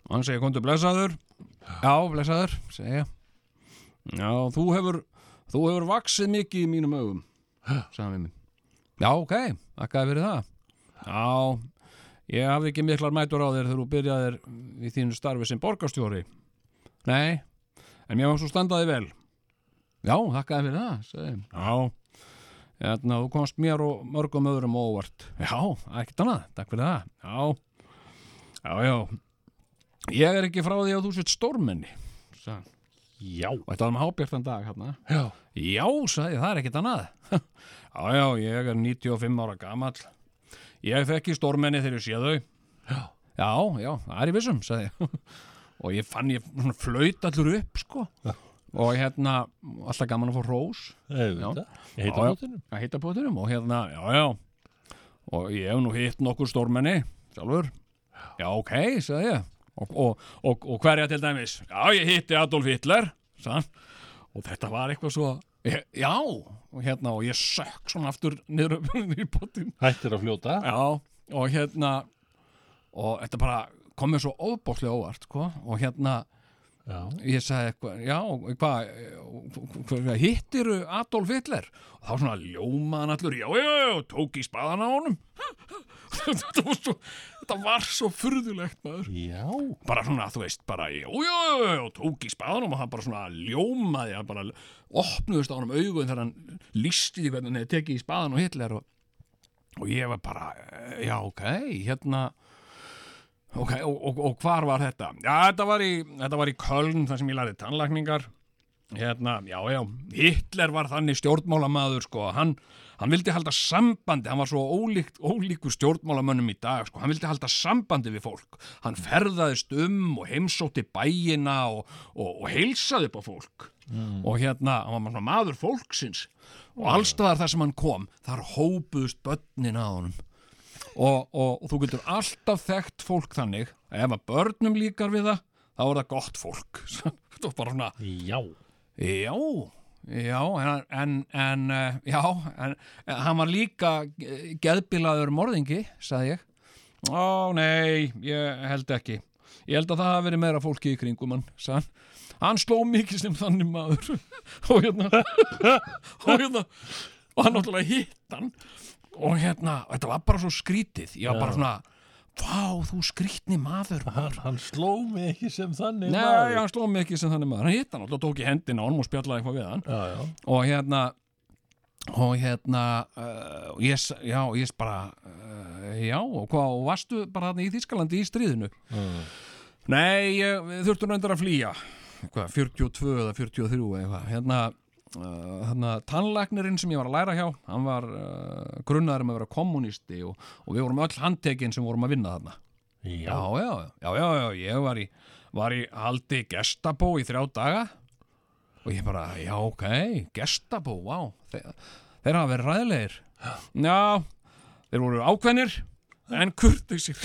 C: og hann segir komdu blessaður já blessaður segja já þú hefur þú hefur vaksið mikið í mínum augum sagði hann við mig já ok, þakkaði fyrir það já, ég hafði ekki miklar mætur á þér þegar þú byrjaðir í þínu starfi sem borgarstjóri nei, en mér var svo standaði vel Já, þakkaði fyrir það, sagði ég. Já, hérna, þú komst mér og mörgum öðrum á óvart. Já, það er ekkert annað, takk fyrir það. Já, já, já. Ég er ekki frá því að þú sett stórmenni, sagði hann.
B: Já.
C: Og þetta var með hábjartan dag, hérna.
B: Já.
C: Já, sagði ég, það er ekkert annað. já, já, ég er 95 ára gamall. Ég þekki stórmenni þegar ég sé þau. Já. Já, já, það er í vissum, sagði ég. *laughs* og ég fann ég svona flaut allur upp, sko. Og hérna, alltaf gaman að fá rós.
B: Auðvitað. Í heita pottinum.
C: Að heita bótinum og hérna, já, já. Og ég hef nú hitt nokkur stórmenni, sjálfur. Já, ok, sagði ég. Og, og, og, og hverja til dæmis? Já, ég hitti Adolf Hitler, sagði hann. Og þetta var eitthvað svo, ég, já, og hérna, og ég sökk svona aftur niður upp í bótin.
B: Hættir að fljóta.
C: Já, og hérna og þetta bara komið svo óbóðslega óvart sko? og hérna ég sagði eitthvað, já, hvað hva, hva, hittiru Adolf Hitler og þá svona ljómaðan allur já, já, já, já, tók í spaðan á honum þetta var svo þetta var svo furðulegt maður
B: já.
C: bara svona, þú veist, bara já, já, já, já, já, tók í spaðan á honum og hann bara svona ljómaði, hann bara opnuðust á honum augun þegar hann lísti því hvernig hann hefði tekið í spaðan á Hitler og, og ég var bara eh, já, ok, hérna Ok, og, og, og hvar var þetta? Já, þetta var í, þetta var í Köln þar sem ég lærði tannlækningar. Hérna, já, já, Hitler var þannig stjórnmálamaður, sko, hann, hann vildi halda sambandi, hann var svo ólíkt, ólíkur stjórnmálamönnum í dag, sko, hann vildi halda sambandi við fólk. Hann ferðaðist um og heimsótti bæina og, og, og heilsaði upp á fólk.
B: Mm.
C: Og hérna, hann var svona maður fólksins og allstaðar þar sem hann kom, þar hópuðust börnin að honum og, og, og þú getur alltaf þekkt fólk þannig að ef að börnum líkar við það þá er það gott fólk *laughs* þú er bara svona
B: já,
C: já, já en, en, en eh, já en, en hann var líka eh, geðbilaður morðingi, sagði ég ó nei, ég held ekki ég held að það hafi verið meira fólki í kringum hann, sagði hann hann sló mikið sem þannig maður *laughs* og hérna *laughs* og hérna og hann náttúrulega hitt hann og hérna, þetta var bara svo skrítið ég var bara
B: Já.
C: svona, vá, þú skrítni maður
B: hann, hann sló mig ekki sem þannig
C: Nei,
B: maður.
C: hann sló mig ekki sem þannig maður, hann hitt hann alltaf tók í hendina á hann og spjallaði eitthvað við hann
B: já, já.
C: og hérna og hérna uh, og ég, s- já, ég s- bara uh, já, og hvað, og varstu bara þarna í Þískalandi í stríðinu
B: Mm.
C: Nei, ég, við þurftum reyndar að flýja hvað, 42 eða 43 eða eitthvað, hérna uh, hérna, tannlæknirinn sem ég var að læra hjá hann var uh, grunnaður um að vera kommunisti og, og við vorum öll handtekin sem vorum að vinna þarna
B: Já,
C: já, já, já, já, já ég var í, var í haldi gestabó í þrjá daga og ég bara, já, ok, gestabó, vá, þeir, þeir hafa verið ræðilegir. *gasps* Já, þeir voru ákveðnir, en
B: *laughs*
C: kurtisir.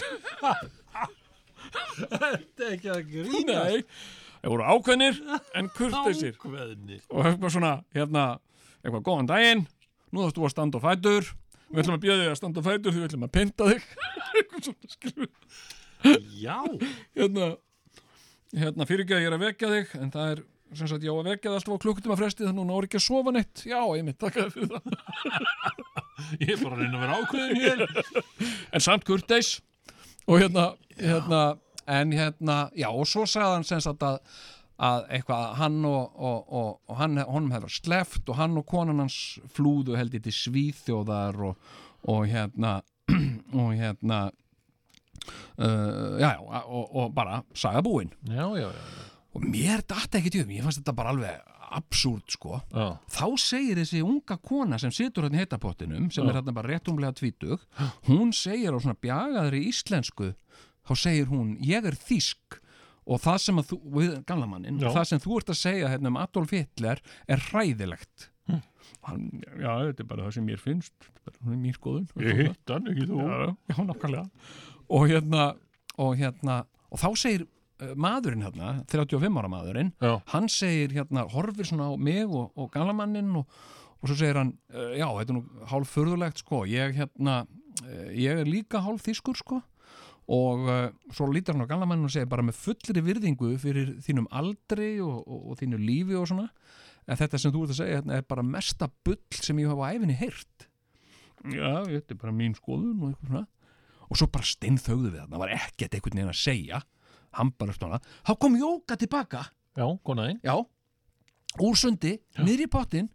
B: Þetta er ekki að
C: Nei, þeir voru ákveðnir, en kurtisir.
B: *laughs* Ákveðnir.
C: Og eitthvað svona, hérna, eitthvað, góðan daginn, nú þarfst þú að standa á fætur, við ætlum að bíða þig að standa á fætur, því við ætlum að pynta þig. *laughs* eitthvað svona, skilur
B: Já
C: hérna, hérna fyrirgeð ég er að vekja þig en það er sem sagt ég á að vekja þig alltaf á klukkutum að fresti þannig að hún á ekki að sofa neitt já, einmitt, takk fyrir það
B: *laughs* ég er bara að reyna að vera ákveðin hér
C: en samt kurteis og hérna, hérna en hérna, já og svo sagði hann sem sagt að að eitthvað að hann og, og, og, og hann, honum hefur sleft og hann og konan hans flúðu held ég til svíþjóðar og, og hérna *clears throat* og hérna uh, já, já, og, og bara saga búinn
B: já, já, já.
C: og mér datt ekki tjóðum, ég fannst þetta bara alveg absúrt sko
B: já.
C: þá segir þessi unga kona sem situr hérna í heitapottinum sem
B: Já.
C: er hérna bara réttumlega tvítug hún segir á svona bjagaðri íslensku þá segir hún, ég er þýsk og það sem að þú, við gamla mannin
B: Já.
C: það sem þú ert að segja hérna um Adolf Hitler er hræðilegt
B: Hm.
C: hann, já, þetta er bara það sem mér finnst þetta er bara svona mín skoðun
B: Ég hitt hann, ekki þú.
C: já, já, nákvæmlega og hérna, og hérna og þá segir uh, maðurinn hérna 35 ára maðurinn,
B: já.
C: hann segir hérna, horfir svona á mig og, og galamanninn og, og svo segir hann uh, já, þetta er nú hálf förðulegt sko ég hérna, uh, ég er líka hálf þýskur sko og uh, svo lítar hann á gallamann og segir bara með fullri virðingu fyrir þínum aldri og, og, og þínu lífi og svona en þetta sem þú ert að segja hérna, er bara mesta bull sem ég hafa á æfinni heyrt já, þetta er bara mín skoðun og eitthvað svona og svo bara steinþögðu við hann, það var ekkert einhvern veginn að segja hann bara svona, þá kom Jóka tilbaka
B: já, konaðinn
C: já, úr sundi, niður í pottin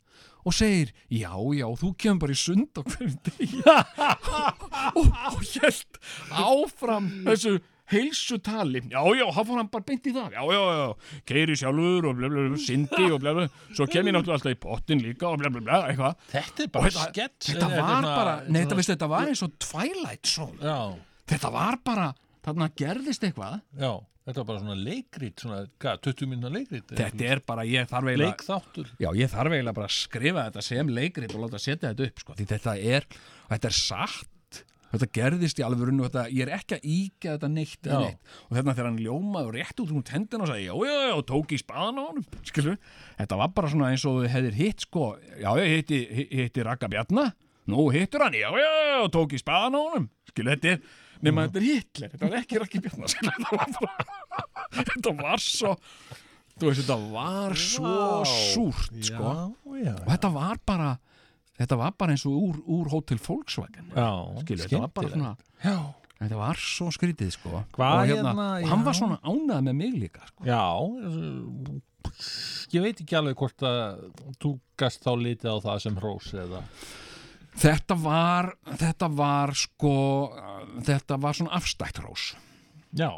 C: og segir, já, já, þú kemur bara í sund á hverjum
B: *laughs*
C: degi *laughs* og, og held áfram þessu heilsu tali, já, já, þá fór hann bara beint í það, já, já, já, keiri sjálfur og blablabla, sindi og blablabla svo kem ég náttúrulega alltaf í pottin líka og blablabla, eitthvað.
B: Þetta er
C: Og
B: bara eh, hérna,
C: þetta-
B: skett
C: Þetta var bara, nei, þetta, veist, þetta var eins og Twilight Zone.
B: Já,
C: Þetta var bara, þarna gerðist eitthvað.
B: já, þetta var bara svona leikrit svona, hvað, 20 minna leikrit
C: Þetta er bara, ég þarf eiginlega...
B: Leikþáttur
C: Já, ég þarf eiginlega bara að skrifa þetta sem leikrit og láta setja þetta upp, sko, því þetta er, þetta er satt, þetta gerðist í alvörun og þetta, ég er ekki að íkja þetta neitt eða
B: Já.
C: neitt. Og þarna þegar hann ljómaði og rétt út úr tendin og sagði, já, já, já, og tók í spaðan á honum, skilur, þetta var bara svona eins og þau hefðir hitt, sko, já, ég hitti, hitti Raka Bjarna, nú hittur hann, já, já, já, og tók í spaðan á honum, skilur, þetta er, *laughs* nema þetta er Hitler, þetta var ekki Raki Bjarna, skilur, þetta var bara, þetta var svo, þú veist, þetta var svo
L: Vá.
C: súrt
L: Já,
C: sko.
L: já,
C: og þetta var bara þetta var bara eins og úr, úr hótel Volkswagen
D: Já,
C: Skilu, þetta var bara svona
D: skemmtilegt.
C: já. þetta var svo skrítið sko.
D: Hvað
C: og, hérna,
D: hérna,
C: og hann
D: já.
C: var svona ánað með mig líka sko.
D: Já, eh, ég veit ekki alveg hvort að þú gast þá litið á það sem hrós eða
C: þetta var þetta var sko þetta var svona afstækt rós
D: Já,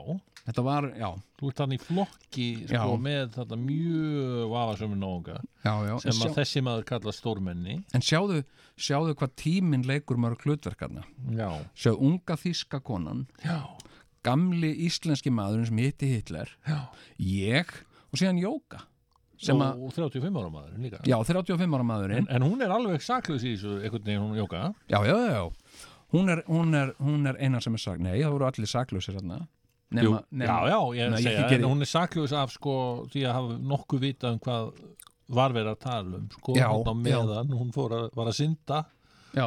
C: þetta var, já
D: þú ert þannig í flokki
C: Já.
D: sko, með þetta mjög vafasömi nóga
C: Já, já, en
D: sem að
C: sjá-
D: þessi maður kalla stórmenni
C: en sjáðu, sjáðu hvað tíminn leikur mörg hlutverkarna
D: Já,
C: sjáðu unga þíska konan
D: Já.
C: gamli íslenski maðurinn sem hitti Hitler já. ég og síðan Jóka sem
D: og,
C: að,
D: og 35 ára maðurinn líka
C: já, 35 ára maðurinn
D: en, en hún er alveg saklaus í þessu einhvern veginn hún jóka
C: já, já, já, já. Hún, er, hún, er, hún er eina sem er sagt nei, það voru allir saklausir þarna
D: Jú, já, já, ég er
C: Nei,
D: að segja,
C: ekki
D: en
C: geri-
D: hún er saklaus af sko, því að hafa nokkuð vitað um hvað var verið að tala um sko,
C: Já,
D: þarna á
C: já.
D: meðan, hún fór að, var að synda
C: já.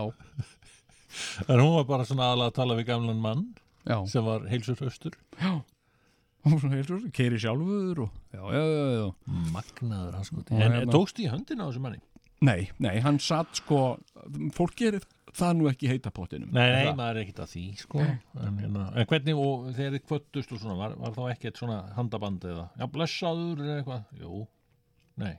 D: en hún var bara svona aðlega að tala við gamlan mann
C: já.
D: sem var heilsur höstur
C: hún er heilsur, keiri sjálfur og, já, já, já, já.
D: magnaður hans sko
C: Og
D: en
C: hérna-
D: tókst í höndina á þessu manni?
C: Nei, nei, hann satt sko fólk gerir það nú ekki í heita pottinum
D: Nei, nei,
C: Það-
D: maður er ekkert að því sko en, hérna, en hvernig, og þegar þið kvöttust og svona, var, var þá ekkert svona handaband eða, já, blessaður eða eitthvað jú, nei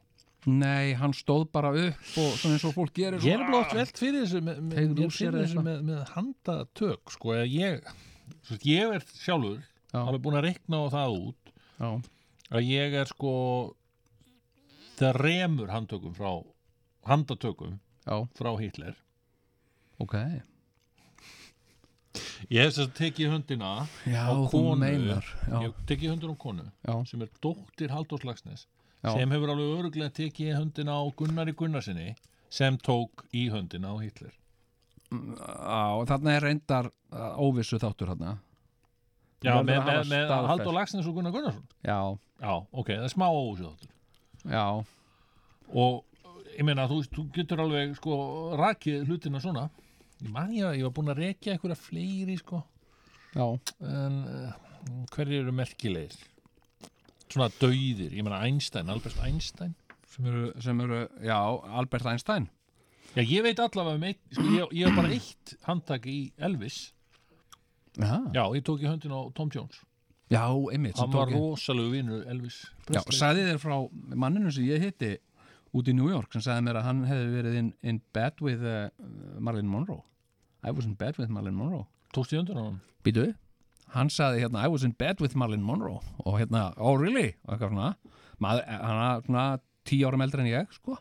C: Nei, hann stóð bara upp og svona eins og fólk gerir
D: Ég er nefnilega oft velt fyrir þessu með, með,
C: Teygði
D: mér
C: úr sér
D: fyrir
C: eða
D: þessu
C: eitthvað.
D: með, með handatök sko, eða ég, svo, veist, ég er sjálfur alveg búin að reikna á það út
C: Já.
D: að ég er sko það remur handtökum frá handatökum
C: Já.
D: frá Hitler
C: Ok,
D: ég hef þess að tekið höndina
C: Já,
D: á
C: þú
D: konu
C: meinar, já.
D: ég hef tekið höndina á konu
C: Já.
D: sem er dóttir Halldórs Lagsnes
C: Já.
D: sem hefur alveg öruglega tekið höndina á Gunnari Gunnarsinni sem tók í höndina á Hitler
C: á, þarna er reyndar uh, óvissu þáttur þarna
D: Já,
C: Verður
D: með,
C: að
D: með,
C: hafa
D: með
C: staðfest.
D: Halldór Lagsnes og Gunnar Gunnarsson
C: Já,
D: Já, ok, það er smá ósjóðáttur
C: já,
D: Og ég meina, þú, þú getur alveg sko rakið hlutina svona Ég man ég, að ég var búinn að rekja einhverja fleiri sko
C: já
D: En uh, hverjir eru merkilegir? Svona dauðir, ég meina Einstein, Albert Einstein
C: sem eru, sem eru já, Albert Einstein
D: Já, ég veit allavega um eitt, sko, ég, ég var bara eitt handtak í Elvis
C: Já,
D: Já, ég tók í höndin á Tom Jones
C: já einmitt sem
D: Hann var
C: tók ég-
D: rosalegu vinur Elvis
C: Já,
D: Presley.
C: sagði þér frá manninu sem ég hitti út í New York sem sagði mér að hann hefði verið in, in bed with uh, Marlon Monroe I was in bed with Marlon Monroe
D: Tókst í höndin á hann?
C: Býtu, hann sagði hérna I was in bed with Marlon Monroe og hérna, oh really? og eitthvað svona Maður, eh, hann er svona tíu árum eldri en ég sko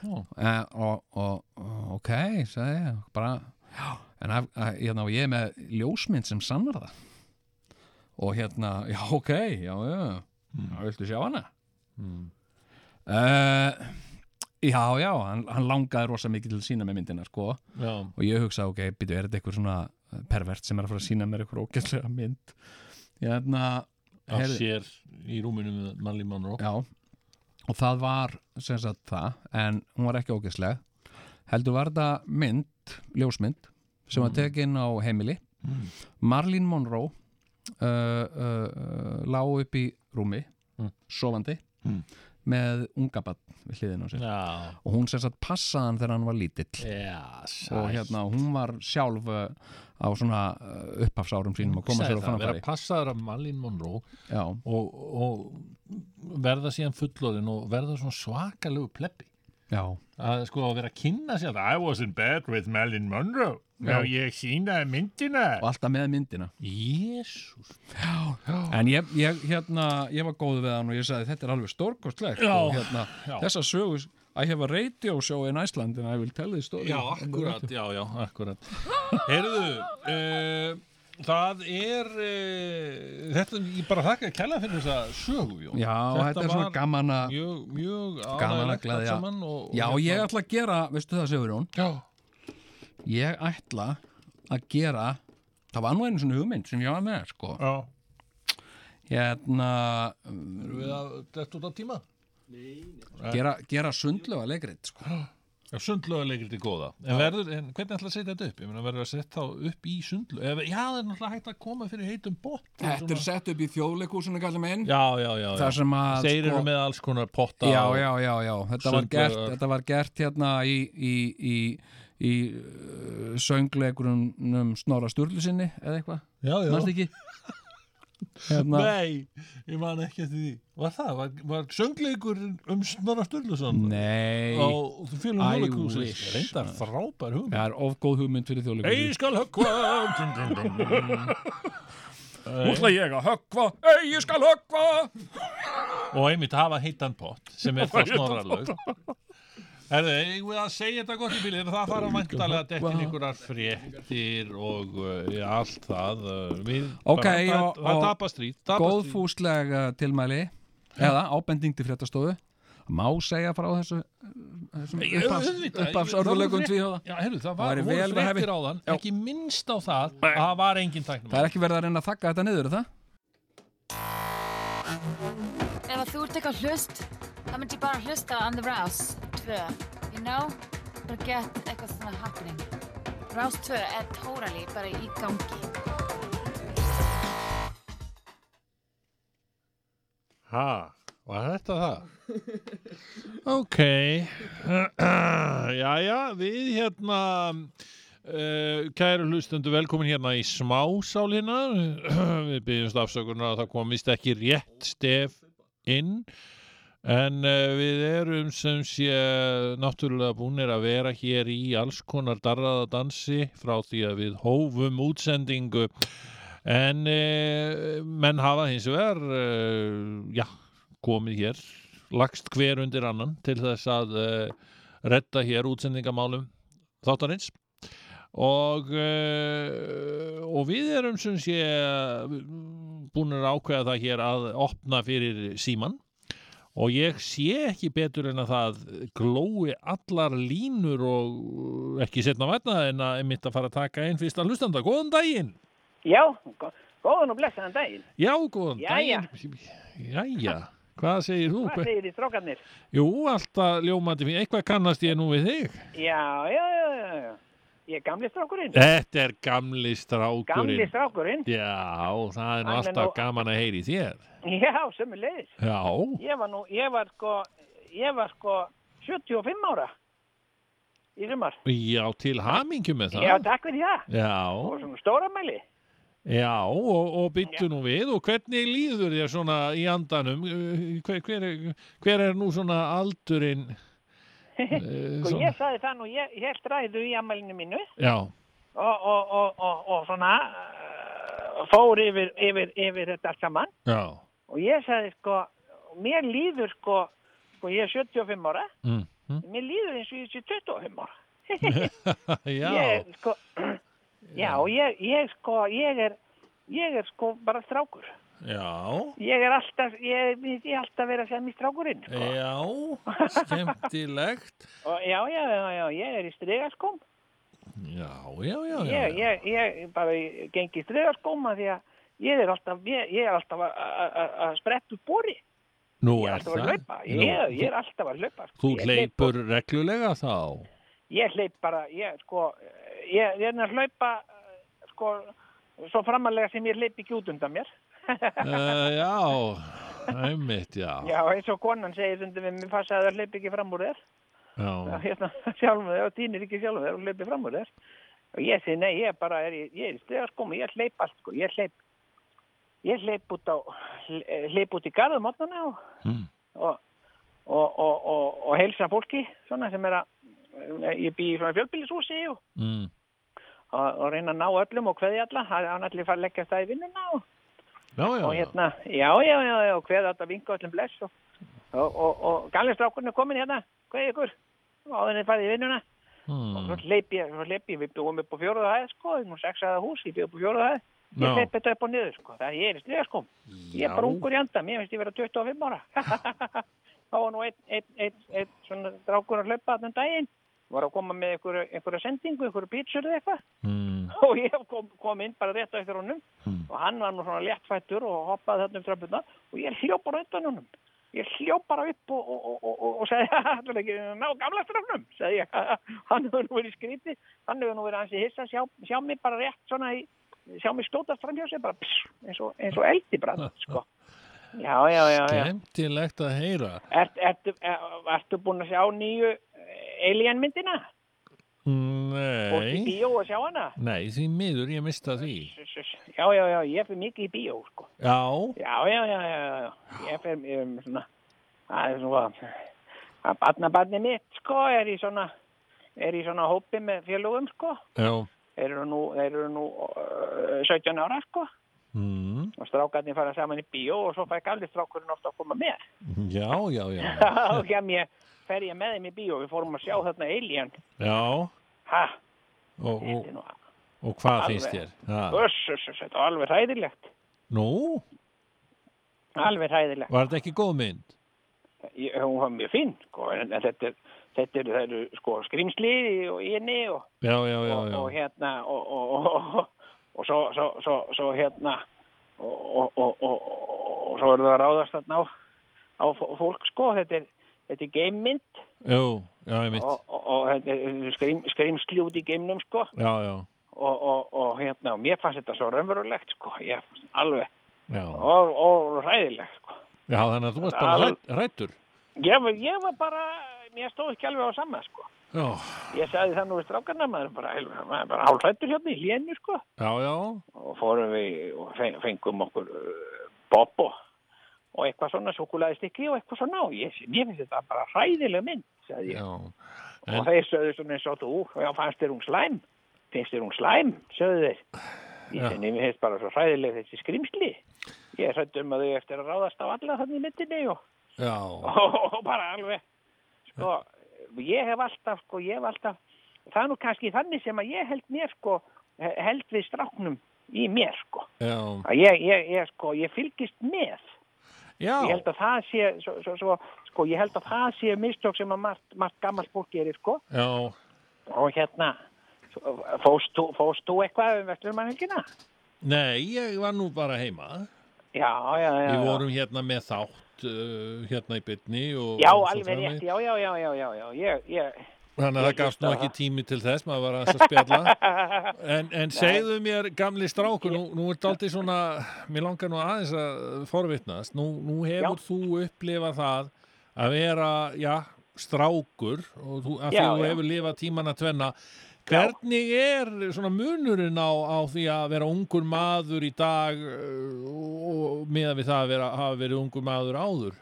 D: Já.
C: Eh, og, og, og ok, sagði ég bara, já, en að, að, hérna, og ég er með ljósmynd sem sannar það og hérna, *laughs* já, ok já, já, já viltu sjá hana
D: Mm.
C: uh, já, já hann, hann langaði rosa mikið til að sína með myndina sko,
D: Já.
C: og ég hugsaði, ok, býtu, er þetta eitthvað svona eh, pervert sem er að fara að sína mér eitthvað ógæslega mynd hérna,
D: Af
C: heyrðu-
D: sér í rúminu með Marley Monroe
C: Já, og það var sem sagt það, en hún var ekki ógeðsleg heldur var þetta mynd ljósmynd sem var tekin á heimili
D: Mm.
C: Marlene Monroe uh, uh, uh, lá upp í rúmi
D: Mm.
C: sofandi
D: Mm.
C: með unga barn við hliðin á sér
D: Já.
C: og hún sem sagt passaði hann þegar hann var lítill
D: Já, sæl.
C: og hérna hún var sjálf uh, á svona uh, upphafsárum sínum að koma
D: Sagði
C: sér á
D: það, vera
C: framfæri
D: passaður af Malin Monroe
C: Já,
D: og, og verða síðan fullorinn og verða svona svakalegu pleppi
C: já,
D: að sko að vera að kynna sér I was in bed with Malin Monroe
C: Já.
D: ég sínaði myndina
C: og alltaf með myndina
D: Jésús
C: En ég, ég, hérna, ég var góð við hann og ég sagði þetta er alveg stórkostlegt
D: Já,
C: og hérna,
D: já.
C: þessa sögur I have a radio show in Iceland and I will tell this story
D: Já, akkurat, já, já, akkurat Heyrðu uh, Það er uh, þetta, ég bara þakka að kella fyrir þessa sögu Jón.
C: Já, þetta er svona
D: var
C: gaman að
D: mjög, mjög
C: gaman
D: ánægjulegt
C: að gleðja
D: allt saman og, hérna- og
C: Já,
D: hérna-
C: ég ætla að gera, veistu það sögur hún Já Ég ætla að gera það var nú einu svona hugmynd sem ég var með sko.
D: Já
C: Hérna
D: Erum við að detta út á tíma?
C: gera, gera sundlega leikrit sko.
D: Já, sundlöguleikrið er góða. En, verður, en hvernig ætla að setja þetta upp? Ég meina, verður að setja þá upp í sundlög? Eða, já, það er náttúrulega hægt að koma fyrir heitum bótt.
C: Þetta er sett upp í þjóðleikúsinu kallum minn
D: Já, já, já.
C: Þar sem að,
D: Þeir eru
C: sko-
D: með alls konar potta.
C: Já,
D: og
C: já, já, já. Þetta, var gert,
D: sundlaugar.
C: þetta var gert hérna í, í, í, í uh, söngleikurunum Snorra Sturlusinni eða eitthvað
D: Já, já.
C: Manstu ekki? Hérna,
D: Nei, ég man ekki eftir því. Var það? Var, var söngleikur um Snorra Sturluson?
C: Nei.
D: Og þú félum
C: I
D: hólakúsi.
C: wish.
D: Reyndar frábær hugmynd.
C: Það er of góð hugmynd fyrir þjóðleikúsinu
D: Ég skal höggva.
C: Nú ætla ég að höggva, ei ég skal höggva
D: og einmitt hafa heitan pott sem er þá
C: Hafa heitan
D: snorralög Herðu, eigum við að segja þetta gott í bílið en það fara vantalega dettin einhverjar fréttir og uh, allt það uh, við
C: Ok,
D: bara,
C: og,
D: það
C: og
D: tapast því tapast því
C: góðfúsleg uh, tilmæli eða ábending til fréttastofu má segja frá þessu uh, þessum upphafs- upphafsörðuleikum tvíhjóða
D: Já, herru, það
C: væri
D: var
C: vel
D: hún
C: við hæfi.
D: fréttir á þann ekki minnst á það að það var engin tæknum
C: Það er ekki verið að reyna að þakka þetta niður, er það?
M: Ef að þú ert eitthvað hlust, þá myndi ég bara hlusta on the Rouse 2. You know, bara get eitthvað svona happening. Rouse 2 er totally bara í gangi.
D: Ha, var þetta það? *laughs* Ok, *clears throat* jæja, við hérna, uh, kæru hlustundu, velkomin hérna í smásálina, *clears throat* við byggjumst afsökunar að það komist ekki rétt stef inn, en uh, við erum sem sé náttúrulega búinir að vera hér í alls konar darraðadansi frá því að við hófum útsendingu, en uh, menn hafa hins vegar, uh, já, komið hér lagst hver undir annan til þess að uh, retta hér útsendingamálum þáttarins og uh, og við erum sem sé búin að ákveða það hér að opna fyrir síman og ég sé ekki betur en að það glói allar línur og eh, ekki setna vætna en að mitt að fara að taka einn fyrsta hlustanda, góðan daginn
F: Já, gó- góðan og blessaðan daginn.
D: já, góðan
F: Jæja.
D: daginn jæja, hvað segir þú?
F: Hvað segir þið strákarnir?
D: Jú, alltaf ljómandi fyrir, eitthvað kannast ég nú við þig.
F: Já, já, já, já, já. Ég er gamli strákurinn.
D: Þetta er gamli strákurinn.
F: Gamli strákurinn?
D: Já, það er
F: Hann
D: nú
F: er
D: alltaf
F: nú-
D: gaman að heyri þér.
F: Já, sem er leiðis.
D: Já,
F: Ég var nú, ég var sko, ég var sko 75 ára í sumar.
D: já, til hamingju með það.
F: Já, takk fyrir það. Og
D: Já,
F: svona stóramæli.
D: já, og, og byttu nú við og hvernig líður þér svona í andanum? Uh, Hver, hver, er- hver er nú svona aldurinn?
F: Sko,
D: svona.
F: ég saði það nú, ég ég held ræðu í amælinu mínu
D: Já,
F: og, og, og, og, og svona uh, fór yfir, yfir, yfir þetta allt saman.
D: já,
F: Og ég sagði sko, mér líður sko, sko ég er 75 ára,
D: Mm, *laughs*
F: mér líður eins og ég sé 25 ára.
D: já,
F: Ég, sko, *clears throat* já, ég, ég sko, ég er, ég er sko bara strákur.
D: já.
F: Ég er alltaf, ég myndi ég alltaf vera sem í strákurinn.
D: Já, skemmtilegt.
F: Og, já, já, já, já, ég er í stregaskum.
D: Já, já, já, já.
F: Ég, ég, ég bara ég geng í stregaskum að því að ég er alltaf, ég, ég er alltaf að- *laughs* að að- að spretta upp bori.
D: Nú
F: Ég er
D: er
F: alltaf
D: það.
F: að hlaupa.
D: Ah, Nú,
F: Ég, ég er alltaf að hlaupa. sko.
D: Þú
F: Ég hleyp-
D: hleypur reglulega þá?
F: Ég hleyp bara, ég sko, ég, ég er að hlaupa, eh, sko, svo framalega sem ég hleyp ekki út undan mér.
D: Uh, já, einmitt, já.
F: Já, eins og konan segir undir við, mér passa að það hlaupi ekki fram úr þér. Já,
D: já.
F: *laughs* hérna, sjálfum þér og týnir ekki sjálfum þér og hlaupi fram úr þér. Og ég segi, nei, ég bara er, í- ég er í stegaskómi, ég hleyp allt, sko, ég hleyp, ég hleyp út á, hleyp út í garðum átnana og,
D: Mm.
F: og, og, og, og, og heilsa fólki, svona sem er að, ég bý í svona fjölbýlishúsi og,
D: Mm.
F: og, og reyna að ná öllum og kveði alla, það er allir fara að leggja það í vinnuna og,
D: Já, já,
F: og hérna, já, já, já, já, og kveði alltaf vinka öllum um bless og, og, og, og galistrákurinn er komin hérna, kveði ykkur, áðurinn er farið í vinnuna.
D: Mm.
F: Svo hleyp ég, svo hleyp ég, við búum upp á fjóruða hæð, sko, nú sex aða hús, ég búum upp á fjóruða hæð.
D: Já.
F: Ég hleyp þetta upp og niður, sko, það er ég er í sliða, sko. Ég er bara ungur í anda, mér finnst ég vera 25 ára. *laughs* Þá var nú einn, einn, einn, einn svona drákur að hlaupa þann daginn, var að koma með einhverju, einhverju sendingu, einhverju pítsur eða eitthvað.
D: Mm.
F: *laughs* Og ég kom, kom inn bara rétt á eftir honum og hann var nú svona léttfættur og hoppaði þarna um trappuna og ég hljópar á undan honum.
M: ég hljóp bara upp og, og, og, og, og, og *laughs* segði allir ekki ná gamla strafnum segði ég, *laughs* hann hefur nú verið skrítið hann hefur nú verið hans í hissa sjá, sjá mig bara rétt svona í, sjá mig skjótast fram hjá sig bara pss, eins, og, eins og eldi brann sko. já, já, já, já.
D: Skemmtilegt að heyra
M: Ert, ertu, er, ertu búin að sjá nýju eh, Alien myndina? Og
D: Nei,
M: í bíó að sjá hana?
D: nei, því miður ég mista því
M: Ss, ss, Já, já, já, ég fyrir mikið í bíó sko.
D: Já,
M: Já, já, já, já, já, já. Ég fyrir ég, er svona það er svona að barna barni mitt sko er í svona er í svona hópi með félögum sko
D: já
M: þeir eru nú, þeir eru nú uh, 17 ára sko
D: mm,
M: og strákarnir fara saman í bíó og svo fæk allir strákurinn ofta að koma með
D: Já, já, já
F: *laughs*
M: og kem ég, fer ég með þeim í bíó við fórum að sjá þarna Alien
D: Já,
M: ha,
D: og, og, og hvað
M: Alveg.
D: finnst þér? Já.
M: öss, öss, öss, þetta var alveg hræðilegt
D: Nú,
M: alveg hræðilegt
D: var þetta ekki góð mynd?
M: Ég- hún var mjög fín sko, en en þetta, er- þetta eru, það eru sko skrýmsli og inni og
D: Já, já, já, já
M: og hérna og, og, og, og, og svo, svo, svo, svo hérna og, og, og, og, og, og svo eru það að ráðast þarna á, á fó- fólk sko þetta er, þetta er geimmynd
D: Jú, já, ég mitt
M: og, og, og þetta er skrým, skrýmsli út í geimnum sko og,
D: Já, já,
M: og, og hérna og mér fannst þetta svo raunverulegt sko ég, alveg
D: já
M: og, og ræðilegt sko.
D: Já, þannig að þú varst bara
M: Al-
D: rætt, rættur
M: ég, var- ég var bara mér stóð ekki alveg á sama sko
D: Já,
M: ég sagði það nú við strákarna maður er bara, helveg- maður er bara hálfrættur hérna í hlénu sko
D: já, já
M: og fórum við og feng- fengum okkur uh, bobo og eitthvað svona súkulaðistikki og eitthvað svona og ég, ég finnst þetta bara hræðileg mynd sagði ég
D: Já,
M: og þeir sögðu svona eins og þú og já, fannst þér hún slæm finnst þér hún slæm, sögðu þeir ég
D: Já.
M: sinni, mér finnst bara svo hræðileg þessi skrimsli ég hrættu um að þau eftir að ráðast á alla þannig í myndinni og,
D: já
M: og, og bara alveg sko, ég hef alltaf sko, ég hef alltaf, það er nú kannski þannig sem að ég held mér sko held við stráknum í mér sko
D: Já,
M: að ég, ég, ég, sko, ég fylgist með
D: já,
M: ég held að það sé svo, svo, svo, sko, ég held að það sé mistök sem að margt, margt gammalt fólk gerir sko
D: já,
M: og hérna svo- fórst þú- fórst þú eitthvað um vestlumannhelgina?
D: nei, ég var nú bara heima
M: Já, já, já,
D: Við
M: já.
D: vorum hérna með þátt uh, hérna í bytni og,
M: já
D: og svo
M: alveg
D: framvegis.
M: rétt, já, já, já, já, já, já. Ég, ég,
D: Þannig að það gafst nú
M: á
D: ekki tími til þess, maður var aðeins að
M: *laughs*
D: spjalla. En, en
M: Nei.
D: segðu mér, gamli strákur, nú, nú er daldið svona, mér langar nú aðeins að forvitnast. Nú, nú hefur þú upplifað það að vera, já, strákur og þú, að
N: Já,
D: þú
N: já.
D: hefur lifað tímana tvenna. Hvernig er svona munurinn á, á því að vera ungur maður í dag uh, og, og meðan við það að vera, hafa verið ungur maður áður?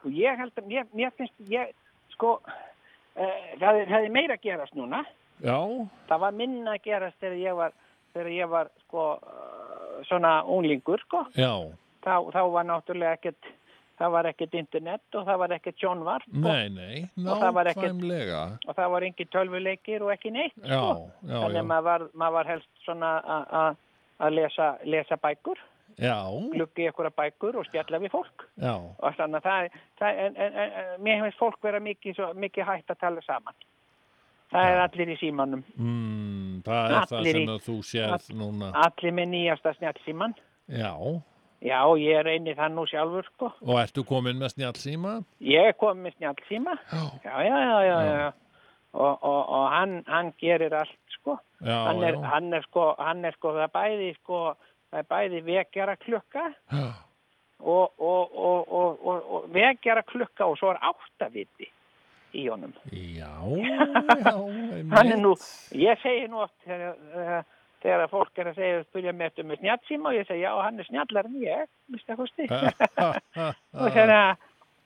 M: sko, ég held að mér, mér finnst, ég, sko uh, það, er, það er meira að gerast núna
D: Já,
M: það var minna að gerast þegar ég var þegar ég var sko eh, svona unglingur sko
D: já,
M: þá, þá var náttúrulega ekkert það var ekkert internet og það var ekkert sjónvarp
D: nei, nei,
M: Og það var ekkert-
D: nákvæmlega.
M: og það var engin tölvuleikir og ekki neitt
D: Já,
M: sko.
D: já,
M: þannig
D: já.
M: að maður var, maður var helst svona a- a- að lesa, lesa bækur
D: Já,
M: gluggi ykkur að bækur og spjalla við fólk
D: já,
M: og þannig að það, það en, en, en, en, mér hefist fólk vera mikið, svo, mikið hægt að tala saman það er allir í símanum
D: mm, það er það
M: Allir í-
D: sem að þú sérð
M: all-
D: núna.
M: allir með nýjasta snjallsíman
D: Já,
M: já, ég er einni þann nú sjálfur sko
D: og ertu komin með snjálsíma?
M: Ég er komið með snjálfsíma. Já, já, já, já, já. Og, og, og hann, hann gerir allt, sko.
D: Já,
M: hann, er,
D: já.
M: hann er sko, hann er sko, það er bæði, sko, það er bæði vekjara klukka
D: Já.
M: og, og, og, og, og, og vekjara klukka og svo er áttaviti í honum.
D: Já,
M: hann er nú, ég segi nú oft þegar, þegar- þegar að fólk er að segja spyrja mér eftir með snjálfsíma og ég segi, já, hann er snjallar en ég, mista kosti. og þannig að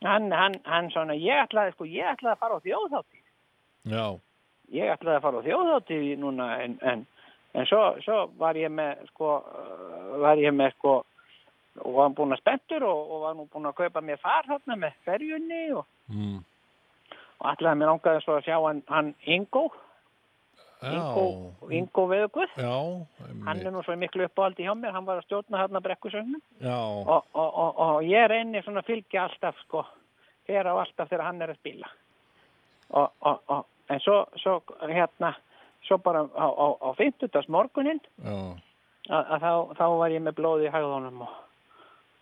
M: hann, hann, hann svona, ég ætlaði sko, ég ætlaði að fara á þjóðhátti
D: Já,
M: ég ætlaði að fara á þjóðhátti núna en, en, en svo, svo var ég með sko, uh, var ég með sko og var búin að spenntur og, og var nú búin að kaupa mér far þarna með ferjunni og,
D: mm,
M: og ætlaði að mér ángaði svo að sjá hann, hann Ingo
D: já,
M: Ingo Veðuguð,
D: já,
M: hann er nú svo miklu uppáhaldi hjá mér, hann var að stjórna þarna brekkusögnum
D: já,
M: og, og, og, og ég reynir svona að fylgja alltaf sko, fyrir á alltaf þegar hann er að spila og, og, og en svo, svo hérna svo bara á, á, á 50. morgunin
D: já,
M: að, að þá, þá var ég með blóð í hægðunum og,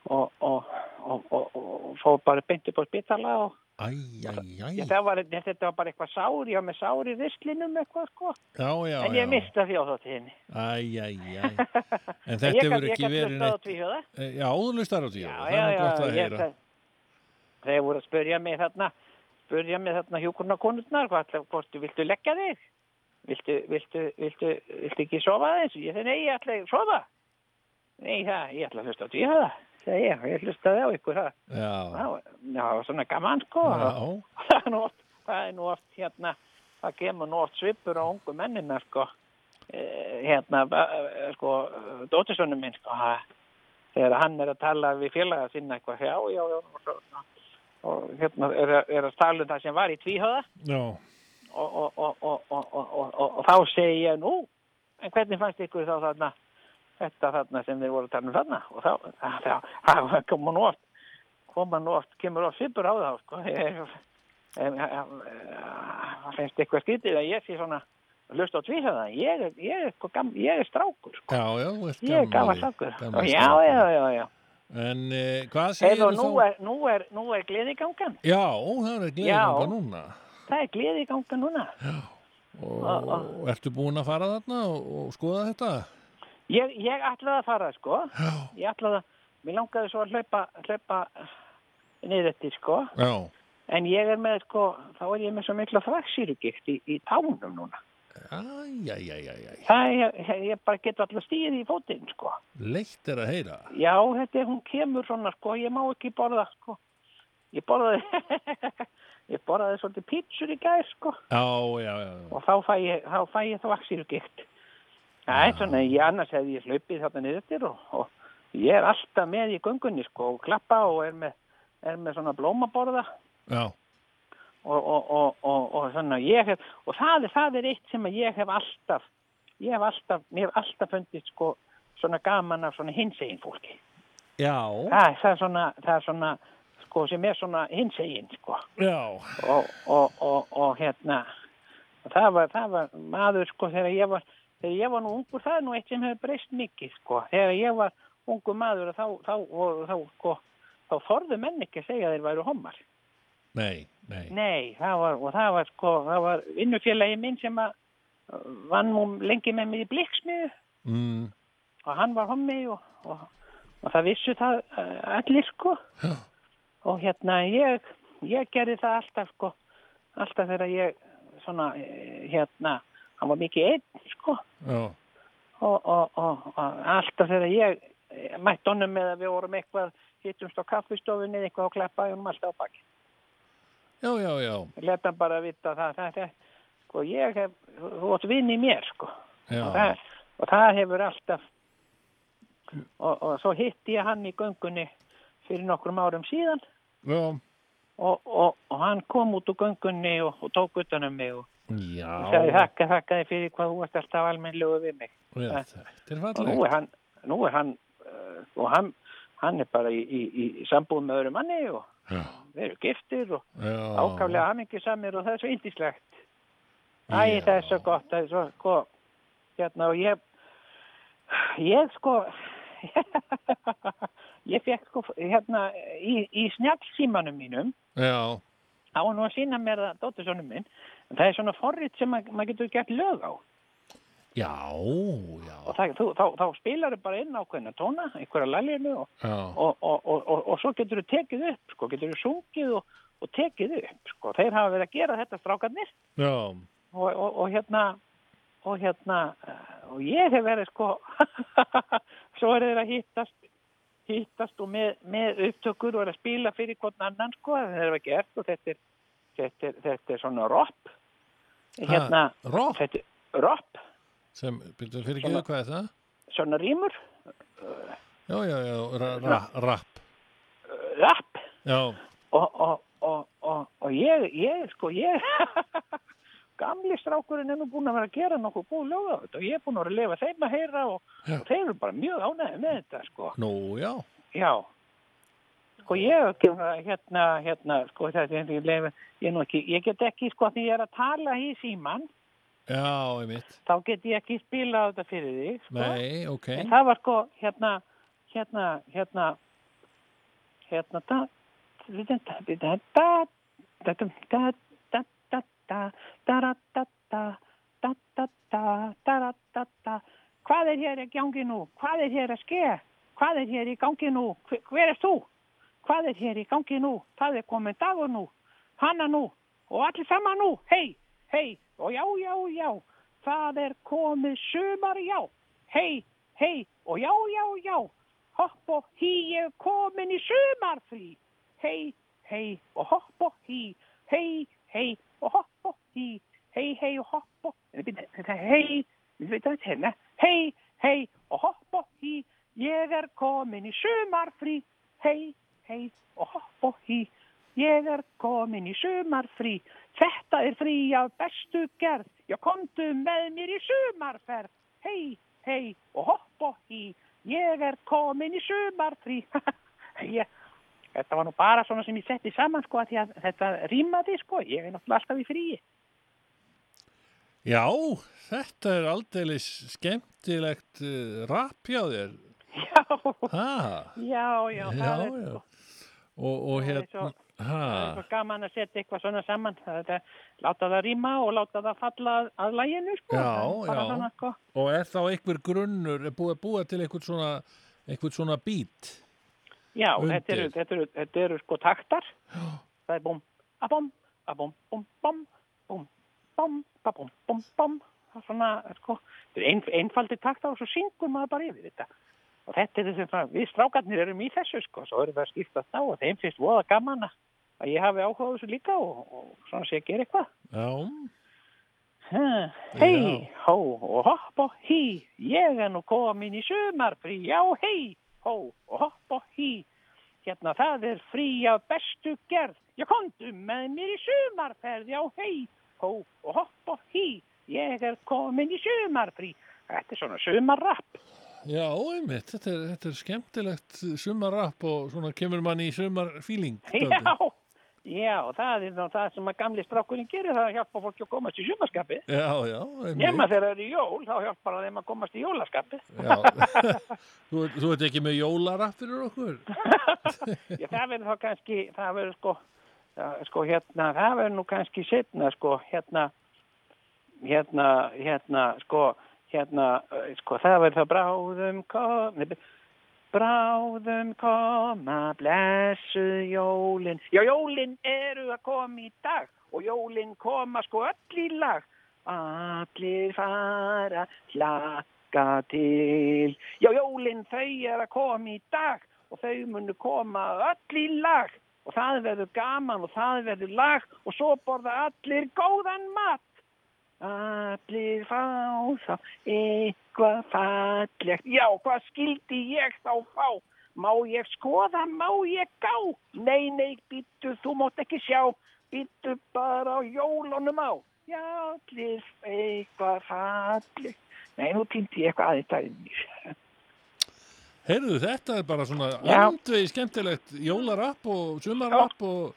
M: og, og, og, og, og, og fór bara beint upp á spítala og
B: Æ, æ, æ.
M: Ég, það var, þetta var bara eitthvað sár, ég var með sár í rislinum eitthvað sko.
B: Já, já,
M: en ég
B: já.
M: mista þjóðháttíðinni.
B: Æ,
M: *laughs*
B: æ, æ. En þetta
M: gat-
B: hefur
M: ég
B: ekki
M: gat
B: verið
M: hlustað á tvíhjóða.
B: Eh, Já, þú lustar á tvíhjóða. Það
M: já,
B: er nú
M: já,
B: gott að
M: ég-
B: heyra.
M: Þeir voru að spyrja mig þarna, spyrja mig þarna hjúkurnakonurnar, hvað ætla, hvort, viltu leggja þig? Viltu, viltu, viltu, viltu ekki sofa þess? Ég þegar, nei, ég ætla ekki að sofa. Nei, það, ég ætla að hlusta á tvíhjóða. Þegar ég, og ég hlustaði á ykkur það.
B: Já.
M: Já, það var svona gaman sko
B: Já.
M: *laughs* það er nú oft, það er nú oft hérna, það kemur nú oft svipur á ungu mennina sko Eh, hérna, ba- eh, sko dóttisvönnum minn sko ha, þegar hann er að tala við félaga sinna eitthvað, já, já, já og, svo- og hérna er, að- er að tala um það sem var í tvíhöða
B: Já.
M: og, og, og, og, og, og, og, og, og þá segi ég nú, en hvernig fannst ykkur þá þarna, þetta þarna sem þeir voru að tala um þarna og þá, þá, þá, *laughs* þá koma nú oft, koma nú oft, kemur oft svipur á þá, sko, ég, en, en, það finnst eitthvað skrítið að ég sé svona, hlust á tvíhöða, ég, er- ég, er sko gam, ég er strákur,
B: Já, já, þú ert
M: ég er gammal
B: gamall-
M: strákur,
B: gamall
M: já,
B: strákur.
M: já, já, já.
B: En eh, hvað segir
M: Heyrðu,
B: þú
M: nú
B: þá?
M: er, nú er, nú er gleðigangan,
B: Já, það er
M: Já.
B: gleðið núna.
M: það er gleðigangan núna.
B: Og, og ertu búin að fara þarna og, og skoða þetta?
M: Ég, ég ætlaði að fara, sko. Já. Ég ætlaði að, mér langaði svo að hlaupa, hlaupa niður eftir, sko.
B: Já.
M: En ég er með, sko, þá er ég með svo mikla þvaksýrugikt í, í tánum núna.
B: Æ, æ, æ, æ, æ.
M: Það er, ég, ég bara get alltaf stíð í fótinn, sko.
B: Leitt er að heyra.
M: Já, þetta er, hún kemur svona, sko, ég má ekki borða, sko. Ég borðaði, *laughs* ég borðaði svolítið pítsur í gær, sko.
B: Já, já, já.
M: Og þá fæ ég, þá fæ ég þvaksýrugikt. Það er svona, ég annars hefði ég hlaupið þarna niður eftir og, og Ég er alltaf með í göngunni sko og klappa og er með, er með svona blómaborða
B: Já.
M: og, og, og, og, og, svona, ég hef, og það, er, það er eitt sem að ég hef alltaf, ég hef alltaf, mér hef alltaf fundið sko svona gaman af svona hinsegin fólki.
B: Já.
M: Það, það er svona, það er svona sko sem er svona hinsegin sko
B: Já.
M: og, og, og, og hérna og það var, það var maður sko þegar ég var þegar ég var nú ungur það er nú eitt sem hefur breyst mikið sko þegar ég var ungur maður þá, þá, þá, þá, sko, þá þorðu menn ekki að segja að þeir væru homar
B: Nei, nei.
M: Nei, það var, og það var sko, það var vinnufélagi minn sem að uh, vann nú lengi með mig í blikksmiðu
B: Mm.
M: og hann var hommi og, og, og það vissu það uh, allir sko og hérna ég, ég gerði það alltaf sko, alltaf þegar ég svona eh, hérna, hann var mikið einn sko
B: Já.
M: og, og, og, og alltaf þegar ég eh, mætti honum með að við vorum eitthvað hittumst á kaffistofunni eða eitthvað og kleppaði honum alltaf á baki
B: Já, já, já.
M: leta hann bara vita það, það, það sko ég hef, þú átt vinn í mér sko og
B: Já.
M: það, og það hefur alltaf og, og svo hitti ég hann í göngunni fyrir nokkrum árum síðan
B: Já.
M: og, og, og hann kom út úr göngunni og, og tók utan um mig og
B: Já.
M: sagði þakka, þakka þið fyrir hvað þú ert alltaf almennlegu við mig Eh,
B: Já, þetta er
M: og nú
B: fallegt.
M: er hann, nú er hann uh, og hann, hann er bara í, í, í sambúð með öðru manni og
B: Já.
M: við erum giftir og
B: Já.
M: ákaflega hamingisamir og það er svo yndislegt. Æ, það er svo gott, það er svo, sko, hérna og ég, ég sko, *laughs* ég fekk sko, hérna, í, í snjallsímanum mínum,
B: Já.
M: á nú að sína mér það, dóttursonum minn, en það er svona forrit sem maður mað getur gert lög á.
B: Já, já,
M: Og það, þú, þá, þá spilarðu bara inn ákveðna tóna, einhverja laljunu og,
B: já.
M: og, og, og, og, og svo getur þú tekið upp, sko, getur þú sungið og, og tekið upp, sko. Þeir hafa verið að gera þetta strákarnir
B: Já,
M: og, og, og hérna, og hérna, eh, og ég hef verið, sko, *laughs* svo er þeir að hittast, hittast og með, með upptökur og er að spila fyrir hvort annan, sko, það er að gert og þetta er, þetta er, þetta er svona ropp, hérna,
B: ropp?
M: Þetta, er ropp,
B: sem, byrjuðu fyrir
M: Svona-
B: geðu, hvað er það?
M: svona rímur,
B: Já, já, já, ra, ra, rapp.
M: rapp,
B: Já,
M: og, og, og, og, og ég, ég, sko, ég, *laughs* gamli strákurinn er nú búin að vera að gera nokkuð góð lög á þetta og ég er búin að vera að lifa þeim að heyra og, og þeir eru bara mjög ánægði með þetta, sko.
B: nú, já,
M: Já, sko, ég, hef ekki- hérna, hérna, sko, þetta er ég lifa, ég er nú ekki, ég get ekki, sko, því ég er að tala í síman,
B: já, ég mitt.
M: þá get ég ekki spilað þetta fyrir þig, sko.
B: Nei, ok.
M: En það var sko, hérna, hérna, hérna, hérna da, da, da, da, da, da, da, da, da, da, da, da, da, da, da, da, da, da, da, da, da. Hvað er hér í gangi nú? Hvað er hér að ske? Hvað er hér í gangi nú? Hver, hver er þú? Hvað er hér í gangi nú? Það er komin dagur nú. Hanna nú. Og allir saman nú. Hei, hei. Og já, já, já. Það er komið sumar, já. Hei, hei. Og já, já, já. Hopp og hí, ég er komin í sumarfrí. Hei, hei. Og hopp og hí. Hei, hei. Og hopp og hí. Hei, hei. Og hopp og... Nei, bíddu, þetta er Hei, við veitum þetta hérna. Hei, hei. Og hopp og hí. Ég er komin í sumarfrí. oh, Hei, hei. Og hopp og hí. Ég er komin í sumarfrí. Þetta er frí af bestu gerð. Já, komdu með mér í sumarferð. oh, Hei, hei og hopp og hí. Ég er komin í sumarfrí. *laughs* ég, þetta var nú bara svona sem ég setti saman sko að því að þetta rýmaði sko. Ég er náttúrulega alltaf í fríi.
D: Já, þetta er aldeilis skemmtilegt uh, rap hjá þér. Já.
M: Já, já,
D: Já,
M: það er
D: já. Og, og
M: Það er
D: hérna,
M: svo-
D: ha,
M: Það er svo gaman að setja eitthvað svona saman. Þetta, láta það rýma og láta það falla að, að læginu, sko.
D: Já,
M: Það er bara
D: já.
M: Svona, sko.
D: og er þá einhver grunnur, er búið að búa til einhvern svona, einhvern svona bít?
M: Já, þetta eru,
D: Undir.
M: þetta, eru, þetta eru sko taktar. Það er búm, a búm, a búm, búm, búm, búm, búm, ba búm, búm, búm. Það er svona, sko, þetta er ein, einfaldi taktar og svo syngur maður bara yfir þetta. Og þetta er þessum, við strákarnir erum í þessu, sko, svo erum við að skiptast á og þeim finnst voða gaman að að ég hafi áhuga á þessu líka og, og svona sé að gera eitthvað.
D: Já.
M: Ha, Hei, hó og hopp og hí, ég er nú komin í sumarfrí, já hei, hó og hopp og hí, hérna það er frí af bestu gerð, já komdu með mér í sumarferð, já hei, hó og hopp og hí, ég er komin í sumarfrí, þetta er svona sumarrapp.
D: Já, einmitt, þetta er, þetta er skemmtilegt sumarrapp og svona kemur manni í sumarfíling.
M: Já, já, það er nú það sem að gamli strákurinn gerir, það er að hjálpa fólki að komast í sumarskapið.
D: Já, já,
M: Nefna
D: einmitt.
M: þegar það eru jól, þá hjálpar það þeim að komast í jólaskapið.
D: Já. *laughs* þú, ert- þú ert ekki með jólarapp fyrir okkur?
M: Já, það verður þá kannski, það verður sko, það, sko hérna, það verður nú kannski setna, sko, hérna, hérna, hérna, sko, hérna, eh, sko, það verður þá bráðum kom, nei, be- bráðum koma, blessu jólin. Já, jólin eru að koma í dag og jólin koma sko öll í lag. Allir fara hlakka til. Já, jólin þau er að koma í dag og þau munu koma öll í lag. Og það verður gaman og það verður lag og svo borða allir góðan mat. Allir fá þá eitthvað fallegt. Já, hvað skildi ég þá fá? Má ég skoða, má ég gá? Nei, nei, býttu, þú mátt ekki sjá. Býttu bara á jólunum á. Já, allir eitthvað fallegt. Nei, nú týndi ég eitthvað aðeins aðeins.
D: Heyrðu, þetta er bara svona
M: Já.
D: andvegi skemmtilegt jólarapp og sumarrapp og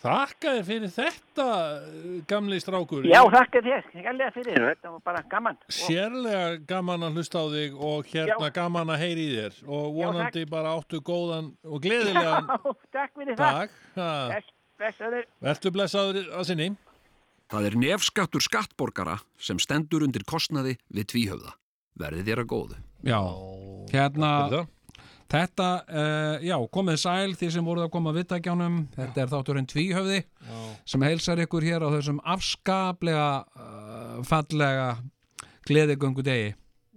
D: þakka þér fyrir þetta, eh, gamli strákur.
M: Já, þakka þér. Ég gælega fyrir þér. Þetta var bara gaman.
D: Sérlega gaman að hlusta á þig og hérna
M: Já.
D: gaman að heyri í þér og
M: Já,
D: vonandi bara áttu góðan og gleðilegan
M: Já, *laughs* takk fyrir
D: dag.
M: það.
D: Ha,
M: Bless- Blessaður.
D: Vertu blessaður að sinni.
A: Það er nefskattur skattborgara sem stendur undir kostnaði við tvíhöfða. Verði þér að góðu.
C: Já, hérna
D: fyrir
C: þetta, uh, já, komið sæl því sem voruð að koma að vittakjánum þetta er þátturinn tvíhöfði
D: Já.
C: sem heilsar ykkur hér á þessum afskaplega uh, fallega gleðigöngu degi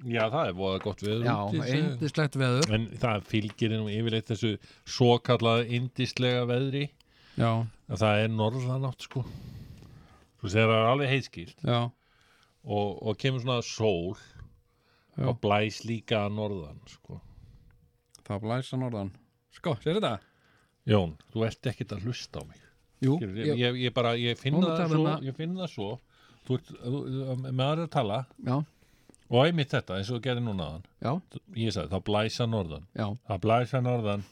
D: Já, það er voða gott veður
C: Já,
D: úti, segir-
C: eindislegt veður
D: En það fylgir nú yfirleitt þessu svo kallaða indislega veðri
C: Já.
D: að það er norðanátt sko Svo þegar það er alveg heiðskilt
C: Já.
D: og, og kemur svona sól
C: Já.
D: og blæs líka að norðan sko
C: Það blæsa norðan Sko, sér þetta?
D: Jón, þú ert ekkert að hlusta á mig
C: Jú,
D: Skilur,
C: ég-
D: ég, ég, ég bara, ég finn
C: Nú
D: það
C: talar
D: svo
C: maður-
D: ég finn það svo þú ert, þú, þú- um, með aðra að tala
C: Já.
D: og einmitt þetta, eins og þú gerir núna áðan.
C: Já.
D: ég sagði, þá blæsa norðan
C: Já.
D: það blæsa norðan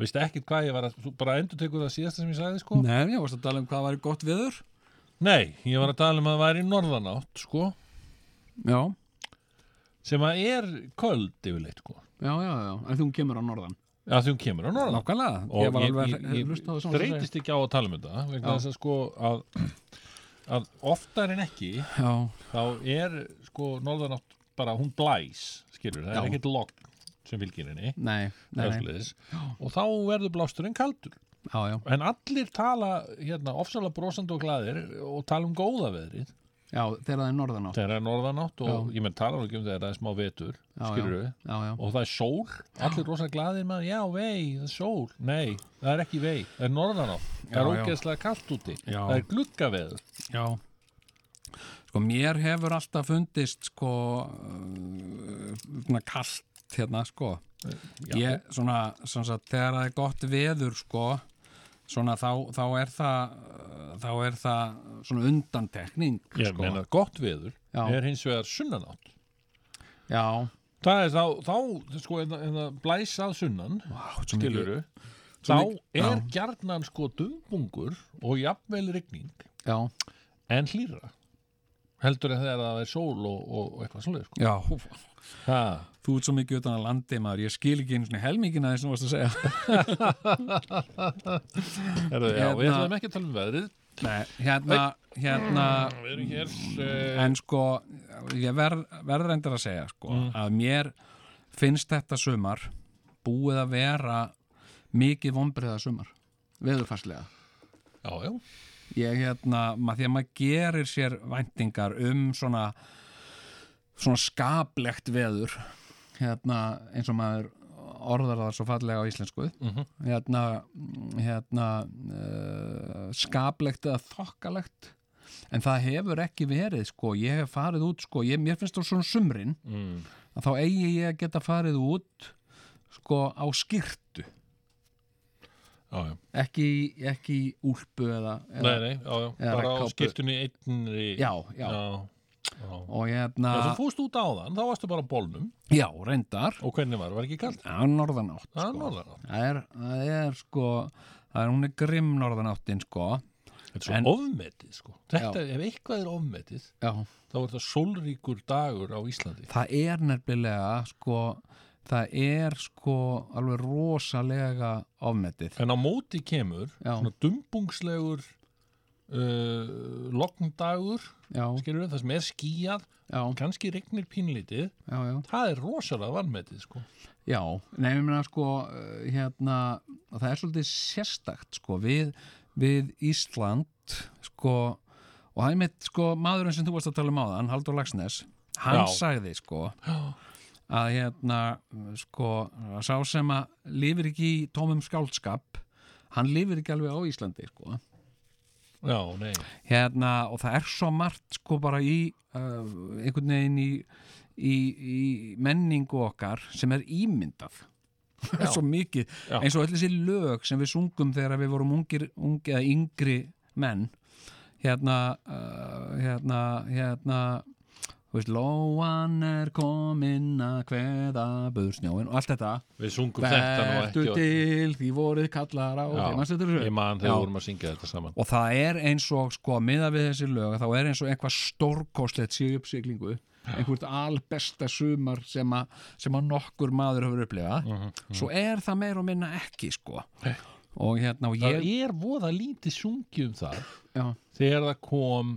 D: veistu ekkert hvað ég var að, þú bara endur tekur það síðasta sem ég sagði sko
C: Nei, ég varst að tala um hvað væri gott veður
D: Nei, ég var að tala um að það væri norðanátt, sko.
C: Já.
D: Sem að er köld yfirleitt, sko.
C: Já, já, já, en þú kemur á norðan
D: að því hún kemur á norðan
C: Nákvæmlega.
D: og
C: Ég var
D: ég,
C: alveg-
D: ég, ég,
C: hlustaði á þessa
D: þreytist ekki á að tala um þetta vegna
C: Já.
D: þess að sko að, að oftar en ekki
C: Já.
D: þá er sko norðanátt bara hún blæs skilur, það
C: Já.
D: er ekkert logn sem fylgir henni
C: Nei, nei,
D: Það er
C: nei.
D: svoleiðis. og þá verður blásturinn kaldur
C: já, já.
D: en allir tala hérna ofsalega brosandi og glæðir og tala um góða veðrið
C: Já, þegar það er norðanátt
D: þegar það er norðanátt og
C: Já.
D: ég menn tala nú ekki um þegar það er smá vetur
C: Já, já.
D: skilur við,
C: Já, já.
D: og það er sól allir rosa glaðir maður, já vei, það er sól nei, það er ekki vei, það er norðanátt það er
C: Já, já.
D: ógeðslega kallt úti
C: Já.
D: það er gluggaveður
C: Já Sko, mér hefur alltaf fundist sko uh, svona kallt hérna sko
D: Já.
C: ég, svona, sem sagt, þegar það er gott veður sko svona þá, þá er það uh, þá er það svona undantekning
D: ég
C: sko.
D: meina gott veður
C: Já.
D: er hins vegar sunnanátt
C: Já
D: það er þá, þá sko, en, það- en það blæs að sunnan
C: svo mikið-
D: skilur við
C: svo
D: þá
C: mikið-
D: er
C: já.
D: gjarnan sko dumbungur og jafnvel rigning
C: Já.
D: en hlýra heldur en þegar það er sól og, og, og eitthvað svolítið sko.
C: Já,
D: ha.
C: þú ert svo mikið utan að landi maður, ég skil ekki einu svona helmingin að þessum varst að segja
D: *laughs* Herðu, já, við ætlum ekki að tala um veðrið
C: Nei, hérna, hérna
D: Mm. Við erum hér, eh,
C: En sko, ég verð, verð reyndir að segja sko,
D: Mm.
C: að mér finnst þetta sumar búið að vera mikið vonbriða sumar, veðurfarslega
D: Já, já
C: Ég hérna, mað, því að maður gerir sér væntingar um svona svona skaplegt veður hérna, eins og maður orðar það svo fallega á íslensku
D: Mhm.
C: hérna, hérna uh, skaplegt eða þokkalegt en það hefur ekki verið sko, ég hef farið út sko, ég, mér finnst það svona sumrin
D: Mm.
C: að þá eigi ég að geta farið út sko á skýrtu
D: Já, já.
C: ekki, í- ekki í úlpu eða, eða
D: Nei, nei, já, já,
C: eða
D: bara á
C: regnkápu.
D: skiptunni einnri
C: Já, já. og hérna
D: Já, þú fúst út á þann, þá varstu bara á bólnum
C: Já, reyndar
D: Og hvernig var, var ekki kallt?
C: Já, norðanátt
D: Já,
C: sko.
D: norðanátt.
C: það er, það er sko það er hún er grimm norðanáttin sko
D: Þetta er svo ofmetið sko Þetta,
C: já,
D: ef eitthvað er ofmetið
C: já.
D: Þá er það sólríkur dagur á Íslandi
C: það er nefnilega sko það er sko alveg rosalega ofmetið
D: En á móti kemur
C: já.
D: svona dumbungslegur uh, logndagur skilur við, það sem er skíjað
C: já.
D: kannski regnir pínlítið
C: já, já.
D: það er rosalega vannmetið sko
C: Já, nefnum hérna sko eh, hérna, það er svolítið sérstakt sko við, við Ísland sko og það er mitt sko maðurinn sem þú varst að tala um á það, Haldur Lagsnes hann
D: Já.
C: sagði sko
D: Já.
C: að hérna sko að sá sem að lifir ekki í tómum skáldskap hann lifir ekki alveg á Íslandi sko
D: Já, nei
C: hérna og það er svo margt sko bara í uh, einhvern veginn í, í, í menningu okkar sem er ímyndað *laughs* Það er
D: Já.
C: svo mikið,
D: Já.
C: eins og öll þessi lög sem við sungum þegar við vorum ungir, ungi eða yngri menn hérna uh, hérna, hérna þú veist, Lóan er komin að kveða bursnjóin og allt þetta
D: Við sungum þetta nú ekki
C: Vertu
D: öll.
C: til, því voruð kallar á
D: Já,
C: þeim, manstu þetta þessu?
D: ég man þegar
C: Já.
D: við vorum að syngja þetta saman
C: og það er eins og sko miða við þessi lög þá er eins og einhvað stórkostlegt séu uppsiglingu einhvert albesta sumar sem, a, sem að nokkur maður hefur upplifað
D: Mhm,
C: svo er það meir og minna ekki sko og hérna og
D: Það
C: ég
D: er voða lítið sungið um það
C: Já.
D: þegar það kom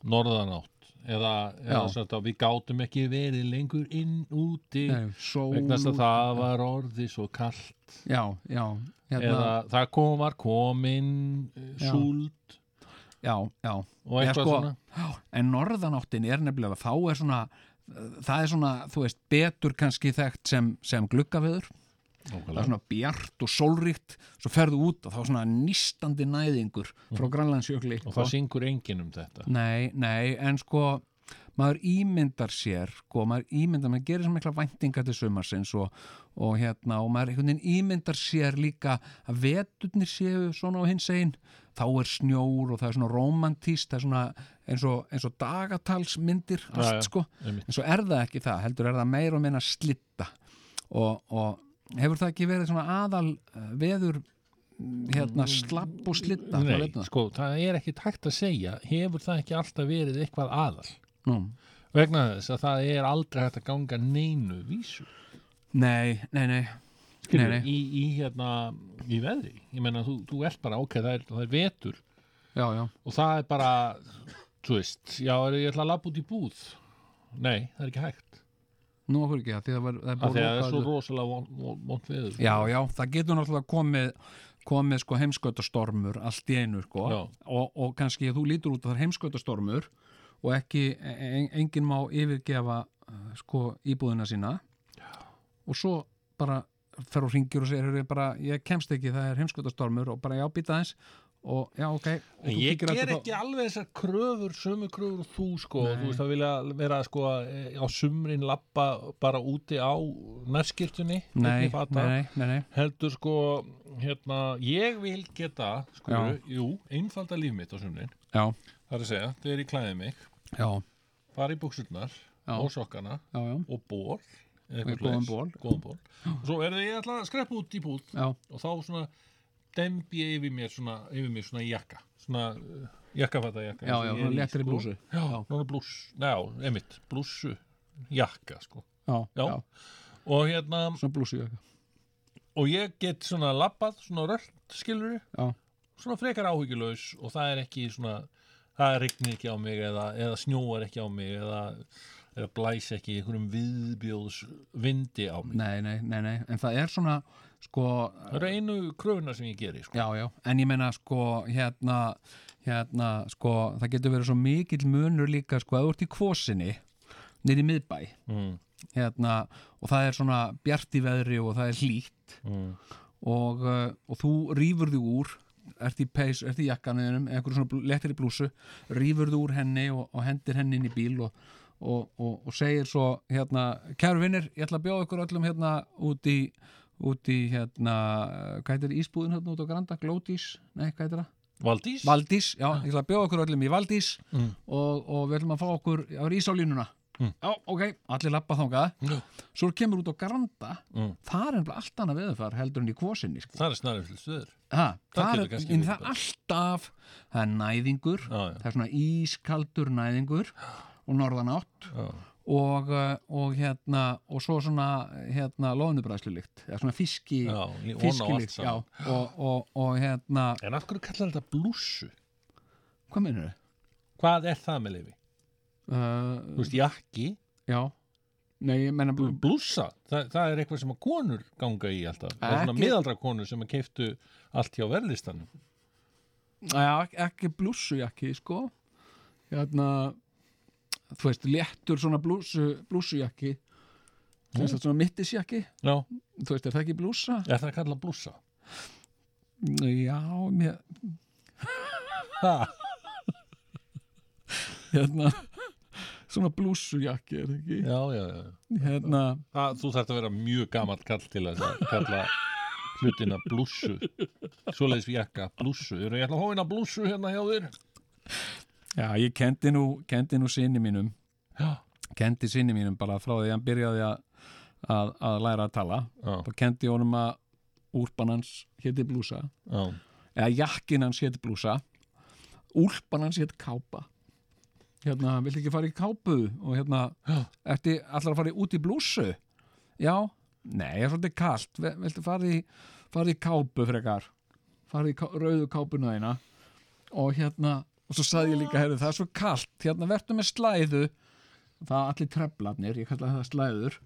D: norðanátt eða, eða
C: Já.
D: svona, við gátum ekki verið lengur inn úti
C: Nei, sól
D: vegna þess
C: úti.
D: að það var orðið svo kallt
C: já, já, hérna,
D: eða það kom, var komin
C: Já.
D: súld
C: já, já
D: og
C: Já,
D: eitthvað
C: sko,
D: svona
C: já, en norðanáttin er nefnilega þá er svona, það er svona þú veist, betur kannski þekkt sem, sem gluggaveður það er svona bjart og sólríkt svo ferðu út og þá er svona nýstandi næðingur frá Grænlandsjökli
D: Mhm. og það syngur enginn um þetta
C: Nei, nei, en sko maður ímyndar sér sko, maður ímyndar, maður gerir sem mikla væntingar til sumarsins og, og hérna og maður einhvern veginn ímyndar sér líka að veturnir séu svona á hins einn þá er snjór og það er svona romantíst, það er svona eins og, eins og dagatalsmyndir
D: Já,
C: allt
D: já,
C: sko,
D: einmitt.
C: en svo er það ekki það heldur er það meir og minna slitta og, og hefur það ekki verið svona aðal eh, veður hérna slapp og slitta hvað
D: Nei,
C: veit maður?
D: sko, það er ekkit hægt að segja hefur það ekki alltaf verið eitthvað aðal
C: Nú.
D: vegna þess að það er aldrei hægt að ganga neinu vísu
C: Nei, nei, nei
D: skilur,
C: Nei, nei.
D: Í, í hérna í veðri, ég meina þú, þú ert bara ok, það er, það er vetur
C: já, já.
D: og það er bara, þú veist já, er, ég ætla að labba út í búð nei, það er ekki hægt
C: Nú okkur ekki, af því það, var, það er
D: af
C: búið
D: því að það
C: að
D: er svo
C: loka öllu.
D: rosalega vond von, von veður sko.
C: Já, já, það getur náttúrulega komið komið sko heimskautastormur allt í einu sko
D: Já.
C: og, og kannski að þú lítur út að það er heimskautastormur og ekki, en, enginn má yfirgefa eh, sko íbúðina sína og svo bara fer og ringir og segir "Heyrðu, bara, ég kemst ekki, það er heimskautastormur og bara já, býta aðeins og já, ok og
D: En
C: þú
D: ég
C: kíkir
D: ger
C: eftir þá-
D: ekki alveg þessar kröfur sömu kröfur og þú sko
C: Nei.
D: þú veist að vilja vera sko eh, á sumrin lappa bara úti á nærskirtunni
C: Nei,
D: einni fata.
C: nei, nei, nei.
D: heldur sko hérna, ég vil geta sko,
C: Já.
D: jú, einfalda líf mitt á sumrin
C: Já.
D: það er að segja, þegar ég klæði mig
C: Já.
D: fara í buksurnar
C: Já.
D: og sokkana
C: Já, já.
D: og ból eða
C: Og í
D: eitthvað
C: góðan
D: svoleiðis,
C: ból.
D: góðan ból. og svo er það ég ætla að skreppa út í búð
C: Já.
D: og þá svona dembi ég yfir mér svona, yfir mér svona jakka svona uh, jakkafata jakka
C: Já, já, svona
D: sko.
C: léttri blússu.
D: já, svona blús, já, einmitt, blússu jakka sko
C: Já, já.
D: og hérna
C: svona blússu jakka
D: og ég get svona labbað, svona rölt skilur
C: Já.
D: svona frekar áhyggjulaus og það er ekki svona það rignir ekki á mig eða, eða snjóar ekki á mig eða, eða blæs ekki einhverjum viðbjóðs vindi á mig
C: Nei, nei, nei, nei, en það er svona sko,
D: það eru einu kröfuna sem ég geri sko.
C: já, já, en ég meina sko, hérna hérna, sko, það getur verið svo mikill munur líka, sko, að þú ert í kvosinni niður í miðbæ
D: Mm.
C: hérna, og það er svona bjart í veðri og það er hlýtt
D: Mm.
C: og, uh, og þú rýfur þig úr ert í peys, ert í jakkanuðinum eitthvað svona bl- léttri blúsu, rýfur þig úr henni og, og hendir henni inn í bíl og, og, og, og segir svo hérna, kæru vinnir, ég ætla að bjóða ykkur öllum hérna út í út í hérna, eh, hvað heitir ísbúðin hérna út á Granda, Glódís, nei hvað heitir það?
D: Valdís?
C: Valdís, já, ég ætla að bjóða okkur öllum í Valdís
D: Mm.
C: og, og við ætlum að fá okkur á ísálínuna,
D: Mm.
C: já, ok allir lappa þangað, svo kemur út á Granda,
D: Mm.
C: það er ennlega allt annað veðurfar heldur en í kvosinni, sko
D: það er snarið fyrir stöður
C: Ha,
D: Það
C: það
D: getur
C: er,
D: kannski
C: en
D: verið
C: það er alltaf það er næðingur, já, já. það er svona ískaldur næðingur og norðanátt
D: já.
C: og, uh, og hérna og svo svona hérna loðnubræðslulikt, eða svona fiski
D: Já, í- ofan á allt
C: fiskilykt, já,
D: saman.
C: og, og, og hérna
D: En af hverju kallar þetta blússu?
C: Hvað meinur þau?
D: hvað er það með lifi?
C: Uh,
D: þú veist, jakki
C: já, nei, ég menna
D: Mm. blússa, það, það er eitthvað sem að konur ganga í alltaf, það er svona
C: Ekki-
D: miðaldra konur sem að keiftu allt hjá verðlistanum
C: Já, ek- ekki blússujakki sko hérna þú veist, léttur svona blússu, blússujakki þú veist, svona mittisjakki
D: Já.
C: þú veist, er það ekki blússa?
D: er það að kalla blússa?
C: Já, mér
D: Ha?
C: hérna *laughs* svona blússujakki er það ekki
D: já, já, já
C: hérna,
D: það, þú þarft að vera mjög gamall kall til þess að kalla hlutina blússu svoleiðis við jakka blússu eru ég ætla að hóina blússu hérna hjá þér
C: já, ég kendi nú kendi nú sinni mínum
D: Já.
C: kendi sinni mínum bara frá því að hann byrjaði að, að, að læra að tala
D: Já.
C: þá kendi ég honum að úrpan hans héti blúsa
D: Já.
C: eða jakkin hans héti blúsa úlpan hans héti kápa hérna, vill ekki fara í kápu og hérna, ertu allar að fara í- út í blúsu já, nei, ég er svolítið kalt Vil- viltu fara í, fara í kápu frekar fara í ká, rauðu kápuna þína og hérna, og svo sagði ég líka herri, það er svo kalt, hérna vertu með slæðu það er allir treflarnir ég kallaði það slæður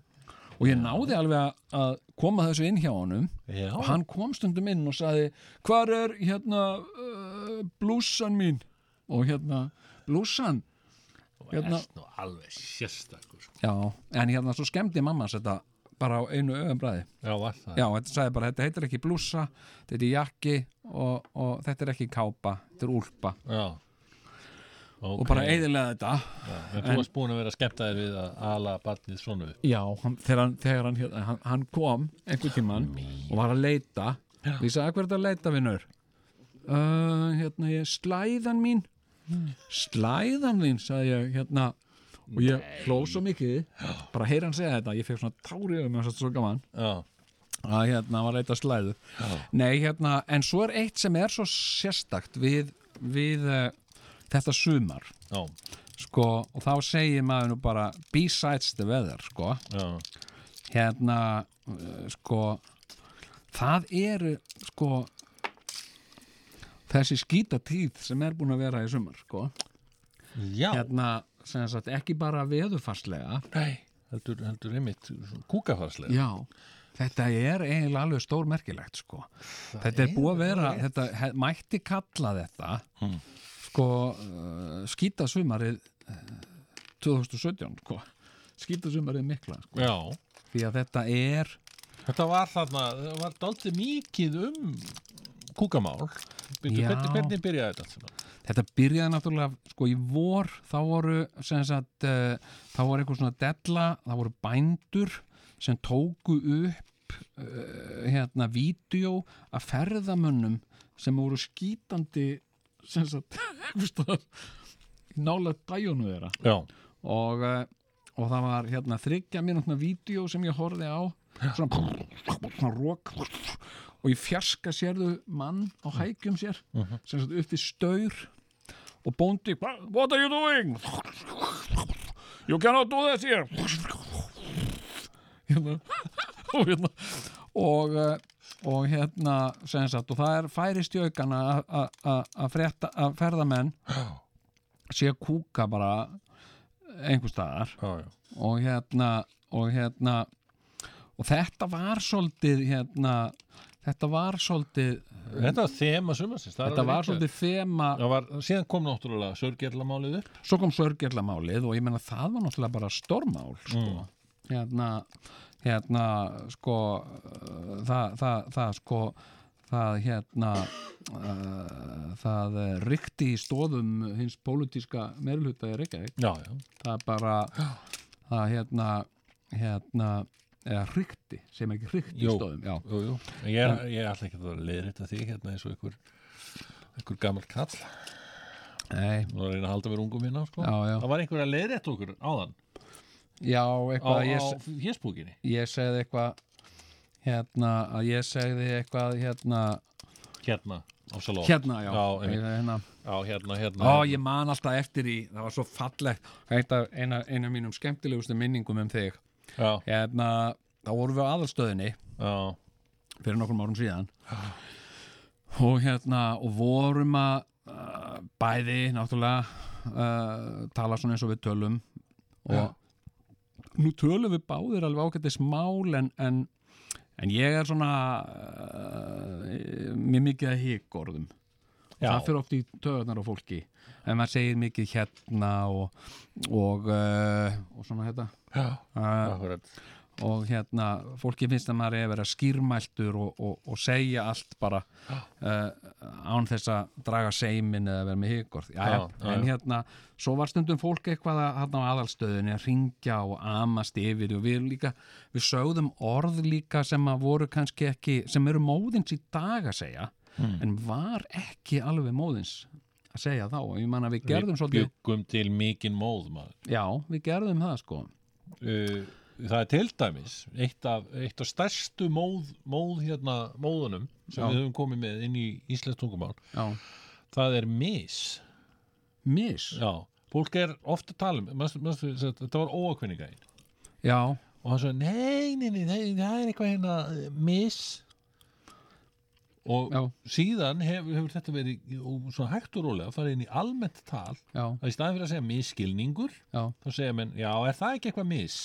C: og ég náði alveg að- að koma þessu inn hjá honum
D: Já.
C: og hann kom stundum inn og sagði hvar er hérna uh, blússan mín og hérna blússan hérna,
D: Ert nú alveg sérstakur
C: já, en hérna svo skemmdi mamma hans þetta bara á einu öðumbræði
D: já, var það
C: já, þetta sagði bara, þetta heitir ekki blússa þetta er jakki og, og þetta er ekki kápa, þetta er úlpa
D: já.
C: og bara eðilega þetta
D: já, en þú
C: En-
D: varst búin að vera skemmt að þér við að ala barnið svona upp
C: Já, hann, þegar, hann, þegar hann, hérna- hann, hann kom einhver tíman og var að leita og ég sagði, að hvað er þetta að leita, vinnur? Uh, hérna, ég, slæðan mín slæðan þín, sagði ég, hérna og ég hló svo mikið bara heyra hann segja þetta, ég fekk svona tári um þess að svo gaman
D: Já.
C: að hérna, hann var að leita að slæðu Nei, hérna, en svo er eitt sem er svo sérstakt við, við uh, þetta sumar
D: já.
C: sko, og þá segir maður nú bara besides the weather, sko
D: já.
C: hérna uh, eh, sko það eru sko þessi skítatíð sem er búin að vera í sumar sko
D: Já.
C: hérna sem sagt ekki bara veðurfarslega
D: Nei, heldur, heldur einmitt kúkafarslega
C: Já, þetta er eiginlega alveg stórmerkilegt sko Þetta er
D: er
C: búið að vera,
D: rétt.
C: þetta he, mætti kalla þetta
D: Hmm.
C: sko uh, skítasumarið uh, 2017 sko skítasumarið mikla sko.
D: Já.
C: Því að þetta er
D: Þetta var þarna, það var daldið mikið um kúkamál Býtu,
C: Já.
D: hvernig, hvernig byrjaði þetta? allt saman?
C: Þetta byrjaði náttúrulega sko í vor, þá voru sem sagt, uh, þá voru eitthvað svona della, þá voru bændur sem tóku upp uh, hérna vídeo af ferðamönnum sem voru skítandi sem sagt *laughs* einhvers staðar nálega dæjónu þeirra
D: Já.
C: og, eh, og það var hérna þryggja mínútna vídeo sem ég horfði á svona, svona rók og í fjarska sérðu mann á hækjum sér
D: Mhm.
C: sem satt upp í staur og bóndi What are you doing? You cannot do this here hérna, og hérna og, eh, og hérna sem sagt, og það er færist í aukana að- að- að frétta- að ferðamenn sé að kúka bara einhver staðar
D: já, já.
C: og hérna og hérna og þetta var svolítið hérna þetta var svolítið
D: Þetta var þema sumarsins
C: Þetta var svolítið þema
D: var, Síðan kom náttúrulega sörgjallamálið upp
C: svo kom sörgjallamálið og ég meina það var náttúrulega bara stormál sko. hérna, hérna sko uh, það, það, það sko það hérna uh, það eh, ríkti í stóðum hins pólitíska meirluta í Reykjavík
D: já, já.
C: það bara það hérna hérna eða ríkti, sem ekki ríkti í
D: Jú,
C: stóðum já.
D: jú, jú. En Ég, er, ég ætla ekki að vera leiðrétt að því hérna eins og einhver, einhver gammal kall
C: Nei
D: Nú er að reyna að halda mér ungum hérna sko.
C: Já, já.
D: Það var einhver að leiðrétt okkur áðan
C: Já, eitthvað
D: Á-
C: ég,
D: á
C: se-
D: Facebookinni?
C: Ég segði eitthvað hérna, að ég segði eitthvað hérna
D: Hérna, á salón
C: Hérna, já,
D: einmitt.
C: Ég- hérna.
D: Já, hérna, hérna
C: Ó, ég man alltaf eftir í, það var svo fallegt eitt af eina, eina mínum skemmtilegustu minningum um þig
D: já.
C: hérna, þá vorum við á aðalstöðinni
D: já.
C: fyrir nokkrum árum síðan og hérna og vorum að uh, bæði náttúrulega uh, tala svona eins og við tölum og nú tölum við báðir alveg ágættis mál en, en, en ég er svona uh, mér mikið að hík orðum
D: Já.
C: það fyrir oft í töðunar á fólki en maður segir mikið hérna og og, uh, og svona hérna
D: Já,
C: uh, og hérna fólki finnst að maður er að vera skýrmæltur og, og, og segja allt bara uh, án þess að draga seimin eða vera með híkorð já, já,
D: Já, já,
C: en
D: já.
C: hérna, svo var stundum fólk eitthvað að, hérna á aðalstöðunni að ringja og amast yfir og við líka við sögðum orð líka sem að voru kannski ekki, sem eru móðins í dag að segja,
D: Mm.
C: en var ekki alveg móðins að segja þá, ég man að við gerðum svolítið
D: Við byggum til mikinn móð maður.
C: já, við gerðum það sko
D: uh, Það er til dæmis eitt af, eitt af stærstu móð, móð hérna, móðunum sem
C: Já.
D: við höfum komið með inn í Íslands tungumál
C: Já.
D: Það er mis
C: Mis?
D: Já, fólk er ofta talum um, manstu, manstu, sem sagt, Þetta var óakvinninga einn
C: já,
D: og hann svo, nei, nei, nei, nei, það er eitthvað hérna eh, mis og síðan hefur, hefur þetta verið og svona hægt og rólega farið inn í almennt tal
C: já.
D: að í staðin fyrir að segja miskilningur
C: já.
D: þá segja menn, já, er það ekki eitthvað mis?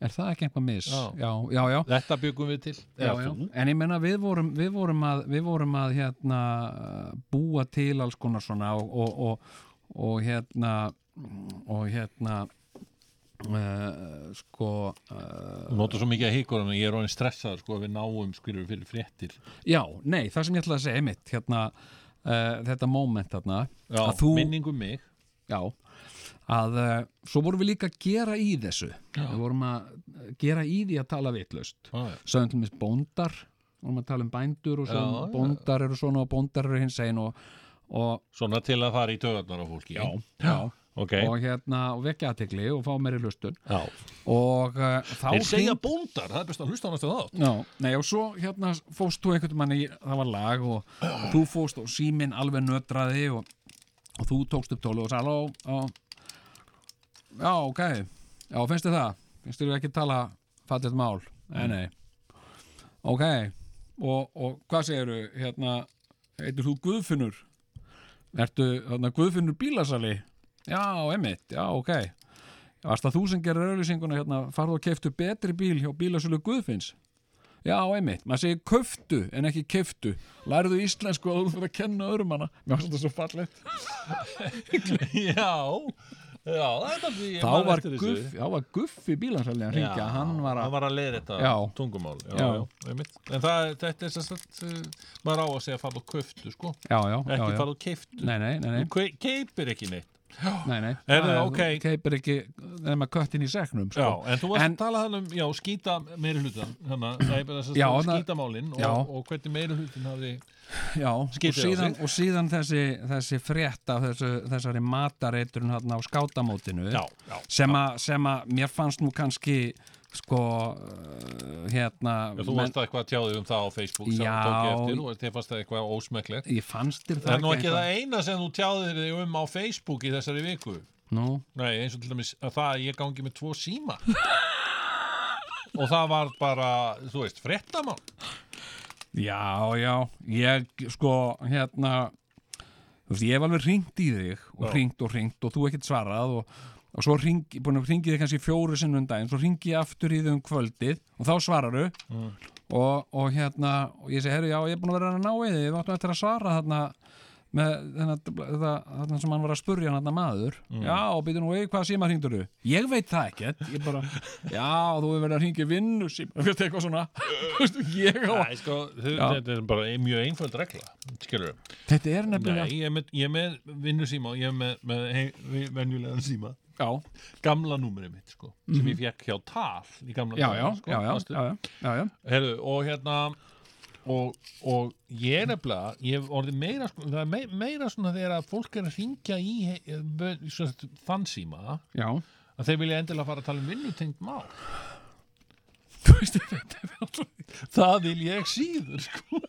C: er það ekki einhvað mis?
D: Já.
C: já, já, já.
D: Þetta byggum við til
C: Já, já. En ég menna við vorum, við vorum að, við vorum að hérna, búa til alls konar svona og, og, og, og hérna og hérna uh, sko uh,
D: Þú notar svo mikið að híkur en ég er orðin stressaður sko að við náum skilur fyrir fréttir
C: Já, nei, það sem ég ætla að segja mitt hérna, uh, þetta moment þarna
D: Já,
C: að þú,
D: minning um mig
C: Já, að uh, svo vorum við líka að gera í þessu við vorum að eh, gera í því að tala vitlaust
D: Já, já.
C: sögum til mér bóndar vorum að tala um bændur og sögum
D: Já, já.
C: bóndar eru svona og bóndar eru hins einn og, og
D: Svona til að fara í tögarnar á fólki Já,
C: já
D: Ok.
C: og hérna og vekja aðtegli og fá meiri hlustun
D: Já.
C: og uh, þá
D: Þeir segja
C: hring-
D: bóndar, það er best að hlusta á næstu þátt
C: Já, nei og svo hérna fóst þú einhvern manni, það var lag og, og þú fóst og síminn alveg nötraði og, og þú tókst upp tólu og sagði halló, já, já, ok, já, finnst þið það? Finnst þið ekki tala fallið mál? Nei, nei, ok, og, og hvað segiru, hérna, heitir þú Guðfinnur? Ertu hérna, Guðfinnur bílasali? Já, emitt, já, ok. Varst það þú sem gerir auðlýsinguna, hérna, farðu og keiftu betri bíl hjá bílasölu Guðfinns? Já, emitt, maður segir köftu en ekki keiftu. Lærðu íslensku að þú fyrir að kenna öðrum hana. Mér varst þetta svo fallegt.
D: *laughs* já, já, þetta því
C: Þá var, guff, þá var Guffi bílansalinn að ringja, hann var að...
D: hann var að leiða þetta
C: Já.
D: tungumál já,
C: Já.
D: já. einmitt. en það, þetta er sem sagt uh, maður á að segja farðu og köftu sko
C: Já, já, já,
D: ekki
C: já.
D: farðu og keiftu
C: Nei, nei, nei, nei.
D: þú kei- keipir ekki neitt
C: Nei, nei,
D: Oh. Er það
C: er-
D: ok?
C: þú keipir ekki nema köttin í seknum sko.
D: Já, en þú varst að tala þannig um, já, skýta hérna, meiri hlutan, *clears throat* þannig að
C: Já, þarna-
D: skýtamálin
C: já.
D: og, og hvernig meiri hlutin hafði
C: Já, og
D: skítið á
C: síðan,
D: sig.
C: og síðan þessi, þessi frétt af þessu, þessari matareiturinn hérna á skátamótinu
D: Já, já,
C: sem, a, sem að mér fannst nú kannski sko uh, hérna
D: Já, þú varst eitthvað að tjáðið um það á Facebook sem
C: Já.
D: þú tók ég eftir og þið fannst það eitthvað ósmekklegt
C: Ég fannst þér
D: Það
C: það
D: er nú ekki það eina sem þú tjáðir þig um á Facebook í þessari viku
C: Nú,
D: Nei, eins og til dæmis að það að ég gangi með tvo síma *laughs* Og það var bara, þú veist, fréttamál
C: já, já ég sko hérna þú veist, ég hef alveg ringt í þig og
D: Já.
C: ringt og ringt og þú ekkert svarað og, og svo ring, búin að ringi þig kannski fjóru sinnum um daginn, svo ringi ég aftur í þig um kvöldið og þá svararu
D: Mm.
C: og, og hérna og ég segi, herru, já, ég er búin að vera að ná í þig við áttum eftir að svara þarna með þarna, þetta, þarna sem hann var að spurja hann þarna maður
D: Mm.
C: já, og býtum nú, hvað síma hringdur þú? ég veit það ekkert, ég
D: *laughs*
C: bara já, þú hefur verið að hringi vinnu síma *laughs* þú veist eitthvað svona Þú veist, ég á
D: Nei, sko, þau,
C: Já.
D: þetta er bara mjög einföld regla skilur
C: Þetta er nefnilega-
D: Nei, ég er með, ég er með vinnusíma og ég er með, með hei, venjulegan síma
C: Já Mhm.
D: Gamla númerið mitt, sko sem ég fekk hjá tal í gamla
C: já,
D: daga,
C: já,
D: sko,
C: já, já,
D: manstu?
C: já, já, já.
D: Heyrðu, og hérna og, og ég er nefnilega ég hef orðið meira, sko, það er mei- meira svona þegar að fólk er að ringja í he- eh, svo sagt, þann síma
C: Já.
D: að þeir vilja endilega fara að tala um vinnutengt mál það vil ég síður sko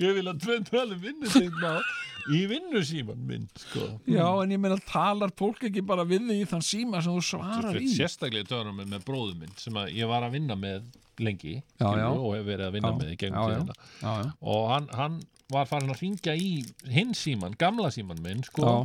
D: ég vil að tveim tala um vinnutengt mál í vinnusíman minn sko
C: já, en ég meina talar fólk ekki bara við þig í þann síma sem þú svarar
D: Þetta
C: í
D: er sérstaklega törnum með bróðum minn sem að ég var að vinna með lengi
C: Já,
D: skilurðu,
C: já.
D: og hef verið að vinna
C: Já,
D: með í gegnum
C: já, já.
D: tíðina
C: Já, já.
D: og hann, hann var farin að ringja í hinn síman, gamla síman minn sko,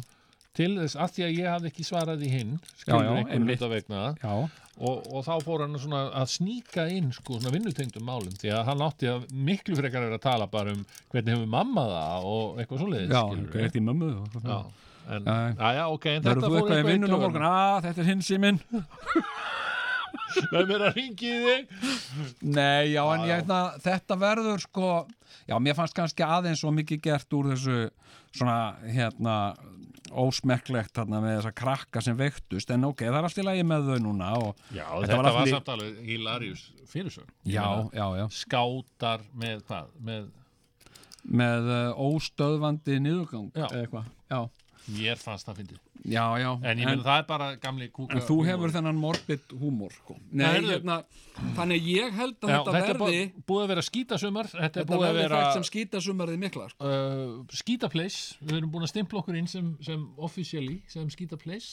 D: til þess að því að ég hafði ekki svarað í hinn
C: Já, já,
D: skilur einhvern
C: einmitt.
D: hluta vegna
C: já.
D: Og, og þá fór hann svona að sníka inn sko, svona vinnutengdum málum því að hann átti að miklu frekar er að tala bara um hvernig hefur mamma það og eitthvað svoleiðis
C: já,
D: skilurðu.
C: greitt í mömmu
D: Já, en,
C: Já.
D: já, já, ok, en
C: verður
D: þetta
C: þú
D: fór
C: eitthvað í vinnun á
D: taugarnar.
C: morgun að þetta er hinn símin
D: Með mér að ringi í þig
C: Nei, já, en
D: Já,
C: ég
D: já.
C: hefna, þetta verður sko, já, mér fannst kannski aðeins svo mikið gert úr þessu svona, hérna, ósmekklegt þarna með þessa krakka sem veiktust, en ok, það er allt í lagi með þau núna og
D: Já, þetta var,
C: allt í-
D: samt alveg Hilarius fyrirsögn Ég
C: Já,
D: meina,
C: já, já.
D: Skátar með hvað? Með,
C: með uh, óstöðvandi niðurgang
D: Já.
C: eða eitthvað, já.
D: mér fannst það fyndið
C: Já, já.
D: En ég meina það er bara gamli kúka
C: En þú hefur þennan morbid húmor, sko. Nei,
D: heyrðu.
C: hérna, þannig ég held að
D: Já,
C: þetta,
D: þetta er bú-
C: verði,
D: búið að vera skítasumar Þetta er
C: þetta
D: búið að
C: verði
D: vera
C: þætt sem skítasumariði mikla, sko.
D: uh, skítaplace Við erum búin að stimpla okkur inn sem, sem officially sem skítaplace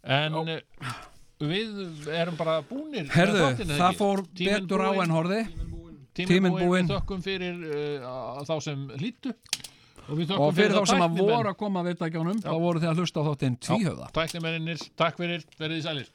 D: En uh, við erum bara búnir með
C: Herðu,
D: þáttinn, eða
C: það
D: ekki?
C: fór
D: Tíminn
C: betur á
D: búinn.
C: en horði.
D: Tíminn búinn, við
C: búinn.
D: þökkum fyrir uh, að- þá sem hlýttu og, við þökkum
C: og fyrir þá sem að
D: tæknimenn.
C: voru að koma að vita ekki ánum þá voru þið að hlusta á þáttinn tvíhöfða
D: Tæknimennir, takk fyrir, verið í sælir